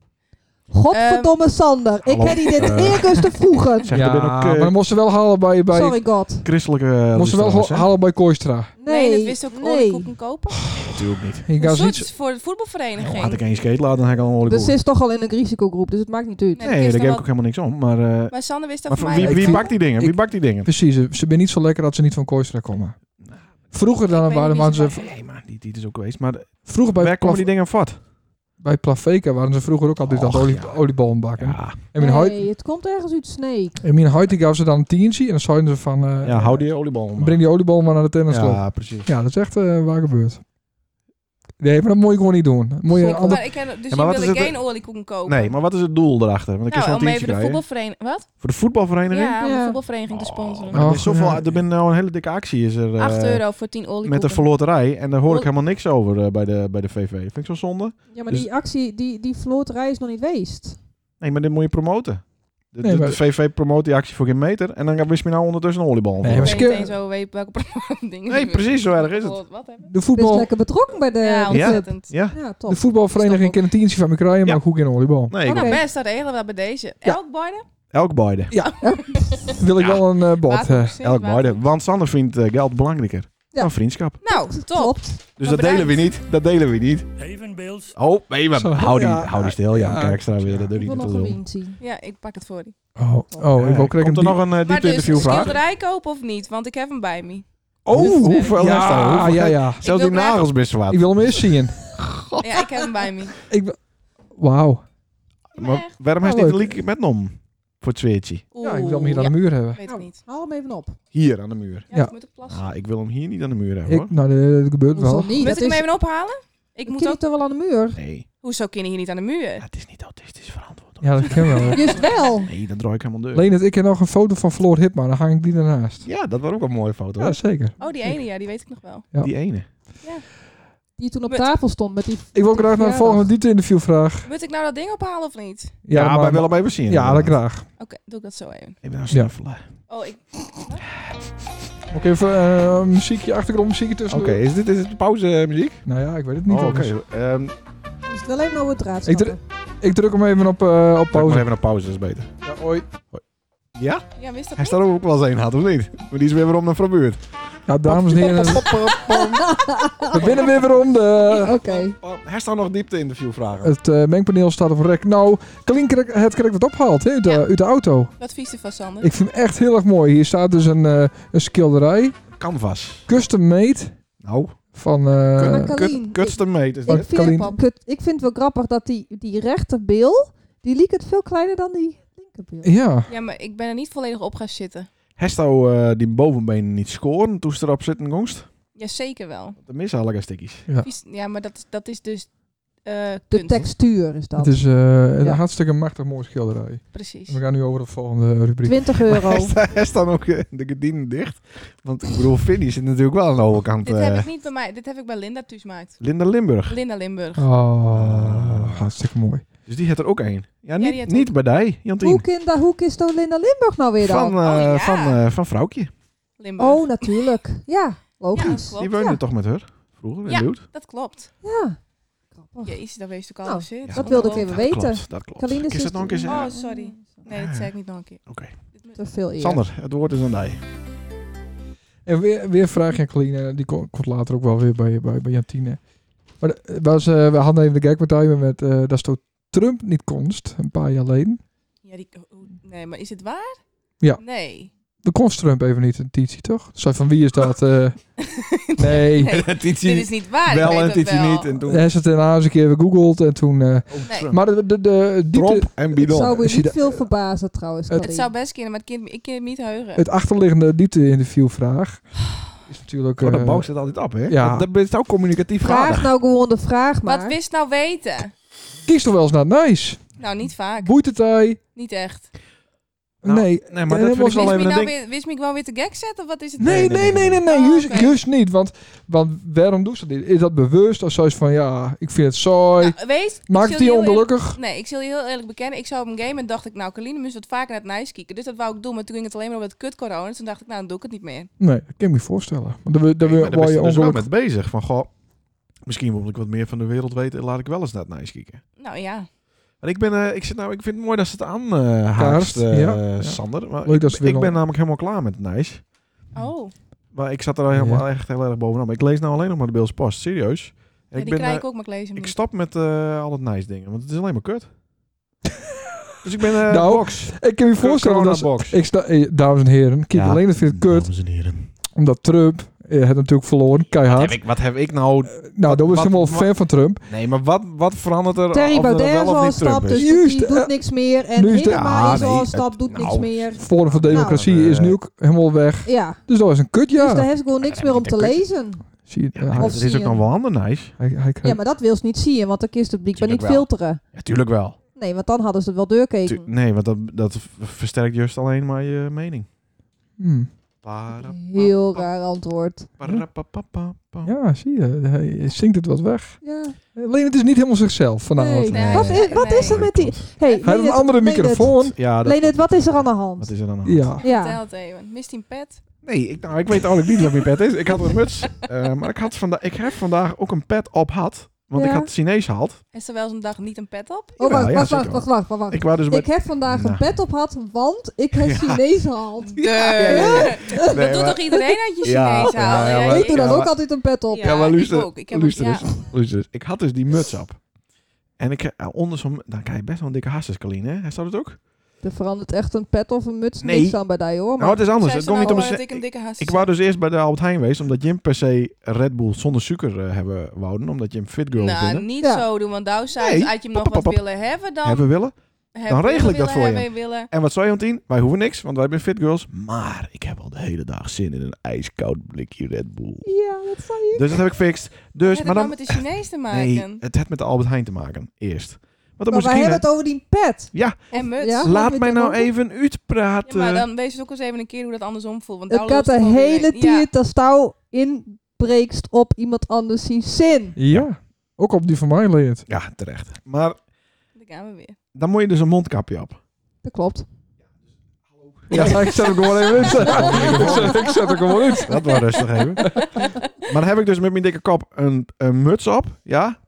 [SPEAKER 3] Godverdomme Sander, ik
[SPEAKER 2] hallo.
[SPEAKER 3] heb die dit
[SPEAKER 2] Eh.
[SPEAKER 3] eerder te vroegen.
[SPEAKER 2] Zeg, er ben ook, eh,
[SPEAKER 4] maar dan moest ze wel halen bij... bij
[SPEAKER 3] Sorry God.
[SPEAKER 2] Christelijke eh,
[SPEAKER 4] moest ze wel
[SPEAKER 2] luisteraars, hè?
[SPEAKER 4] ha- halen bij Koistra.
[SPEAKER 3] Nee,
[SPEAKER 1] dat wist ook oliekoeken kopen.
[SPEAKER 2] Natuurlijk niet.
[SPEAKER 4] Je kan
[SPEAKER 1] Hoezo?
[SPEAKER 4] ze
[SPEAKER 1] Het
[SPEAKER 4] niet...
[SPEAKER 1] is voor de voetbalvereniging.
[SPEAKER 2] Had ik geen skate laten, dan had ik al een
[SPEAKER 3] Dus
[SPEAKER 2] oliekoek.
[SPEAKER 3] ze is toch al in een risicogroep, dus het maakt niet uit.
[SPEAKER 1] Nee,
[SPEAKER 2] Nee,
[SPEAKER 1] dat is dan
[SPEAKER 2] daar geef ik ook
[SPEAKER 1] wel-
[SPEAKER 2] helemaal niks om. Maar, eh,
[SPEAKER 1] Maar Sanne wist dat
[SPEAKER 2] maar
[SPEAKER 1] van
[SPEAKER 2] van
[SPEAKER 1] mij.
[SPEAKER 2] wie, wie
[SPEAKER 4] Ik-
[SPEAKER 2] bakt die dingen? Wie bakt die dingen?
[SPEAKER 4] Precies, ze, ze ben niet zo lekker dat ze niet van Koistra komen. Vroeger dan
[SPEAKER 1] weet
[SPEAKER 4] waren
[SPEAKER 1] niet
[SPEAKER 4] waren
[SPEAKER 1] wie ze
[SPEAKER 4] ze...
[SPEAKER 2] Nee, maar die, die is ook geweest. Maar
[SPEAKER 4] Vroeger bij,
[SPEAKER 2] waar komen die
[SPEAKER 4] Plaf,
[SPEAKER 2] dingen vat?
[SPEAKER 4] bij Plafeka waren ze vroeger ook altijd aan het
[SPEAKER 2] Och,
[SPEAKER 4] olie,
[SPEAKER 2] ja.
[SPEAKER 4] oliebollen bakken.
[SPEAKER 2] Ja,
[SPEAKER 4] En mijn huid...
[SPEAKER 3] Nee, het komt ergens uit Snake.
[SPEAKER 4] En mijn huid, die gaf ze dan een tientje en dan zeiden ze van... eh,
[SPEAKER 2] ja hou die oliebal om.
[SPEAKER 4] Breng die oliebol maar naar de tennisclub.
[SPEAKER 2] Ja, precies.
[SPEAKER 4] Ja, dat is echt eh, waar gebeurd. Nee, maar dat moet je gewoon niet doen. Dat Moet je een
[SPEAKER 3] Zeker.
[SPEAKER 4] ander...
[SPEAKER 1] Maar ik heb, dus
[SPEAKER 2] Ja, maar
[SPEAKER 1] je
[SPEAKER 2] wat
[SPEAKER 1] wil
[SPEAKER 2] is
[SPEAKER 1] ik
[SPEAKER 2] het-
[SPEAKER 1] geen oliekoeken kopen.
[SPEAKER 2] Nee, maar wat is het doel erachter? Want ik
[SPEAKER 1] nou,
[SPEAKER 2] nou,
[SPEAKER 1] om
[SPEAKER 2] zo'n tientje
[SPEAKER 1] even de
[SPEAKER 2] krijgen.
[SPEAKER 1] voetbalvereniging... Wat?
[SPEAKER 2] Voor de voetbalvereniging?
[SPEAKER 1] Ja, om de
[SPEAKER 3] Ja.
[SPEAKER 1] voetbalvereniging
[SPEAKER 2] Oh.
[SPEAKER 1] te sponsoren.
[SPEAKER 2] Maar er,
[SPEAKER 4] Och,
[SPEAKER 2] is zoveel,
[SPEAKER 4] Oh, ja.
[SPEAKER 2] er ben nou een hele dikke actie is er. eh,
[SPEAKER 1] 8 euro voor 10 oliekoeken.
[SPEAKER 2] Met de verloterij. En daar hoor ik
[SPEAKER 1] Ol-
[SPEAKER 2] helemaal niks over eh, bij, de, bij de VV. Vind ik zo zonde.
[SPEAKER 3] Ja, maar
[SPEAKER 2] Dus-
[SPEAKER 3] die actie, die, die verloterij is nog niet geweest.
[SPEAKER 2] Nee, maar dit moet je promoten. De,
[SPEAKER 4] Nee,
[SPEAKER 2] de-
[SPEAKER 4] maar-
[SPEAKER 2] de VV promoot die actie voor geen meter. En dan wist je nou ondertussen een oliebal.
[SPEAKER 4] Nee,
[SPEAKER 1] Ik
[SPEAKER 4] maar
[SPEAKER 1] weet niet
[SPEAKER 4] ske-
[SPEAKER 1] eens zo weet welke dingen.
[SPEAKER 2] Nee, precies, zo erg is het.
[SPEAKER 1] Wat, wat hebben
[SPEAKER 4] De,
[SPEAKER 3] Best
[SPEAKER 4] voetbal,
[SPEAKER 3] lekker betrokken bij de...
[SPEAKER 1] we? Ja,
[SPEAKER 3] de
[SPEAKER 2] Ja.
[SPEAKER 3] club.
[SPEAKER 1] ontzettend.
[SPEAKER 2] Ja?
[SPEAKER 3] ja top.
[SPEAKER 4] de voetbalvereniging kan een tientje van me krijgen, maar
[SPEAKER 2] Ja.
[SPEAKER 4] ook hoe geen oliebol.
[SPEAKER 2] Nee, ik-
[SPEAKER 1] Nou,
[SPEAKER 3] Oké.
[SPEAKER 1] best, dan regelen we dat bij deze.
[SPEAKER 4] Ja.
[SPEAKER 1] Elk beide?
[SPEAKER 2] elk beide.
[SPEAKER 4] Wil ik wel een eh bot. eh.
[SPEAKER 1] Waterproducent,
[SPEAKER 2] Elk
[SPEAKER 1] water-
[SPEAKER 2] beide. Want Sander vindt eh, geld belangrijker
[SPEAKER 3] Ja.
[SPEAKER 2] dan vriendschap.
[SPEAKER 1] Nou, top.
[SPEAKER 3] Klopt.
[SPEAKER 2] Dus
[SPEAKER 1] Maar
[SPEAKER 2] dat delen we niet. Dat delen we niet.
[SPEAKER 7] Evenbeelds
[SPEAKER 2] Oh, nee, maar
[SPEAKER 4] Zo,
[SPEAKER 2] hou die,
[SPEAKER 4] ja.
[SPEAKER 2] hou die stil. Ja,
[SPEAKER 4] Ja.
[SPEAKER 2] kijk, extra weer. Dat doe
[SPEAKER 3] Ik
[SPEAKER 2] je
[SPEAKER 3] wil
[SPEAKER 2] niet
[SPEAKER 3] nog
[SPEAKER 2] te
[SPEAKER 3] een
[SPEAKER 2] doen.
[SPEAKER 3] wien zien.
[SPEAKER 1] Ja, ik pak het voor die.
[SPEAKER 4] Oh, oh, ik
[SPEAKER 2] Ja,
[SPEAKER 4] wil krijgen
[SPEAKER 2] Komt er nog een eh,
[SPEAKER 1] Maar
[SPEAKER 2] diepte
[SPEAKER 1] dus,
[SPEAKER 2] interview vraag?
[SPEAKER 1] schilderij kopen of niet? Want ik heb hem bij me.
[SPEAKER 2] Oh,
[SPEAKER 1] Dus, eh,
[SPEAKER 2] hoeveel
[SPEAKER 4] ja,
[SPEAKER 2] heeft hij?
[SPEAKER 4] ja,
[SPEAKER 2] Hoeveel-
[SPEAKER 4] ja, ja.
[SPEAKER 2] Zelfs
[SPEAKER 1] wil
[SPEAKER 2] die
[SPEAKER 1] graag-
[SPEAKER 2] nagels best wat.
[SPEAKER 4] Ik wil hem eens zien.
[SPEAKER 1] Ja, ik heb hem bij me.
[SPEAKER 4] Ik wil- Wauw.
[SPEAKER 1] Maar
[SPEAKER 2] Maar
[SPEAKER 1] echt.
[SPEAKER 2] waarom heeft
[SPEAKER 4] Ja,
[SPEAKER 2] hij niet een
[SPEAKER 4] leuk.
[SPEAKER 2] liedje met nom? Voor het zweertje.
[SPEAKER 1] Oeh,
[SPEAKER 4] Ja, ik wil hem hier aan de muur hebben.
[SPEAKER 1] Weet ik niet.
[SPEAKER 3] Haal hem even op.
[SPEAKER 2] Hier aan de muur.
[SPEAKER 1] Ja,
[SPEAKER 4] Ja.
[SPEAKER 1] ik moet op plassen.
[SPEAKER 2] Ah, ik wil hem hier niet aan de muur hebben hoor.
[SPEAKER 4] Ik, nou, eh, dat gebeurt
[SPEAKER 3] Hoezo
[SPEAKER 4] wel.
[SPEAKER 3] niet?
[SPEAKER 1] Moet
[SPEAKER 3] Dat
[SPEAKER 1] ik hem
[SPEAKER 3] is-
[SPEAKER 1] even ophalen? Ik
[SPEAKER 3] Ik
[SPEAKER 1] moet ook...
[SPEAKER 3] toch wel aan de muur?
[SPEAKER 2] Nee,
[SPEAKER 1] Hoezo kinderen hier niet aan de muur?
[SPEAKER 2] ja, het is niet autistisch verantwoord.
[SPEAKER 4] Ja, dat kan wel.
[SPEAKER 3] Juist wel.
[SPEAKER 2] Nee, dan draai ik helemaal deur.
[SPEAKER 4] Leendert, ik heb nog een foto van Floor Hipma. Dan hang ik die daarnaast.
[SPEAKER 2] Ja, dat was ook een mooie foto.
[SPEAKER 4] Ja,
[SPEAKER 2] hoor.
[SPEAKER 4] zeker.
[SPEAKER 1] Oh, die ene, ja, die weet ik nog wel.
[SPEAKER 4] ja.
[SPEAKER 2] Die ene.
[SPEAKER 3] Die toen op
[SPEAKER 1] Met-
[SPEAKER 3] tafel stond met die...
[SPEAKER 4] Ik wil graag naar de
[SPEAKER 3] verjaardag.
[SPEAKER 4] volgende diepte-interview vraag.
[SPEAKER 1] Moet ik nou dat ding ophalen of niet?
[SPEAKER 2] Ja, maar,
[SPEAKER 4] maar-
[SPEAKER 2] wel op even zien.
[SPEAKER 4] Ja, dat
[SPEAKER 2] inderdaad.
[SPEAKER 4] graag.
[SPEAKER 1] Oké, doe ik dat zo even.
[SPEAKER 2] Ik ben aan
[SPEAKER 4] Ja.
[SPEAKER 2] snuffelen.
[SPEAKER 1] Oh, ik...
[SPEAKER 4] Oké, even eh, muziekje, achtergrondmuziekje
[SPEAKER 2] Oké,
[SPEAKER 4] tussen.
[SPEAKER 2] is dit is het pauze eh, muziek?
[SPEAKER 4] Nou ja, ik weet het niet.
[SPEAKER 2] Oh, Oké,
[SPEAKER 4] anders.
[SPEAKER 2] ehm,
[SPEAKER 3] Is het wel even over het draad
[SPEAKER 4] Ik
[SPEAKER 3] snappen.
[SPEAKER 4] Ik druk hem even op, eh,
[SPEAKER 2] pak
[SPEAKER 4] op
[SPEAKER 2] maar
[SPEAKER 4] pauze.
[SPEAKER 2] even een pauze, dat is beter.
[SPEAKER 4] Ja, hoi.
[SPEAKER 2] Ja?
[SPEAKER 1] Ja, wist dat
[SPEAKER 2] Hij
[SPEAKER 1] niet?
[SPEAKER 2] staat ook wel eens een had, of niet? Maar die is weer weer om naar verbuurd.
[SPEAKER 4] Ja, dames en heren, we binnen weer weer om. De,
[SPEAKER 3] Oké.
[SPEAKER 2] Hij staat nog diepte interview vragen.
[SPEAKER 4] het eh, mengpaneel staat op rek. Nou, Kalien krijgt- het krijgt wat opgehaald hè, uit, de,
[SPEAKER 1] Ja.
[SPEAKER 4] uit de auto.
[SPEAKER 1] Wat vies van Sander.
[SPEAKER 4] Ik vind hem echt heel erg mooi. Hier staat dus een, eh, een schilderij,
[SPEAKER 2] Canvas.
[SPEAKER 4] custom made,
[SPEAKER 2] Nou,
[SPEAKER 4] van... eh, Oh.
[SPEAKER 3] Maar
[SPEAKER 2] kut-
[SPEAKER 3] Kalien,
[SPEAKER 2] kut-
[SPEAKER 3] ik-
[SPEAKER 2] kutste meet is
[SPEAKER 3] Ik
[SPEAKER 2] dit.
[SPEAKER 3] vind,
[SPEAKER 4] Kalien-
[SPEAKER 3] het kut- ik vind het wel grappig dat die, die rechterbil, die liep het veel kleiner dan die linkerbil.
[SPEAKER 4] ja,
[SPEAKER 1] Ja, maar ik ben er niet volledig op gaan zitten.
[SPEAKER 2] Hesto eh die bovenbenen niet scoren toen ze erop zitten gongst.
[SPEAKER 1] Jazeker wel.
[SPEAKER 2] Dat missen alle stikkies.
[SPEAKER 1] Vies- Ja, maar dat, dat is dus eh
[SPEAKER 3] De
[SPEAKER 1] kunst.
[SPEAKER 3] textuur is dat.
[SPEAKER 4] het is eh, een
[SPEAKER 3] Ja.
[SPEAKER 4] hartstikke machtig mooi schilderij.
[SPEAKER 1] Precies.
[SPEAKER 4] We gaan nu over de volgende rubriek.
[SPEAKER 3] 20
[SPEAKER 1] Oh.
[SPEAKER 3] euro.
[SPEAKER 2] Hij dan ook eh, de gedienden dicht. Want ik bedoel, Vinnie zit natuurlijk wel aan de overkant.
[SPEAKER 1] Dit
[SPEAKER 2] eh,
[SPEAKER 1] heb ik niet bij mij. Dit heb ik bij Linda thuis gemaakt.
[SPEAKER 2] Linda Limburg.
[SPEAKER 1] Linda Limburg.
[SPEAKER 4] Oh, hartstikke mooi.
[SPEAKER 2] Dus die had er ook één. Ja,
[SPEAKER 1] die
[SPEAKER 2] niet,
[SPEAKER 1] had
[SPEAKER 2] niet bij die, Jantien.
[SPEAKER 3] Hoe, kin- da- hoe is dat Linda Limburg nou weer
[SPEAKER 2] Van,
[SPEAKER 3] dan?
[SPEAKER 2] eh
[SPEAKER 1] Oh, ja.
[SPEAKER 2] van, eh, van Vrouwtje.
[SPEAKER 1] Limburg.
[SPEAKER 3] Oh, natuurlijk. Ja, logisch.
[SPEAKER 1] Ja,
[SPEAKER 2] Die
[SPEAKER 1] klopt.
[SPEAKER 2] woonde
[SPEAKER 3] Ja.
[SPEAKER 2] toch met haar? Vroeger in
[SPEAKER 1] Ja.
[SPEAKER 2] Duut?
[SPEAKER 1] Dat klopt.
[SPEAKER 3] Ja. Grappig.
[SPEAKER 1] Jezus, dat wees ik al
[SPEAKER 3] Nou,
[SPEAKER 1] al zit.
[SPEAKER 2] dat
[SPEAKER 3] wilde ik even
[SPEAKER 2] Dat
[SPEAKER 3] weten.
[SPEAKER 2] klopt, dat klopt.
[SPEAKER 3] Kalien is dus
[SPEAKER 2] Is dat nog een keer
[SPEAKER 3] zus-
[SPEAKER 2] zeggen?
[SPEAKER 1] Oh, sorry. Nee, dat zei ik niet nog een keer.
[SPEAKER 2] Oké.
[SPEAKER 3] Te veel eer.
[SPEAKER 2] eh, Sander, het woord is aan die.
[SPEAKER 4] En weer, weer een vraagje aan Colleen, eh, die ko- komt later ook wel weer bij, bij, bij Jantine. Maar de- was, eh, we hadden even de gagpartij met, eh daar stond Trump niet konst, een paar jaar geleden.
[SPEAKER 1] Ja, die, hoe- nee, maar is het waar?
[SPEAKER 4] Ja.
[SPEAKER 1] Nee.
[SPEAKER 4] De konst Trump even niet een titie, toch? Zei van wie is dat? eh? nee.
[SPEAKER 1] Nee, Dit is niet waar. ik
[SPEAKER 2] wel
[SPEAKER 1] weet
[SPEAKER 2] en
[SPEAKER 1] dat
[SPEAKER 2] Titi
[SPEAKER 1] wel.
[SPEAKER 2] niet. En toen
[SPEAKER 4] Hij heeft het daarna eens een keer gegoogeld en toen... eh,
[SPEAKER 1] Nee.
[SPEAKER 2] Trump.
[SPEAKER 4] maar de, de, de diepte-
[SPEAKER 2] Trump en
[SPEAKER 3] Het
[SPEAKER 2] Bidon.
[SPEAKER 3] zou me
[SPEAKER 4] Zie
[SPEAKER 3] niet
[SPEAKER 4] dat-
[SPEAKER 3] veel verbazen trouwens,
[SPEAKER 4] Het-
[SPEAKER 1] Het
[SPEAKER 3] Carlien.
[SPEAKER 1] zou best kunnen, maar ik kan, ik kan het niet heugen.
[SPEAKER 4] het achterliggende diepte-interviewvraag is natuurlijk...
[SPEAKER 2] Oh, dat
[SPEAKER 4] eh,
[SPEAKER 2] bouwt zit altijd op, hè?
[SPEAKER 4] Ja.
[SPEAKER 2] Dat, dat is ook communicatief
[SPEAKER 3] Vraag
[SPEAKER 2] gaar.
[SPEAKER 3] nou gewoon de vraag maar.
[SPEAKER 1] Wat wist nou weten?
[SPEAKER 4] kies toch wel eens naar nice.
[SPEAKER 1] Nou, niet vaak.
[SPEAKER 4] Boeit het hij?
[SPEAKER 1] Niet echt.
[SPEAKER 2] Nou,
[SPEAKER 4] nee.
[SPEAKER 2] Nee, maar
[SPEAKER 4] Eh,
[SPEAKER 2] dat vind ik
[SPEAKER 4] was
[SPEAKER 1] Wist
[SPEAKER 2] wel
[SPEAKER 1] me
[SPEAKER 2] even een
[SPEAKER 1] nou
[SPEAKER 2] ding.
[SPEAKER 1] weer, wist me gewoon weer te gek zetten? Of wat is het?
[SPEAKER 4] Nee, nee, nee, nee, nee,
[SPEAKER 1] Oh,
[SPEAKER 4] juist,
[SPEAKER 1] oké.
[SPEAKER 4] juist niet. Want, want waarom doet ze dit? Is dat bewust of zoiets van, ja, ik vind het saai.
[SPEAKER 1] Nou, wees, ik zal
[SPEAKER 4] Maakt het die
[SPEAKER 1] heel eerlijk-
[SPEAKER 4] ongelukkig?
[SPEAKER 1] Nee, ik zal je heel eerlijk bekennen. Ik zou op een game en dacht ik, nou, Caline moest wat vaker naar het nice kijken. Dus dat wou ik doen, maar toen ging het alleen maar om dat kut corona. Dus toen dacht ik, nou, dan doe ik het niet meer.
[SPEAKER 4] Nee, dat kan ik me voorstellen. Maar daar daar
[SPEAKER 2] Nee, maar
[SPEAKER 4] word
[SPEAKER 2] Daar ben
[SPEAKER 4] je
[SPEAKER 2] je dus wel
[SPEAKER 4] ongelukkig.
[SPEAKER 2] met bezig. Van, goh, misschien moet ik wat meer van de wereld weten. Laat ik wel eens naar het nice kijken.
[SPEAKER 1] Nou ja.
[SPEAKER 2] Maar ik, ben, eh, ik, zit nou, ik vind het mooi dat ze het aanhaast,
[SPEAKER 4] Kaarst,
[SPEAKER 2] eh
[SPEAKER 4] ja, ja.
[SPEAKER 2] Sander. Maar
[SPEAKER 4] Leuk
[SPEAKER 2] ik,
[SPEAKER 4] dat ze weer
[SPEAKER 2] ik
[SPEAKER 4] al-
[SPEAKER 2] ben namelijk helemaal klaar met het nice.
[SPEAKER 1] Oh,
[SPEAKER 2] Maar ik zat er al helemaal echt heel erg bovenop. Ik lees nou alleen nog maar de Bills Post, serieus. En
[SPEAKER 1] ja, die
[SPEAKER 2] ben,
[SPEAKER 1] krijg
[SPEAKER 2] eh,
[SPEAKER 1] ik ook, maar ik lees hem
[SPEAKER 2] ik
[SPEAKER 1] niet.
[SPEAKER 2] stap met eh, al het nice dingen, want het is alleen maar kut. dus ik ben eh
[SPEAKER 4] Nou,
[SPEAKER 2] box.
[SPEAKER 4] Ik kan me voorstellen dat... ze-
[SPEAKER 2] box.
[SPEAKER 4] Ik sta, eh, dames en heren, Kip
[SPEAKER 2] Ja.
[SPEAKER 4] alleen dat vindt het kut.
[SPEAKER 2] Dames en heren.
[SPEAKER 4] Omdat Trump eh, het natuurlijk verloren,
[SPEAKER 2] Heb
[SPEAKER 4] keihard.
[SPEAKER 2] ik, wat heb ik nou?
[SPEAKER 4] nou, dat was
[SPEAKER 2] wat-
[SPEAKER 4] helemaal
[SPEAKER 2] wat-
[SPEAKER 4] fan van Trump.
[SPEAKER 2] Nee, maar wat, wat verandert er
[SPEAKER 3] Terry
[SPEAKER 2] of er
[SPEAKER 3] Baudet is
[SPEAKER 2] wel of
[SPEAKER 3] al een
[SPEAKER 2] niet Trump
[SPEAKER 3] stap,
[SPEAKER 2] is?
[SPEAKER 3] dus
[SPEAKER 4] Juist,
[SPEAKER 3] die
[SPEAKER 4] eh,
[SPEAKER 3] doet niks meer. En
[SPEAKER 4] nu is de-
[SPEAKER 3] Helemaal is
[SPEAKER 2] Ah,
[SPEAKER 3] al
[SPEAKER 2] nee,
[SPEAKER 3] een stap, doet
[SPEAKER 2] het-
[SPEAKER 3] niks
[SPEAKER 2] nou.
[SPEAKER 3] meer.
[SPEAKER 4] Forum voor
[SPEAKER 3] Nou,
[SPEAKER 4] Democratie
[SPEAKER 2] eh,
[SPEAKER 4] is nu helemaal weg.
[SPEAKER 3] Ja,
[SPEAKER 4] Dus dat is een
[SPEAKER 3] dus daar
[SPEAKER 4] kutjaar.
[SPEAKER 3] heeft gewoon niks meer om te lezen.
[SPEAKER 4] Zie je,
[SPEAKER 2] Ja,
[SPEAKER 4] eh,
[SPEAKER 2] maar
[SPEAKER 4] hij,
[SPEAKER 3] Of
[SPEAKER 2] er is
[SPEAKER 3] zie
[SPEAKER 2] ook
[SPEAKER 3] je-
[SPEAKER 2] nog wel ander nice.
[SPEAKER 4] hij, hij
[SPEAKER 3] Ja,
[SPEAKER 4] krijgt-
[SPEAKER 3] maar dat wil ze niet zien, want dan kiest het publiek maar niet
[SPEAKER 2] Tuurlijk wel.
[SPEAKER 3] filteren.
[SPEAKER 2] Ja, tuurlijk wel.
[SPEAKER 3] Nee, want dan hadden ze het wel deurkeken.
[SPEAKER 2] Tu- nee, want dat, dat v- versterkt juist alleen maar je mening.
[SPEAKER 4] Hmm.
[SPEAKER 2] Para-
[SPEAKER 3] Heel raar antwoord.
[SPEAKER 2] para- pa- pa- pa- pa.
[SPEAKER 4] ja, zie je, hij zingt het wat weg.
[SPEAKER 3] Ja.
[SPEAKER 4] Alleen het is niet helemaal zichzelf vanavond.
[SPEAKER 3] Nee.
[SPEAKER 2] Nee.
[SPEAKER 3] Wat, is, wat is er met die... Hey,
[SPEAKER 4] Hij heeft een andere microfoon.
[SPEAKER 2] Oh, Ja, Ah, dat,
[SPEAKER 3] Leendert, wat is er aan de
[SPEAKER 2] wat
[SPEAKER 3] hand?
[SPEAKER 2] is er dan aan?
[SPEAKER 4] Ja.
[SPEAKER 1] Vertel
[SPEAKER 3] Ja,
[SPEAKER 1] het even. Mist die een pet?
[SPEAKER 2] Nee, ik, nou, ik weet eigenlijk niet wat mijn pet is. Ik had een muts, eh, maar ik, had vanda- ik heb vandaag ook een pet op had. Want ik
[SPEAKER 3] Ja.
[SPEAKER 2] had Chinees gehad.
[SPEAKER 1] Is er wel eens een dag niet een pet op?
[SPEAKER 3] oh,
[SPEAKER 2] Jawel,
[SPEAKER 3] wacht,
[SPEAKER 2] ja,
[SPEAKER 3] wacht,
[SPEAKER 2] zeker
[SPEAKER 3] wacht,
[SPEAKER 2] wel.
[SPEAKER 3] wacht, wacht, wacht.
[SPEAKER 2] Ik was dus
[SPEAKER 3] Ik
[SPEAKER 2] met...
[SPEAKER 3] heb vandaag
[SPEAKER 2] Nou.
[SPEAKER 3] een pet op had, want ik heb
[SPEAKER 2] Ja.
[SPEAKER 3] Chinees gehaald.
[SPEAKER 1] dat
[SPEAKER 2] Nee,
[SPEAKER 1] doet
[SPEAKER 2] maar-
[SPEAKER 1] toch iedereen uit je
[SPEAKER 2] Ja,
[SPEAKER 1] Chinees
[SPEAKER 2] ja,
[SPEAKER 1] halen?
[SPEAKER 2] ja,
[SPEAKER 1] Ja,
[SPEAKER 2] maar-
[SPEAKER 3] Ik doe dan
[SPEAKER 2] maar-
[SPEAKER 3] ook altijd een pet op.
[SPEAKER 1] Ja,
[SPEAKER 2] Ja, maar luister,
[SPEAKER 1] ik ook. Ik heb
[SPEAKER 2] luister
[SPEAKER 1] ook,
[SPEAKER 2] eens.
[SPEAKER 1] ja.
[SPEAKER 2] Luister eens, ik had dus die muts op. En ik eh, onder zo'n... Dan krijg je best wel een dikke hasses, Colleen, hè? Hij staat het ook?
[SPEAKER 3] Er verandert echt een pet of een muts
[SPEAKER 2] Nee.
[SPEAKER 3] niks aan bij die hoor.
[SPEAKER 2] Nou,
[SPEAKER 3] Maar
[SPEAKER 2] het is anders.
[SPEAKER 1] Zij
[SPEAKER 2] Het
[SPEAKER 1] is
[SPEAKER 2] komt
[SPEAKER 1] nou
[SPEAKER 2] niet om...
[SPEAKER 1] allemaal dat
[SPEAKER 2] ze-
[SPEAKER 1] ik een dikke haast
[SPEAKER 2] Ik wou dus eerst bij de Albert Heijn geweest, omdat Jim per se Red Bull zonder suiker eh, hebben wouden. Omdat Jim Fit Girl
[SPEAKER 1] Nou,
[SPEAKER 2] wilde.
[SPEAKER 1] niet
[SPEAKER 3] Ja.
[SPEAKER 1] zo doen, want nou zou
[SPEAKER 2] Nee,
[SPEAKER 1] als je hem
[SPEAKER 2] pop,
[SPEAKER 1] nog
[SPEAKER 2] pop,
[SPEAKER 1] wat
[SPEAKER 2] pop.
[SPEAKER 1] willen hebben, dan,
[SPEAKER 2] Hebben willen.
[SPEAKER 1] hebben
[SPEAKER 2] regel
[SPEAKER 1] willen,
[SPEAKER 2] ik dat
[SPEAKER 1] willen,
[SPEAKER 2] voor je.
[SPEAKER 1] hebben Willen.
[SPEAKER 2] En wat zei Jantien? Wij hoeven niks, want wij zijn Fit Girls. Maar ik heb al de hele dag zin in een ijskoud blikje Red Bull.
[SPEAKER 3] ja, dat zou je.
[SPEAKER 2] Dus dat heb ik fixt. Dus,
[SPEAKER 1] Dus, het
[SPEAKER 2] maar
[SPEAKER 1] dan
[SPEAKER 2] dan...
[SPEAKER 1] met de Chinees te maken.
[SPEAKER 2] Nee, het had met de Albert Heijn te maken. Eerst. Want dan
[SPEAKER 3] Maar
[SPEAKER 2] moest
[SPEAKER 3] wij
[SPEAKER 2] ik heen,
[SPEAKER 3] hebben het over die pet.
[SPEAKER 1] En muts.
[SPEAKER 3] Ja?
[SPEAKER 2] hè.
[SPEAKER 3] over-
[SPEAKER 2] Laat
[SPEAKER 3] met
[SPEAKER 2] mij
[SPEAKER 3] die
[SPEAKER 2] nou
[SPEAKER 3] handen.
[SPEAKER 2] even
[SPEAKER 1] Ja,
[SPEAKER 2] uitpraten.
[SPEAKER 1] maar dan wees dus ook eens even een keer hoe dat andersom voelt. Want
[SPEAKER 3] Het
[SPEAKER 1] nou
[SPEAKER 3] kan
[SPEAKER 1] loopt
[SPEAKER 3] de
[SPEAKER 1] gewoon
[SPEAKER 3] hele
[SPEAKER 1] iedereen- Ja.
[SPEAKER 3] tijd als touw inbreekt op iemand anders zijn zin.
[SPEAKER 4] Ja, ook op die van mij leert.
[SPEAKER 2] Ja, terecht. Maar
[SPEAKER 1] Daar gaan we weer.
[SPEAKER 2] dan moet je dus een mondkapje op.
[SPEAKER 3] Dat klopt.
[SPEAKER 4] Ja, ik zet hem gewoon even in. ik, zet, ik zet hem gewoon in.
[SPEAKER 2] Dat was rustig even. Maar dan heb ik dus met mijn dikke kop een, een muts op, ja?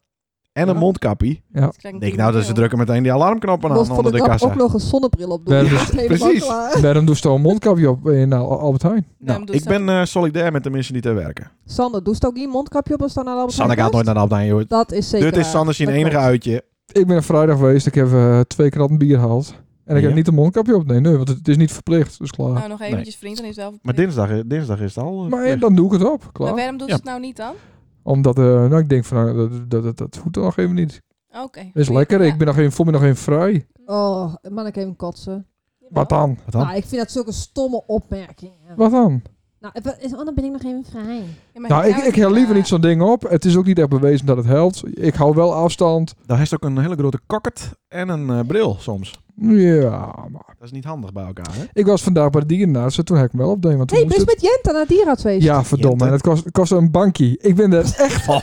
[SPEAKER 2] En een
[SPEAKER 4] Ja.
[SPEAKER 2] mondkapje.
[SPEAKER 1] Dus ik krijg een
[SPEAKER 2] Ik denk,
[SPEAKER 1] dikke
[SPEAKER 2] nou, dus ze
[SPEAKER 1] bril.
[SPEAKER 2] drukken meteen die alarmknoppen
[SPEAKER 3] Moest
[SPEAKER 2] aan
[SPEAKER 3] voor de
[SPEAKER 2] onder de
[SPEAKER 3] grap ook
[SPEAKER 2] kassa.
[SPEAKER 3] nog een zonnebril op doen.
[SPEAKER 4] Ja,
[SPEAKER 3] Dat
[SPEAKER 4] dus-
[SPEAKER 3] is helemaal
[SPEAKER 2] precies.
[SPEAKER 3] klaar.
[SPEAKER 4] Waarom doe je een mondkapje op in nou, Albert Heijn?
[SPEAKER 1] Daarom
[SPEAKER 2] Nou,
[SPEAKER 1] doe ik
[SPEAKER 2] ik ben eh, solidair met de mensen die daar werken.
[SPEAKER 3] Sander, doe je ook geen mondkapje op als dan naar Albert
[SPEAKER 2] Sanne
[SPEAKER 3] Heijn
[SPEAKER 2] gaat nooit
[SPEAKER 3] was?
[SPEAKER 2] naar de Albert Heijn, joh.
[SPEAKER 3] Dat is zeker eh,
[SPEAKER 2] Dit is Sanne zijn
[SPEAKER 3] Dat
[SPEAKER 2] enige
[SPEAKER 3] klopt.
[SPEAKER 2] uitje.
[SPEAKER 4] Ik ben er vrijdag geweest. Ik heb eh, twee kratten bier gehaald. En ik
[SPEAKER 2] Ja.
[SPEAKER 4] heb niet een mondkapje op. Nee, nee, want het is niet verplicht. Dus klaar.
[SPEAKER 1] Nou, nog eventjes vriend, dan is het wel
[SPEAKER 2] Maar
[SPEAKER 1] verplicht.
[SPEAKER 2] dinsdag, eh, dinsdag is het al. eh,
[SPEAKER 4] maar eh,
[SPEAKER 2] verplicht.
[SPEAKER 4] dan doe ik het op.
[SPEAKER 1] Maar
[SPEAKER 4] Klaar.
[SPEAKER 1] waarom doen ze
[SPEAKER 2] Ja.
[SPEAKER 1] het nou niet dan?
[SPEAKER 4] Omdat eh, nou, ik denk van, nou, dat, dat, dat, dat hoeft nog even niet.
[SPEAKER 1] Oké.
[SPEAKER 4] Dat is lekker.
[SPEAKER 1] Ja.
[SPEAKER 4] Ik ben nog even, voel me nog even vrij.
[SPEAKER 3] Oh, man, ik even kotsen.
[SPEAKER 4] Wat dan?
[SPEAKER 2] Wat dan?
[SPEAKER 3] Nou, ik vind dat zulke stomme opmerkingen.
[SPEAKER 4] Wat dan?
[SPEAKER 3] Nou, eh, wat- is- oh, dan ben ik nog even vrij.
[SPEAKER 1] Ja, maar
[SPEAKER 4] Nou, ik,
[SPEAKER 1] het eh,
[SPEAKER 4] ik hel liever
[SPEAKER 1] ja.
[SPEAKER 4] niet zo'n ding op. Het is ook niet echt bewezen dat het helpt. Ik hou wel afstand.
[SPEAKER 2] Daar heeft ook een hele grote kokkert en een eh, bril soms.
[SPEAKER 4] Ja, maar...
[SPEAKER 2] Dat is niet handig bij elkaar, hè?
[SPEAKER 4] Ik was vandaag bij de dierenarts en toen heb ik hem wel opdeed. Want toen
[SPEAKER 3] Hé, hey,
[SPEAKER 4] moest
[SPEAKER 3] best
[SPEAKER 4] het-
[SPEAKER 3] met Jenta naar het dierenartsfeest.
[SPEAKER 4] Ja, verdomme. En
[SPEAKER 2] Jente.
[SPEAKER 4] het kost, het kost een bankie. Ik ben er echt,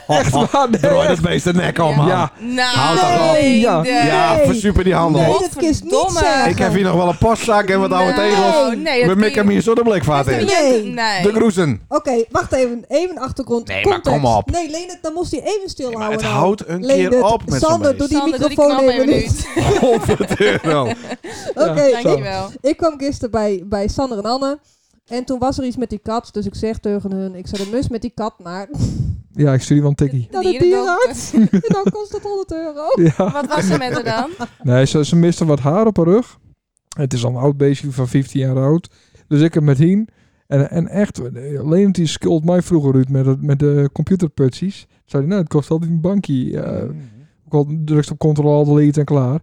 [SPEAKER 4] echt waar. nee,
[SPEAKER 2] Draai
[SPEAKER 4] echt.
[SPEAKER 2] dat beest de nek om, man.
[SPEAKER 4] Ja,
[SPEAKER 1] Nou,
[SPEAKER 2] Houd dat op.
[SPEAKER 1] nee,
[SPEAKER 4] Ja.
[SPEAKER 1] de-
[SPEAKER 2] Ja,
[SPEAKER 3] Nee.
[SPEAKER 2] versuper die handel.
[SPEAKER 3] Nee, dat kist niet
[SPEAKER 1] Verdomme.
[SPEAKER 3] zeggen.
[SPEAKER 2] Ik heb hier nog wel een postzak en wat oude
[SPEAKER 1] Nee.
[SPEAKER 2] tegels.
[SPEAKER 1] Nee, dat
[SPEAKER 2] We
[SPEAKER 1] kun
[SPEAKER 2] mikken
[SPEAKER 1] je-
[SPEAKER 2] hem hier zo de blikvaart in.
[SPEAKER 1] Nee.
[SPEAKER 3] Nee.
[SPEAKER 1] nee.
[SPEAKER 2] De groezen.
[SPEAKER 3] Oké, wacht even. Even achtergrond.
[SPEAKER 2] Nee, maar
[SPEAKER 3] Context.
[SPEAKER 2] kom op.
[SPEAKER 3] Nee, Leendert, dan moest hij even stilhouden.
[SPEAKER 2] Maar het
[SPEAKER 3] dan.
[SPEAKER 2] houdt een
[SPEAKER 3] Leendert,
[SPEAKER 2] keer op met zo'n
[SPEAKER 3] Sander,
[SPEAKER 2] beest.
[SPEAKER 3] die
[SPEAKER 1] Sander, doe
[SPEAKER 3] microfoon
[SPEAKER 1] knal
[SPEAKER 3] even
[SPEAKER 1] even
[SPEAKER 3] niet.
[SPEAKER 1] uit.
[SPEAKER 2] 100 euro.
[SPEAKER 3] Oké,
[SPEAKER 1] Dankjewel.
[SPEAKER 3] ik kwam gisteren bij, bij Sander en Anne. En toen was er iets met die kat. Dus ik zeg tegen hun, ik zet een mus met die kat naar.
[SPEAKER 4] Ja, ik stuur wel een tikkie.
[SPEAKER 3] naar de dierenarts. en dan kost het 100 euro.
[SPEAKER 4] Ja.
[SPEAKER 1] Wat was er met haar dan?
[SPEAKER 4] Nee, ze, ze miste wat haar op haar rug. Het is al een oud beestje van 15 jaar oud. Dus ik heb met hien. En, en echt, Leent die skuld mij vroeger uit met, het- met de computerputsies. Zei hij, nou, het kost altijd een bankje. eh, Ook al drukst op control, delete en klaar.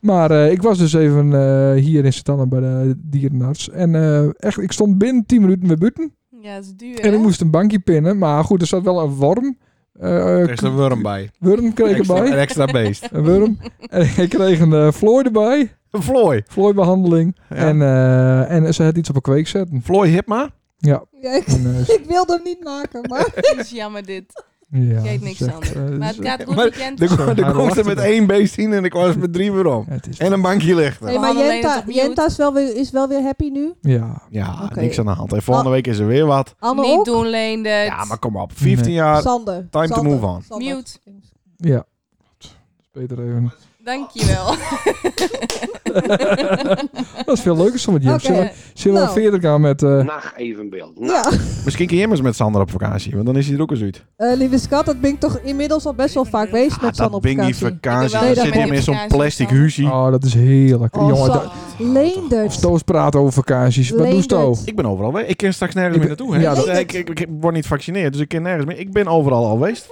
[SPEAKER 4] Maar eh, ik was dus even eh, hier in Sint Anna bij de dierenarts. En eh, echt, ik stond binnen 10 minuten weer buiten.
[SPEAKER 1] Ja, dat is duur.
[SPEAKER 4] En
[SPEAKER 1] hè?
[SPEAKER 4] ik moest een bankje pinnen. Maar goed, er zat wel een worm. eh,
[SPEAKER 2] Er is een worm bij.
[SPEAKER 4] worm kreeg ik
[SPEAKER 2] Extra, een
[SPEAKER 4] erbij.
[SPEAKER 2] extra beest.
[SPEAKER 4] Een worm. En ik kreeg een eh vlooi erbij.
[SPEAKER 2] Een Floy.
[SPEAKER 4] Vlooibehandeling.
[SPEAKER 2] Ja.
[SPEAKER 4] En, eh, en ze had iets op een kweek zetten.
[SPEAKER 2] Floy Hipma.
[SPEAKER 3] Ja, ik,
[SPEAKER 4] En, eh,
[SPEAKER 3] ik wilde hem niet maken, maar
[SPEAKER 1] Het is jammer dit.
[SPEAKER 4] ja,
[SPEAKER 1] Jeet
[SPEAKER 4] het
[SPEAKER 1] niks
[SPEAKER 4] is echt,
[SPEAKER 1] anders.
[SPEAKER 4] eh, het
[SPEAKER 1] Maar
[SPEAKER 4] is-
[SPEAKER 1] het gaat goed
[SPEAKER 2] Dus, Maar
[SPEAKER 1] weekend.
[SPEAKER 2] De,
[SPEAKER 4] Zo,
[SPEAKER 2] de
[SPEAKER 4] hij
[SPEAKER 2] komst er
[SPEAKER 4] lachte
[SPEAKER 2] met
[SPEAKER 4] er.
[SPEAKER 2] één beest in en ik was met drie weer om.
[SPEAKER 4] het is,
[SPEAKER 2] En een bankje ligt er.
[SPEAKER 3] Nee, maar
[SPEAKER 1] hadden alleen
[SPEAKER 3] Jenta,
[SPEAKER 1] het op mute.
[SPEAKER 3] Jenta is wel, weer, is wel weer happy nu.
[SPEAKER 4] ja.
[SPEAKER 2] Ja,
[SPEAKER 3] Oké. Ah.
[SPEAKER 2] niks aan de hand. En volgende week is er weer wat.
[SPEAKER 3] Anne
[SPEAKER 1] Niet
[SPEAKER 3] ook.
[SPEAKER 1] doen, dus Leendert.
[SPEAKER 2] Ja, maar kom op. 15
[SPEAKER 4] Nee.
[SPEAKER 2] jaar.
[SPEAKER 3] Sander.
[SPEAKER 2] to
[SPEAKER 3] Sander,
[SPEAKER 2] move on.
[SPEAKER 3] Sander.
[SPEAKER 1] Mute.
[SPEAKER 4] Ja. Beter even.
[SPEAKER 1] Dankjewel.
[SPEAKER 4] Dat is veel leuker zo met Jim.
[SPEAKER 3] Oké.
[SPEAKER 4] Zullen we- Zullen we
[SPEAKER 3] Nou.
[SPEAKER 4] verder gaan met... eh,
[SPEAKER 5] Nacht evenbeeld.
[SPEAKER 3] Ja.
[SPEAKER 2] Misschien kun je hem eens met Sander op vakantie. Want dan is hij er ook eens uit.
[SPEAKER 3] Eh, lieve schat, dat ben ik toch inmiddels al best wel vaak geweest met San
[SPEAKER 2] Ah, dat
[SPEAKER 3] op
[SPEAKER 2] bing die
[SPEAKER 3] vakantie.
[SPEAKER 2] vakantie.
[SPEAKER 1] Ik
[SPEAKER 2] Dan
[SPEAKER 3] heb
[SPEAKER 2] zit
[SPEAKER 3] wel een
[SPEAKER 2] hij hem in zo'n
[SPEAKER 1] vakantie
[SPEAKER 2] plastic
[SPEAKER 1] van.
[SPEAKER 2] huisje.
[SPEAKER 4] Oh, dat is heerlijk.
[SPEAKER 3] Oh,
[SPEAKER 4] Jongen,
[SPEAKER 3] Sander.
[SPEAKER 4] dat-
[SPEAKER 3] Leendert.
[SPEAKER 4] Stoos praat over vakanties. Wat doet Stoos?
[SPEAKER 2] Ik ben overal weg. Ik ken straks nergens
[SPEAKER 4] Ik
[SPEAKER 2] meer
[SPEAKER 4] ben-
[SPEAKER 2] naartoe. Hè?
[SPEAKER 4] ja,
[SPEAKER 2] Dus
[SPEAKER 3] dat-
[SPEAKER 2] ik, ik, ik word niet gevaccineerd, dus ik ken nergens meer. Ik ben overal al geweest.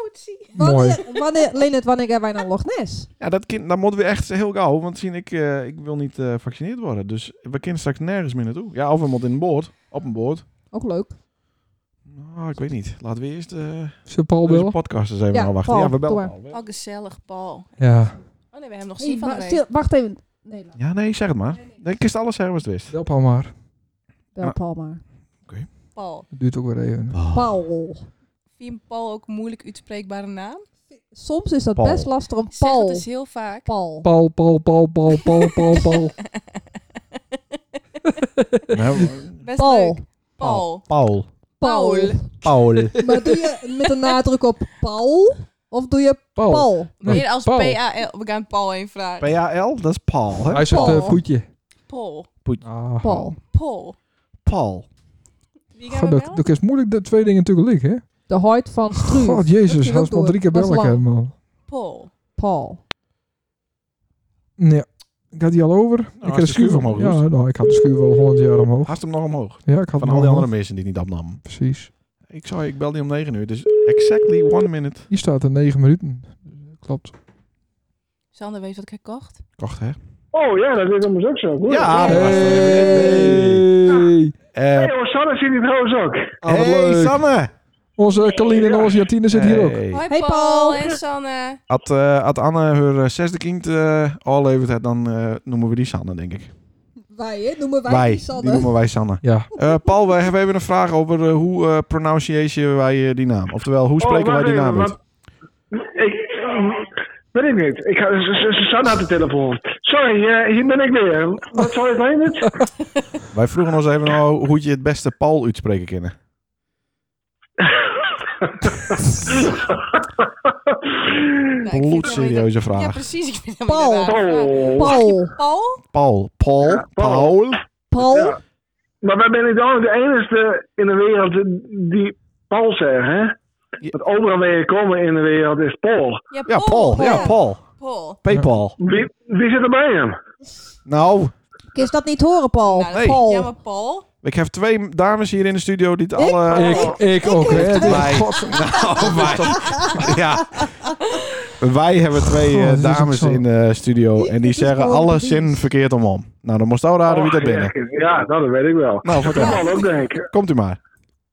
[SPEAKER 4] Mooi.
[SPEAKER 3] Wanneer, wanneer, Leendert, wanneer gaan wij naar Loch Ness?
[SPEAKER 2] Ja, dat, kind, dat moeten we echt heel gauw. Want zien, ik, eh, ik wil niet eh gevaccineerd worden. Dus we kunnen straks nergens meer naartoe. Ja, of we moeten in een boord. Op een boord.
[SPEAKER 3] Ook leuk.
[SPEAKER 2] Nou, ik weet niet. Laten we eerst eh
[SPEAKER 4] Zullen we Paul
[SPEAKER 2] deze
[SPEAKER 4] bellen?
[SPEAKER 2] podcast eens even
[SPEAKER 3] Ja,
[SPEAKER 2] aan wachten.
[SPEAKER 3] Paul,
[SPEAKER 2] ja, we bellen
[SPEAKER 3] doe maar.
[SPEAKER 2] al.
[SPEAKER 1] Oh, gezellig, Paul.
[SPEAKER 4] Ja.
[SPEAKER 1] Oh nee, we hebben hem nog
[SPEAKER 3] Hey,
[SPEAKER 1] zien van
[SPEAKER 3] maar
[SPEAKER 1] de week.
[SPEAKER 3] stil, wacht even. Nee, laat.
[SPEAKER 2] Ja, nee, zeg het maar. Nee, ik kist alles zeggen wat het wist.
[SPEAKER 4] Bel Paul maar.
[SPEAKER 3] Bel
[SPEAKER 2] Ja.
[SPEAKER 3] Paul maar.
[SPEAKER 1] Paul.
[SPEAKER 4] Het duurt ook weer even.
[SPEAKER 3] Paul.
[SPEAKER 1] Vind je Paul ook een moeilijk uitspreekbare naam?
[SPEAKER 3] Soms is dat
[SPEAKER 2] Paul.
[SPEAKER 3] best lastig om
[SPEAKER 1] Zeg
[SPEAKER 3] Paul.
[SPEAKER 1] dat is heel vaak.
[SPEAKER 3] Paul.
[SPEAKER 4] Paul, Paul, Paul, Paul, Paul, Paul, Paul.
[SPEAKER 2] Nou,
[SPEAKER 1] Best
[SPEAKER 3] Paul.
[SPEAKER 1] leuk. Paul.
[SPEAKER 2] Paul.
[SPEAKER 3] Paul.
[SPEAKER 1] Paul.
[SPEAKER 2] Paul.
[SPEAKER 3] Maar doe je met een nadruk op Paul? Of doe je
[SPEAKER 4] Paul.
[SPEAKER 3] Paul?
[SPEAKER 4] Nee,
[SPEAKER 1] Meer als
[SPEAKER 4] Paul.
[SPEAKER 1] PAL. We gaan Paul even vragen.
[SPEAKER 2] P-A-L, dat is Paul. Hè?
[SPEAKER 4] Hij zegt
[SPEAKER 3] Paul.
[SPEAKER 4] eh, voetje.
[SPEAKER 1] Paul.
[SPEAKER 4] Ah,
[SPEAKER 3] Paul.
[SPEAKER 1] Paul.
[SPEAKER 2] Paul.
[SPEAKER 1] Wie gaan
[SPEAKER 4] God,
[SPEAKER 1] we
[SPEAKER 4] dat,
[SPEAKER 1] bellen?
[SPEAKER 4] dat is moeilijk dat twee dingen tegelijk, hè?
[SPEAKER 3] De hart van Struve.
[SPEAKER 4] God,
[SPEAKER 3] Dat
[SPEAKER 4] jezus.
[SPEAKER 3] kun je
[SPEAKER 4] Hij
[SPEAKER 3] ook
[SPEAKER 4] is maar
[SPEAKER 3] doen.
[SPEAKER 4] drie keer
[SPEAKER 3] Dat is
[SPEAKER 4] bellen, kan,
[SPEAKER 3] lang.
[SPEAKER 4] man.
[SPEAKER 1] Paul.
[SPEAKER 3] Paul.
[SPEAKER 4] Nee. Gaat die al over? ik had
[SPEAKER 2] Nou, de
[SPEAKER 4] de
[SPEAKER 2] schuur
[SPEAKER 4] schuur
[SPEAKER 2] omhoog
[SPEAKER 4] Ja,
[SPEAKER 2] doet.
[SPEAKER 4] nou, ik had de schuur wel 100 jaar omhoog.
[SPEAKER 2] Haast hem nog omhoog.
[SPEAKER 4] Ja, ik
[SPEAKER 2] Van
[SPEAKER 4] had
[SPEAKER 2] al
[SPEAKER 4] hem
[SPEAKER 2] die
[SPEAKER 4] al
[SPEAKER 2] andere
[SPEAKER 4] omhoog.
[SPEAKER 2] mensen die het niet opnamen.
[SPEAKER 4] Precies.
[SPEAKER 2] Ik zou, ik bel die om 9 uur. Dus exactly one minute.
[SPEAKER 4] Hier staat er 9 minuten. Klopt.
[SPEAKER 1] Sander, weet je wat ik heb gekocht?
[SPEAKER 2] Kocht, hè?
[SPEAKER 7] Oh ja, dat is allemaal ook zo. Goed.
[SPEAKER 2] Ja,
[SPEAKER 4] Hey!
[SPEAKER 7] Hey, hoor, Sanne zit hier trouwens ook.
[SPEAKER 4] Ah, wat leuk.
[SPEAKER 2] Sanne!
[SPEAKER 4] Onze Kaline en onze Jatine zitten hier ook.
[SPEAKER 2] Hey.
[SPEAKER 1] Hoi
[SPEAKER 3] Hey,
[SPEAKER 1] Paul.
[SPEAKER 3] Paul.
[SPEAKER 1] en Sanne.
[SPEAKER 2] Had, eh, had Anne haar eh, zesde kind eh, al levert, het, dan eh, noemen we die Sanne, denk ik.
[SPEAKER 3] Wij, hè? Noemen wij,
[SPEAKER 2] wij,
[SPEAKER 3] die
[SPEAKER 2] die
[SPEAKER 3] Sanne.
[SPEAKER 2] noemen wij Sanne.
[SPEAKER 4] Ja.
[SPEAKER 2] Eh, Paul, wij hebben even een vraag over eh, hoe eh pronunciation wij eh, die naam. Oftewel,
[SPEAKER 7] Oh,
[SPEAKER 2] hoe spreken wij die naam uit?
[SPEAKER 7] Ik weet ik niet. Ik ga, S- S- Sanne had de telefoon. Sorry, eh, hier ben ik weer. Wat zal je bij met?
[SPEAKER 2] Wij vroegen ons even nou hoe je het beste Paul uitspreken kennen.
[SPEAKER 1] Nou, ik vind het wel weer-
[SPEAKER 2] Bloedserieuze
[SPEAKER 1] Ja,
[SPEAKER 2] vraag.
[SPEAKER 1] precies. Ik vind hem
[SPEAKER 3] Paul.
[SPEAKER 1] inderdaad raar.
[SPEAKER 7] Oh.
[SPEAKER 3] Paul.
[SPEAKER 1] Paul.
[SPEAKER 2] Paul. Paul.
[SPEAKER 7] Paul.
[SPEAKER 2] Paul.
[SPEAKER 3] Paul.
[SPEAKER 7] Ja. Maar wij zijn niet altijd de enige in de wereld die Paul zegt, hè? Want overal waar je komen in de wereld is Paul.
[SPEAKER 2] Ja, Paul. Ja, Paul.
[SPEAKER 1] Paul.
[SPEAKER 2] Paypal.
[SPEAKER 7] Wie, wie zit er bij hem?
[SPEAKER 2] Nou,
[SPEAKER 3] Kun je dat niet horen, Paul?
[SPEAKER 1] Nou, dat is
[SPEAKER 3] Oh, Paul.
[SPEAKER 1] jammer, Paul.
[SPEAKER 2] ik heb twee dames hier in de studio die het alle...
[SPEAKER 4] Ik, ik ook, hè? Dus- Het is-
[SPEAKER 2] Wij. Nou, wij. Ja. Wij hebben twee eh,
[SPEAKER 4] Goh, dat is ook
[SPEAKER 2] dames
[SPEAKER 4] zo.
[SPEAKER 2] in de studio
[SPEAKER 3] Niet
[SPEAKER 2] en die
[SPEAKER 3] te
[SPEAKER 2] zeggen
[SPEAKER 3] geloven,
[SPEAKER 2] alle
[SPEAKER 3] niet.
[SPEAKER 2] zin verkeerd omom. Nou, dan moest al raden wie dat binnen.
[SPEAKER 7] Oh, Ja, dat weet ik wel.
[SPEAKER 2] Nou, vertel.
[SPEAKER 7] Voetbal ook, denk ik.
[SPEAKER 2] Komt u maar.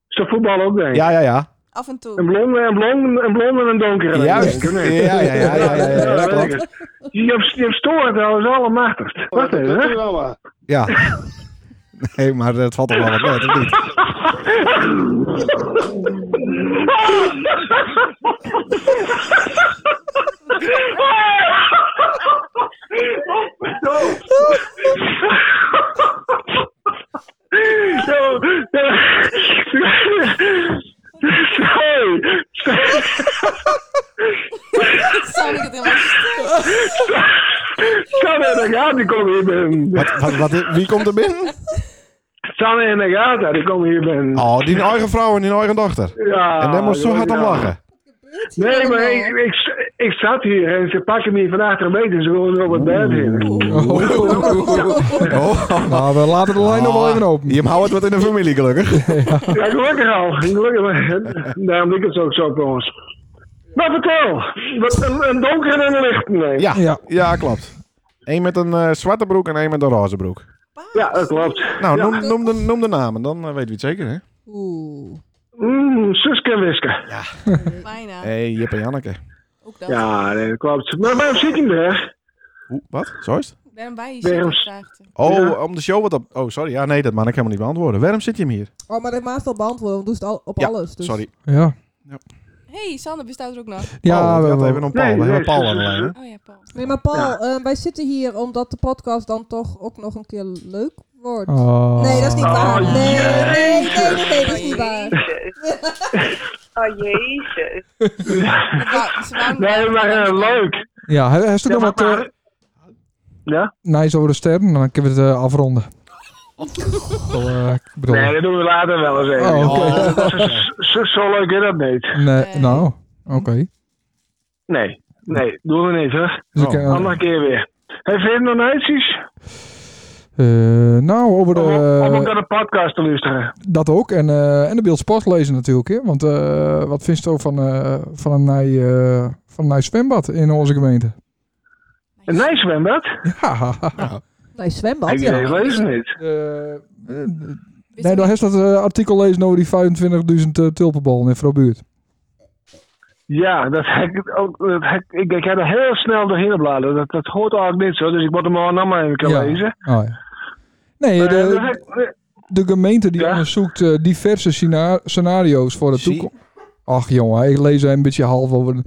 [SPEAKER 7] Ze voetbal ook, denk ik.
[SPEAKER 2] Ja, ja, ja.
[SPEAKER 1] Af en toe.
[SPEAKER 7] Een blonde, een blonde, een blonde en een donkere.
[SPEAKER 2] Juist.
[SPEAKER 7] denk ik, of niet?
[SPEAKER 2] Ja, ja, ja, ja, ja, ja, dat klopt.
[SPEAKER 7] Je hebt, je hebt storen trouwens allemachtig. Wacht even, hè?
[SPEAKER 2] Ja. Nee, maar dat valt toch wel wat net, of niet?
[SPEAKER 7] Zo, eh, Sorry.
[SPEAKER 1] Sanne, ik het helemaal stil.
[SPEAKER 7] Sanne, daar gaat die komen in.
[SPEAKER 2] Wat, wat, wat, wie komt er binnen?
[SPEAKER 7] Sanne en Agatha, die komen hier binnen.
[SPEAKER 2] Oh, die eigen vrouw en die eigen dochter.
[SPEAKER 7] Ja,
[SPEAKER 2] En daar moest zo hard om
[SPEAKER 7] ja.
[SPEAKER 2] lachen.
[SPEAKER 7] Nee, maar ik, ik, ik zat hier en ze pakken me van achter een beetje en ze willen me op het bed in.
[SPEAKER 2] Oh,
[SPEAKER 4] Nou, we laten de lijn nog wel even open.
[SPEAKER 2] Je houdt wat in de familie, gelukkig.
[SPEAKER 7] Ja, gelukkig al. Gelukkig. maar- Daarom liep het ook zo trouwens. Maar vertel, wat een, een donker en een licht. Nee.
[SPEAKER 2] Ja, ja.
[SPEAKER 4] Ja.
[SPEAKER 2] klopt. Eén met een eh, zwarte broek en één met een roze broek.
[SPEAKER 7] Ja, dat klopt.
[SPEAKER 2] Nou,
[SPEAKER 7] Ja.
[SPEAKER 2] noem, noem, de, noem de namen, dan eh, weten we het zeker, hè?
[SPEAKER 3] Oeh.
[SPEAKER 7] Mm, Suske en Wiske.
[SPEAKER 1] Bijna.
[SPEAKER 2] Hé, hey, Jip en Janneke.
[SPEAKER 1] Ook dat.
[SPEAKER 7] Ja, nee, dat klopt. Maar waarom zit je er?
[SPEAKER 2] Oeh, wat? Zo is het?
[SPEAKER 1] Daarom bij je
[SPEAKER 7] Waarom-
[SPEAKER 1] zit gevraagd.
[SPEAKER 2] Oh,
[SPEAKER 7] Ja.
[SPEAKER 2] om de show wat op... Oh, sorry. Ja, nee, dat mag ik helemaal niet beantwoorden. Waarom zit je hem hier?
[SPEAKER 3] Oh, maar dat maakt wel beantwoorden, want doen ze het al op
[SPEAKER 2] Ja,
[SPEAKER 3] alles. Dus.
[SPEAKER 2] Sorry.
[SPEAKER 4] Ja,
[SPEAKER 1] hey, Sander bestaat er ook nog.
[SPEAKER 4] ja
[SPEAKER 2] Paul,
[SPEAKER 4] we
[SPEAKER 2] het gaat
[SPEAKER 4] hebben
[SPEAKER 2] Oh, even om Paul.
[SPEAKER 7] Nee,
[SPEAKER 2] we hebben
[SPEAKER 7] nee,
[SPEAKER 2] Paul aan
[SPEAKER 7] ze-
[SPEAKER 2] de
[SPEAKER 7] ze-
[SPEAKER 2] lijn, hè?
[SPEAKER 1] Oh ja, Paul.
[SPEAKER 3] Nee, maar Paul,
[SPEAKER 7] Ja.
[SPEAKER 3] eh, wij zitten hier omdat de podcast dan toch ook nog een keer leuk wordt.
[SPEAKER 4] Oh.
[SPEAKER 3] Nee, dat is niet waar.
[SPEAKER 7] Oh,
[SPEAKER 3] Nee, nee, nee, nee, nee, dat
[SPEAKER 6] Oh,
[SPEAKER 3] is niet waar.
[SPEAKER 6] jezus. Oh, jezus.
[SPEAKER 1] Ze wou- ze wou-
[SPEAKER 7] Nee, maar eh, leuk.
[SPEAKER 4] Ja, hij hij is
[SPEAKER 7] Ja,
[SPEAKER 4] natuurlijk nog
[SPEAKER 7] maar-
[SPEAKER 4] wat eh,
[SPEAKER 7] maar- ja?
[SPEAKER 4] nice over de sterren. Dan kunnen we het eh, afronden. Wel, eh, ik bedoel,
[SPEAKER 7] Nee, dat doen we later wel eens even.
[SPEAKER 4] Oh, oké.
[SPEAKER 7] Zo, zo leuk is dat niet.
[SPEAKER 4] nee, nou, oké.
[SPEAKER 7] Nee, nee, doen we niet, hè.
[SPEAKER 4] Dus
[SPEAKER 2] Oh.
[SPEAKER 4] ik, eh,
[SPEAKER 7] Andere keer weer. Heb je nog notities?
[SPEAKER 4] eh, nou, over de...
[SPEAKER 7] Om, om ook
[SPEAKER 4] eh,
[SPEAKER 7] naar de podcast te luisteren.
[SPEAKER 4] dat ook. En, eh, en de beeld sport lezen natuurlijk. Hè? Want eh, wat vindt u van, eh, van, een nij, eh, van een nij zwembad in onze gemeente?
[SPEAKER 7] Een nice zwembad?
[SPEAKER 4] Ja.
[SPEAKER 3] Nee, zwembad,
[SPEAKER 7] Ik
[SPEAKER 3] ja.
[SPEAKER 7] lees lezen niet.
[SPEAKER 4] Eh, eh,
[SPEAKER 1] Wist je
[SPEAKER 4] nee, daar
[SPEAKER 1] niet?
[SPEAKER 4] heeft dat eh, artikel lezen over die 25.000 eh, tulpenballen in Vrouwbuurt.
[SPEAKER 7] Ja, dat heb ik ook. Dat heb, ik, ik heb er heel snel doorheen bladeren. Dat, dat hoort eigenlijk niet zo, dus ik moet hem al allemaal even kunnen
[SPEAKER 4] Ja.
[SPEAKER 7] lezen.
[SPEAKER 4] Oh, ja. Nee,
[SPEAKER 7] Maar dat eh,
[SPEAKER 4] de,
[SPEAKER 7] heb ik-
[SPEAKER 4] de gemeente die
[SPEAKER 7] Ja.
[SPEAKER 4] onderzoekt eh, diverse scena- scenario's voor de
[SPEAKER 2] Zie.
[SPEAKER 4] toekomst. Ach jongen, ik lees er een beetje half over. Dat-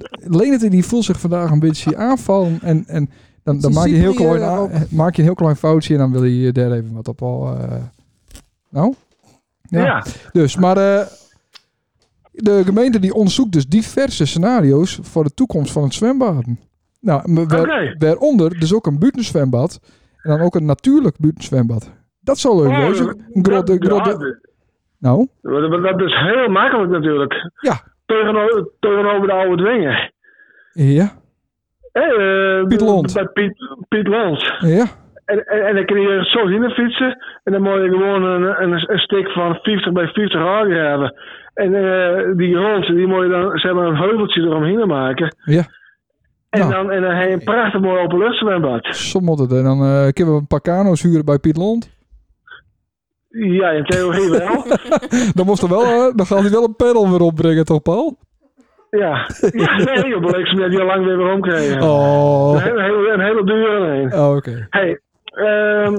[SPEAKER 4] dat- Lenert die voelt zich vandaag een beetje aanvallen en, en dan, dan
[SPEAKER 3] Beetje
[SPEAKER 4] maak, je een heel
[SPEAKER 3] superieur
[SPEAKER 4] klein, a-
[SPEAKER 3] daarop.
[SPEAKER 4] maak je een heel klein foutje en dan wil je daar even wat op al. eh, nou?
[SPEAKER 7] ja.
[SPEAKER 4] Dus, maar eh, de gemeente die onderzoekt dus diverse scenario's voor de toekomst van het zwembad. Nou, m- waar-
[SPEAKER 7] Oké.
[SPEAKER 4] waaronder dus ook een buitenzwembad en dan ook een natuurlijk buitenzwembad. Dat zou leuk
[SPEAKER 7] Oh,
[SPEAKER 4] zijn. Een grote,
[SPEAKER 7] dat- ja,
[SPEAKER 4] grote- nou,
[SPEAKER 7] dat- dat- dat is heel makkelijk natuurlijk.
[SPEAKER 4] Ja.
[SPEAKER 7] Tegenover, tegenover de oude dwingen.
[SPEAKER 4] ja,
[SPEAKER 7] Hey, eh,
[SPEAKER 4] Piet Lont.
[SPEAKER 7] Bij Piet, Piet Lont.
[SPEAKER 4] ja,
[SPEAKER 7] En, en, en dan kun je zo heen fietsen. En dan moet je gewoon een, een, een stuk van 50 bij 50 aangraven. En eh, die grond, die moet je dan zeg maar, een heuveltje eromheen maken.
[SPEAKER 4] ja.
[SPEAKER 7] En,
[SPEAKER 4] Nou.
[SPEAKER 7] dan, en dan heb je een prachtig mooi openluchtzwembad.
[SPEAKER 4] Sommige en dan eh kunnen we een paar kano's huren bij Piet Lond.
[SPEAKER 7] Ja, in theorie wel.
[SPEAKER 4] Dan moest er wel, eh, dan gaat hij wel een pedal weer opbrengen, toch Paul?
[SPEAKER 7] ja. ja. Nee, joh, beleefd ze net heel lang weer weer omkrijgen. Een,
[SPEAKER 4] Oh,
[SPEAKER 7] hele- hele- een hele dure een.
[SPEAKER 4] oh oké.
[SPEAKER 7] Hey, ehm,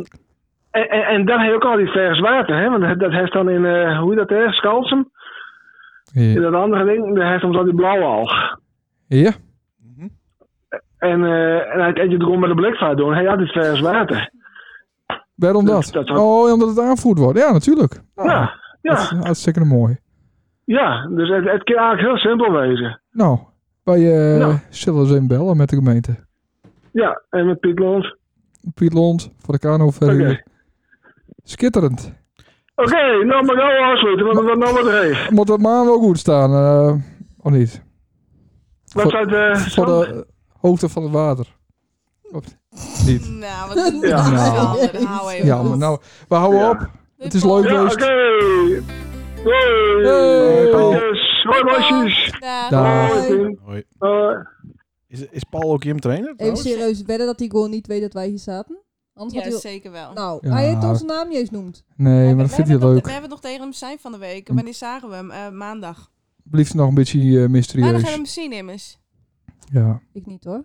[SPEAKER 7] en, en, en dan heb je ook al die vers water, hè? Want dat- dat heeft dan in, eh, hoe heet dat, hè? Schalsum? In
[SPEAKER 4] Ja.
[SPEAKER 7] dat andere ding, daar heeft dan die blauwe alg.
[SPEAKER 4] ja,
[SPEAKER 7] En, eh en hij eet je er gewoon met een blikvaart door. Hij had die vers water.
[SPEAKER 4] waarom
[SPEAKER 7] Dat-
[SPEAKER 4] dat?
[SPEAKER 7] Dus dat had-
[SPEAKER 4] Oh, omdat het aanvoerd wordt. Ja, natuurlijk. Nou,
[SPEAKER 7] Ja,
[SPEAKER 4] dat is
[SPEAKER 7] ja,
[SPEAKER 4] Hartstikke mooi.
[SPEAKER 7] ja. Dus het, het kan eigenlijk heel simpel wezen.
[SPEAKER 4] Nou, wij eh,
[SPEAKER 7] Nou.
[SPEAKER 4] zullen eens even bellen met de gemeente.
[SPEAKER 7] Ja, en met Piet Lons.
[SPEAKER 4] Piet Lond voor de kano verhuur.
[SPEAKER 7] Oké.
[SPEAKER 4] Schitterend.
[SPEAKER 7] Oké, nou maar gauw afsluiten, want dat nou wat regen.
[SPEAKER 4] Moet dat maan wel goed staan, eh, of niet?
[SPEAKER 7] Wat
[SPEAKER 4] Voor-
[SPEAKER 7] staat eh
[SPEAKER 4] Voor de eh, hoogte van het water. Niet.
[SPEAKER 1] Nou, wat doe je
[SPEAKER 7] Ja.
[SPEAKER 1] nou,
[SPEAKER 4] Nou.
[SPEAKER 1] Sander? Hou even
[SPEAKER 4] Ja,
[SPEAKER 1] op.
[SPEAKER 4] maar nou, we houden
[SPEAKER 7] Ja.
[SPEAKER 4] op. Het is leuk
[SPEAKER 7] Ja, oké.
[SPEAKER 4] geweest.
[SPEAKER 7] Hoi.
[SPEAKER 4] Hey, Paul.
[SPEAKER 7] Yes. Hoi, meisjes.
[SPEAKER 1] Dag.
[SPEAKER 4] Dag.
[SPEAKER 7] Hoi, Pien.
[SPEAKER 2] Hoi.
[SPEAKER 7] Hoi.
[SPEAKER 2] Is, is Paul ook Jim trainer?
[SPEAKER 3] Even
[SPEAKER 2] trouwens?
[SPEAKER 3] serieus wedden dat hij gewoon niet weet dat wij hier zaten. Anders
[SPEAKER 1] Ja,
[SPEAKER 3] had hij...
[SPEAKER 1] zeker wel.
[SPEAKER 3] Nou,
[SPEAKER 4] Ja.
[SPEAKER 3] hij heeft onze naam niet eens noemd.
[SPEAKER 4] Nee,
[SPEAKER 1] We
[SPEAKER 4] maar dat
[SPEAKER 1] hebben
[SPEAKER 4] vindt hij
[SPEAKER 1] het nog- We
[SPEAKER 4] leuk.
[SPEAKER 1] hebben het nog tegen hem zijn van de week. Wanneer zagen we hem? Eh, maandag.
[SPEAKER 4] Blijft nog een beetje eh,
[SPEAKER 1] Maandag hebben we
[SPEAKER 4] mysterieus.
[SPEAKER 1] hem zien, immers.
[SPEAKER 4] Ja.
[SPEAKER 3] Ik niet hoor.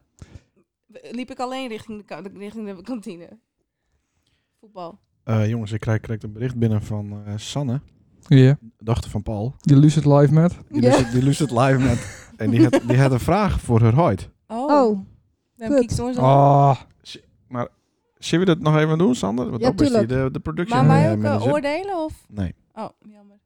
[SPEAKER 1] Liep ik alleen richting de, ka- richting de kantine. Voetbal.
[SPEAKER 2] Eh, jongens, ik krijg, krijg een bericht binnen van eh, Sanne,
[SPEAKER 4] Ja.
[SPEAKER 2] dochter van Paul.
[SPEAKER 4] Die luistert live met.
[SPEAKER 2] Die
[SPEAKER 3] Ja.
[SPEAKER 2] luistert- die luistert live met. En die had, die had een vraag voor haar huid.
[SPEAKER 1] Oh.
[SPEAKER 3] Oh,
[SPEAKER 1] Dan
[SPEAKER 3] kut.
[SPEAKER 1] kijk ik soms al.
[SPEAKER 4] Ah.
[SPEAKER 2] Zullen we dat nog even doen, Sander? Want
[SPEAKER 3] Ja,
[SPEAKER 2] dan is die
[SPEAKER 3] tuurlijk.
[SPEAKER 2] de, de production
[SPEAKER 1] Maar wij
[SPEAKER 2] eh,
[SPEAKER 1] ook eh,
[SPEAKER 2] manager.
[SPEAKER 1] oordelen of?
[SPEAKER 2] Nee.
[SPEAKER 1] Oh, jammer.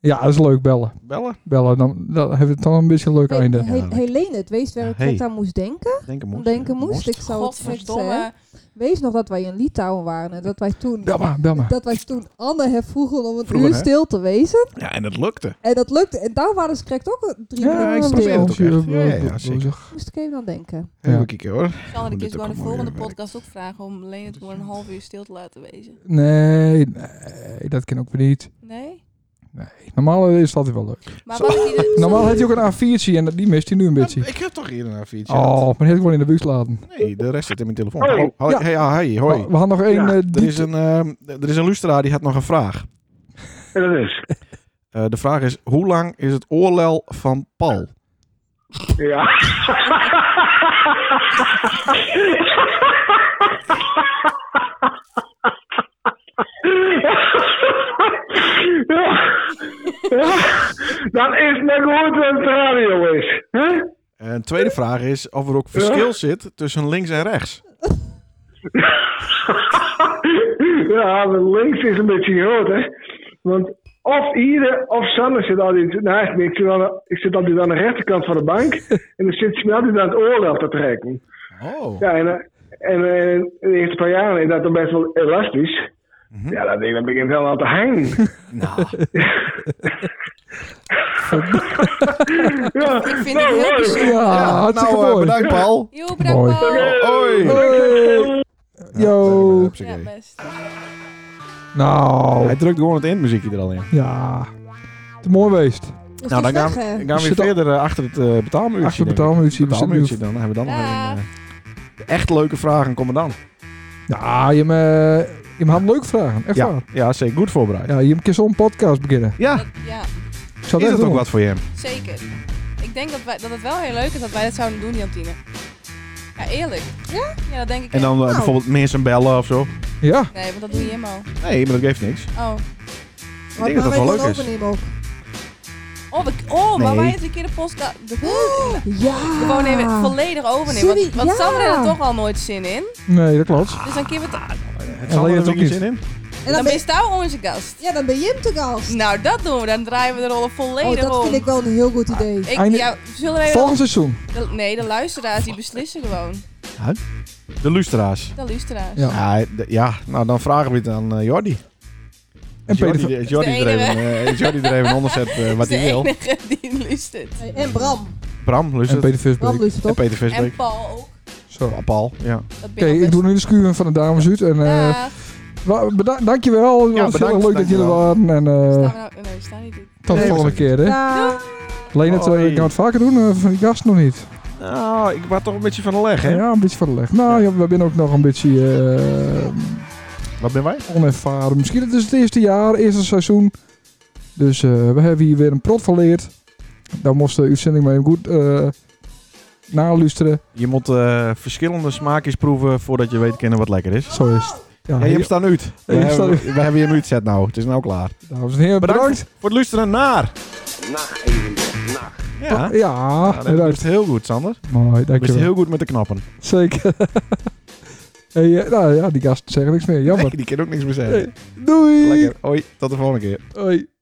[SPEAKER 4] Ja, dat is leuk bellen.
[SPEAKER 2] Bellen?
[SPEAKER 4] Bellen, dan, dan hebben we het dan een beetje een leuk
[SPEAKER 3] He-
[SPEAKER 4] einde.
[SPEAKER 3] He- Helene, het wees waar
[SPEAKER 2] Ja,
[SPEAKER 3] ik
[SPEAKER 2] hey.
[SPEAKER 3] net aan moest denken.
[SPEAKER 2] Denken moest.
[SPEAKER 3] Denken moest. Ik zou het net zeggen.
[SPEAKER 1] Godverdomme.
[SPEAKER 3] Wees nog dat wij in Litouwen waren en dat wij toen...
[SPEAKER 4] Bel maar, bel maar.
[SPEAKER 3] Dat wij toen Anne hervroegen om een
[SPEAKER 2] Vroegen,
[SPEAKER 3] uur
[SPEAKER 2] hè?
[SPEAKER 3] stil te wezen.
[SPEAKER 2] Ja, en dat lukte.
[SPEAKER 3] En dat lukte. En daar waren ze correct ook een- drie
[SPEAKER 2] Ja,
[SPEAKER 3] minuten
[SPEAKER 2] ik probeer
[SPEAKER 3] stil.
[SPEAKER 2] het ook echt. Ja, ja, ja, zeker.
[SPEAKER 3] Moest ik even aan denken.
[SPEAKER 4] Ja.
[SPEAKER 2] Even kijken hoor.
[SPEAKER 1] Sander, ik
[SPEAKER 2] Dit
[SPEAKER 1] is gewoon de
[SPEAKER 2] ook
[SPEAKER 1] volgende
[SPEAKER 2] mooi,
[SPEAKER 1] podcast ook vragen om Leen het voor een half uur stil te laten wezen.
[SPEAKER 4] Nee, nee, dat kan ook weer niet.
[SPEAKER 1] Nee?
[SPEAKER 4] Normaal eh, is dat wel leuk.
[SPEAKER 1] Maar
[SPEAKER 2] Zo.
[SPEAKER 1] wat is hier-
[SPEAKER 4] Normaal had hij ook een A4'tje en dat- die mist hij nu een beetje.
[SPEAKER 2] Ik heb toch hier een A4'tje.
[SPEAKER 4] Oh, maar die had ik gewoon in de bus laten.
[SPEAKER 2] Nee, de rest zit in mijn telefoon.
[SPEAKER 7] Hoi.
[SPEAKER 2] Hallo. Hoi.
[SPEAKER 4] Ja.
[SPEAKER 2] Hey, ah, hey, hoi.
[SPEAKER 4] We hadden nog één
[SPEAKER 7] Ja,
[SPEAKER 4] eh,
[SPEAKER 2] Er
[SPEAKER 4] diepte-
[SPEAKER 2] is een, ehm, er is een luisteraar die had nog een vraag.
[SPEAKER 7] En dat is.
[SPEAKER 2] Eh, de vraag is, hoe lang is het oorlel van Paul?
[SPEAKER 7] Ja. ja. ja. Dat is net hoe het op de radio is. hè?
[SPEAKER 2] En tweede vraag is of er ook verschil zit tussen links en rechts.
[SPEAKER 7] ja, maar links is een beetje groot, hè. Want of Ire of Sanne zit altijd... Nee, echt niet. Ik zit, aan de- ik zit altijd aan de rechterkant van de bank. en dan zit ze me altijd aan het oordeel te trekken.
[SPEAKER 2] Oh.
[SPEAKER 7] Ja, en, eh, en eh, in de eerste paar jaren is dat dan best wel elastisch. Ja, dat ding dat begint wel aan te hangen.
[SPEAKER 2] Nou,
[SPEAKER 7] ja,
[SPEAKER 1] Ik vind het heel bijzonder.
[SPEAKER 4] Ja,
[SPEAKER 2] ja,
[SPEAKER 4] Ah, hartstikke
[SPEAKER 2] nou eh,
[SPEAKER 4] mooi.
[SPEAKER 2] bedankt Paul.
[SPEAKER 1] Jo, bedankt
[SPEAKER 4] Mooi.
[SPEAKER 1] Paul.
[SPEAKER 2] Hoi.
[SPEAKER 4] Hey. Yo.
[SPEAKER 1] Ja,
[SPEAKER 2] Ja,
[SPEAKER 1] best.
[SPEAKER 4] Nou,
[SPEAKER 2] Hij drukt gewoon het eindmuziekje er al in.
[SPEAKER 4] ja. Te mooi geweest.
[SPEAKER 3] Dus
[SPEAKER 2] Nou,
[SPEAKER 3] het
[SPEAKER 2] dan
[SPEAKER 3] is
[SPEAKER 2] gaan,
[SPEAKER 3] weg, hè?
[SPEAKER 2] we- gaan we weer
[SPEAKER 4] Zit al-
[SPEAKER 2] verder eh, achter het eh betaalmuurtje.
[SPEAKER 4] Achter het
[SPEAKER 2] denk ik.
[SPEAKER 4] betaalmuurtje, we zitten nu-
[SPEAKER 2] betaalmuurtje, dan hebben we dan nog
[SPEAKER 1] Dag.
[SPEAKER 2] een... eh, echt leuke vragen komen dan.
[SPEAKER 4] Ja, je, me, je me had leuk vragen. Echt
[SPEAKER 2] Ja,
[SPEAKER 4] waar.
[SPEAKER 2] ja, zeker. Goed voorbereid.
[SPEAKER 4] Ja, je kan zo'n podcast beginnen.
[SPEAKER 2] Ja,
[SPEAKER 1] Dat- ja,
[SPEAKER 4] Ik zou
[SPEAKER 2] is
[SPEAKER 4] het
[SPEAKER 2] dat
[SPEAKER 4] echt
[SPEAKER 2] ook
[SPEAKER 4] doen.
[SPEAKER 2] wat voor je?
[SPEAKER 1] zeker. Ik denk dat, wij, dat het wel heel leuk is dat wij dat zouden doen, Jantine. Ja, eerlijk. Ja? Ja, dat denk ik.
[SPEAKER 2] En dan eh,
[SPEAKER 3] Nou.
[SPEAKER 2] bijvoorbeeld mensen bellen of zo.
[SPEAKER 4] Ja,
[SPEAKER 1] echt. Nee, want dat doe je helemaal.
[SPEAKER 2] Nee, maar dat geeft niks.
[SPEAKER 1] Oh.
[SPEAKER 3] Ik
[SPEAKER 2] denk dat dat wel leuk is.
[SPEAKER 1] Oh, we, oh maar
[SPEAKER 2] Nee.
[SPEAKER 1] wij eens een keer de podcast... De,
[SPEAKER 3] Ja.
[SPEAKER 1] gewoon even volledig overnemen.
[SPEAKER 3] Ah. Sorry,
[SPEAKER 1] Want, want
[SPEAKER 3] ja.
[SPEAKER 1] Sander heeft er toch al nooit zin in.
[SPEAKER 4] nee, dat klopt.
[SPEAKER 1] Dus dan kunnen we het...
[SPEAKER 2] Het
[SPEAKER 4] Alleen
[SPEAKER 2] zal er
[SPEAKER 4] het
[SPEAKER 2] ook
[SPEAKER 4] ook
[SPEAKER 2] niet
[SPEAKER 4] niet.
[SPEAKER 2] zin in.
[SPEAKER 3] En
[SPEAKER 1] Dan
[SPEAKER 3] dan ben je,
[SPEAKER 1] ben jou onze gast.
[SPEAKER 3] ja, dan ben je hem te gast.
[SPEAKER 1] Nou, dat doen we. Dan draaien we de rollen
[SPEAKER 3] Oh,
[SPEAKER 1] volledig
[SPEAKER 3] dat
[SPEAKER 1] om.
[SPEAKER 3] vind ik wel een heel goed idee.
[SPEAKER 1] Ik-
[SPEAKER 4] Einde-
[SPEAKER 1] ja, zullen wij
[SPEAKER 4] Volgend seizoen.
[SPEAKER 1] de, nee, de luisteraars die beslissen gewoon.
[SPEAKER 2] De luisteraars.
[SPEAKER 1] De luisteraars.
[SPEAKER 4] Ja.
[SPEAKER 2] Ja, d- ja, nou dan vragen we het aan eh, Jordi.
[SPEAKER 4] En
[SPEAKER 2] Jordi,
[SPEAKER 4] Peter.
[SPEAKER 2] als Jordi,
[SPEAKER 1] Dat is
[SPEAKER 2] er
[SPEAKER 1] de
[SPEAKER 2] even, eh, als Jordi er even onder zet eh, wat
[SPEAKER 1] Dat is
[SPEAKER 2] hij
[SPEAKER 1] de
[SPEAKER 2] wil.
[SPEAKER 1] enige die luistert.
[SPEAKER 3] Hey, En Bram.
[SPEAKER 2] Bram, lust
[SPEAKER 4] En
[SPEAKER 2] het?
[SPEAKER 4] Peter
[SPEAKER 3] Bram
[SPEAKER 4] Visbeek.
[SPEAKER 3] lust het
[SPEAKER 2] En
[SPEAKER 3] ook.
[SPEAKER 2] Peter Visbeek.
[SPEAKER 1] En Paul ook.
[SPEAKER 4] Zo. Oké,
[SPEAKER 2] Ah, Paul, ja.
[SPEAKER 1] Dat ben ik
[SPEAKER 4] ik doe nu de schuur van de dames uit. En eh
[SPEAKER 1] Dag.
[SPEAKER 4] wa- beda- dankjewel. Het was heel
[SPEAKER 2] bedankt,
[SPEAKER 4] leuk dat jullie er waren. En
[SPEAKER 1] Staan
[SPEAKER 4] eh
[SPEAKER 1] we nou... Nee, staan niet in.
[SPEAKER 4] tot de
[SPEAKER 2] Nee,
[SPEAKER 4] volgende
[SPEAKER 2] we zijn-
[SPEAKER 4] keer. Hè.
[SPEAKER 3] Ja.
[SPEAKER 4] Leen het, eh,
[SPEAKER 2] Hoi.
[SPEAKER 4] ik kan het vaker doen eh, van die gast nog niet.
[SPEAKER 2] Nou, ik was toch een beetje van de leg, hè?
[SPEAKER 4] Ja, een beetje van de leg. Nou, ja, we zijn ook nog een beetje
[SPEAKER 2] Wat ben wij?
[SPEAKER 4] eh, onervaren. Misschien het is het eerste jaar, eerste seizoen. Dus eh, we hebben hier weer een prot van leerd. Daar moest de uitzending maar even goed eh naluisteren.
[SPEAKER 2] Je moet eh, verschillende smaakjes proeven voordat je weet kennen wat lekker is.
[SPEAKER 4] Zo is het. Ja,
[SPEAKER 2] Ja, je hebt staan uit. We
[SPEAKER 4] hebt staan
[SPEAKER 2] hebben,
[SPEAKER 4] uit.
[SPEAKER 2] we hebben je hem uitzet nou. Het is nou klaar.
[SPEAKER 4] dames en heren,
[SPEAKER 2] Bedankt.
[SPEAKER 4] bedankt.
[SPEAKER 2] Voor het luisteren naar.
[SPEAKER 5] Nacht evenbeeld. Nacht.
[SPEAKER 2] Ja. Nou,
[SPEAKER 4] Ja, ja
[SPEAKER 2] dat
[SPEAKER 4] bedankt.
[SPEAKER 2] wist heel goed, Sander.
[SPEAKER 4] Mooi,
[SPEAKER 2] Dat is
[SPEAKER 4] dankjewel.
[SPEAKER 2] heel goed met de knappen.
[SPEAKER 4] Zeker. hey, eh, nou ja, die gasten zeggen niks meer. Jammer.
[SPEAKER 2] Nee, die kan ook niks meer zeggen.
[SPEAKER 4] Doei.
[SPEAKER 2] Lekker. Hoi, tot de volgende keer.
[SPEAKER 4] Hoi.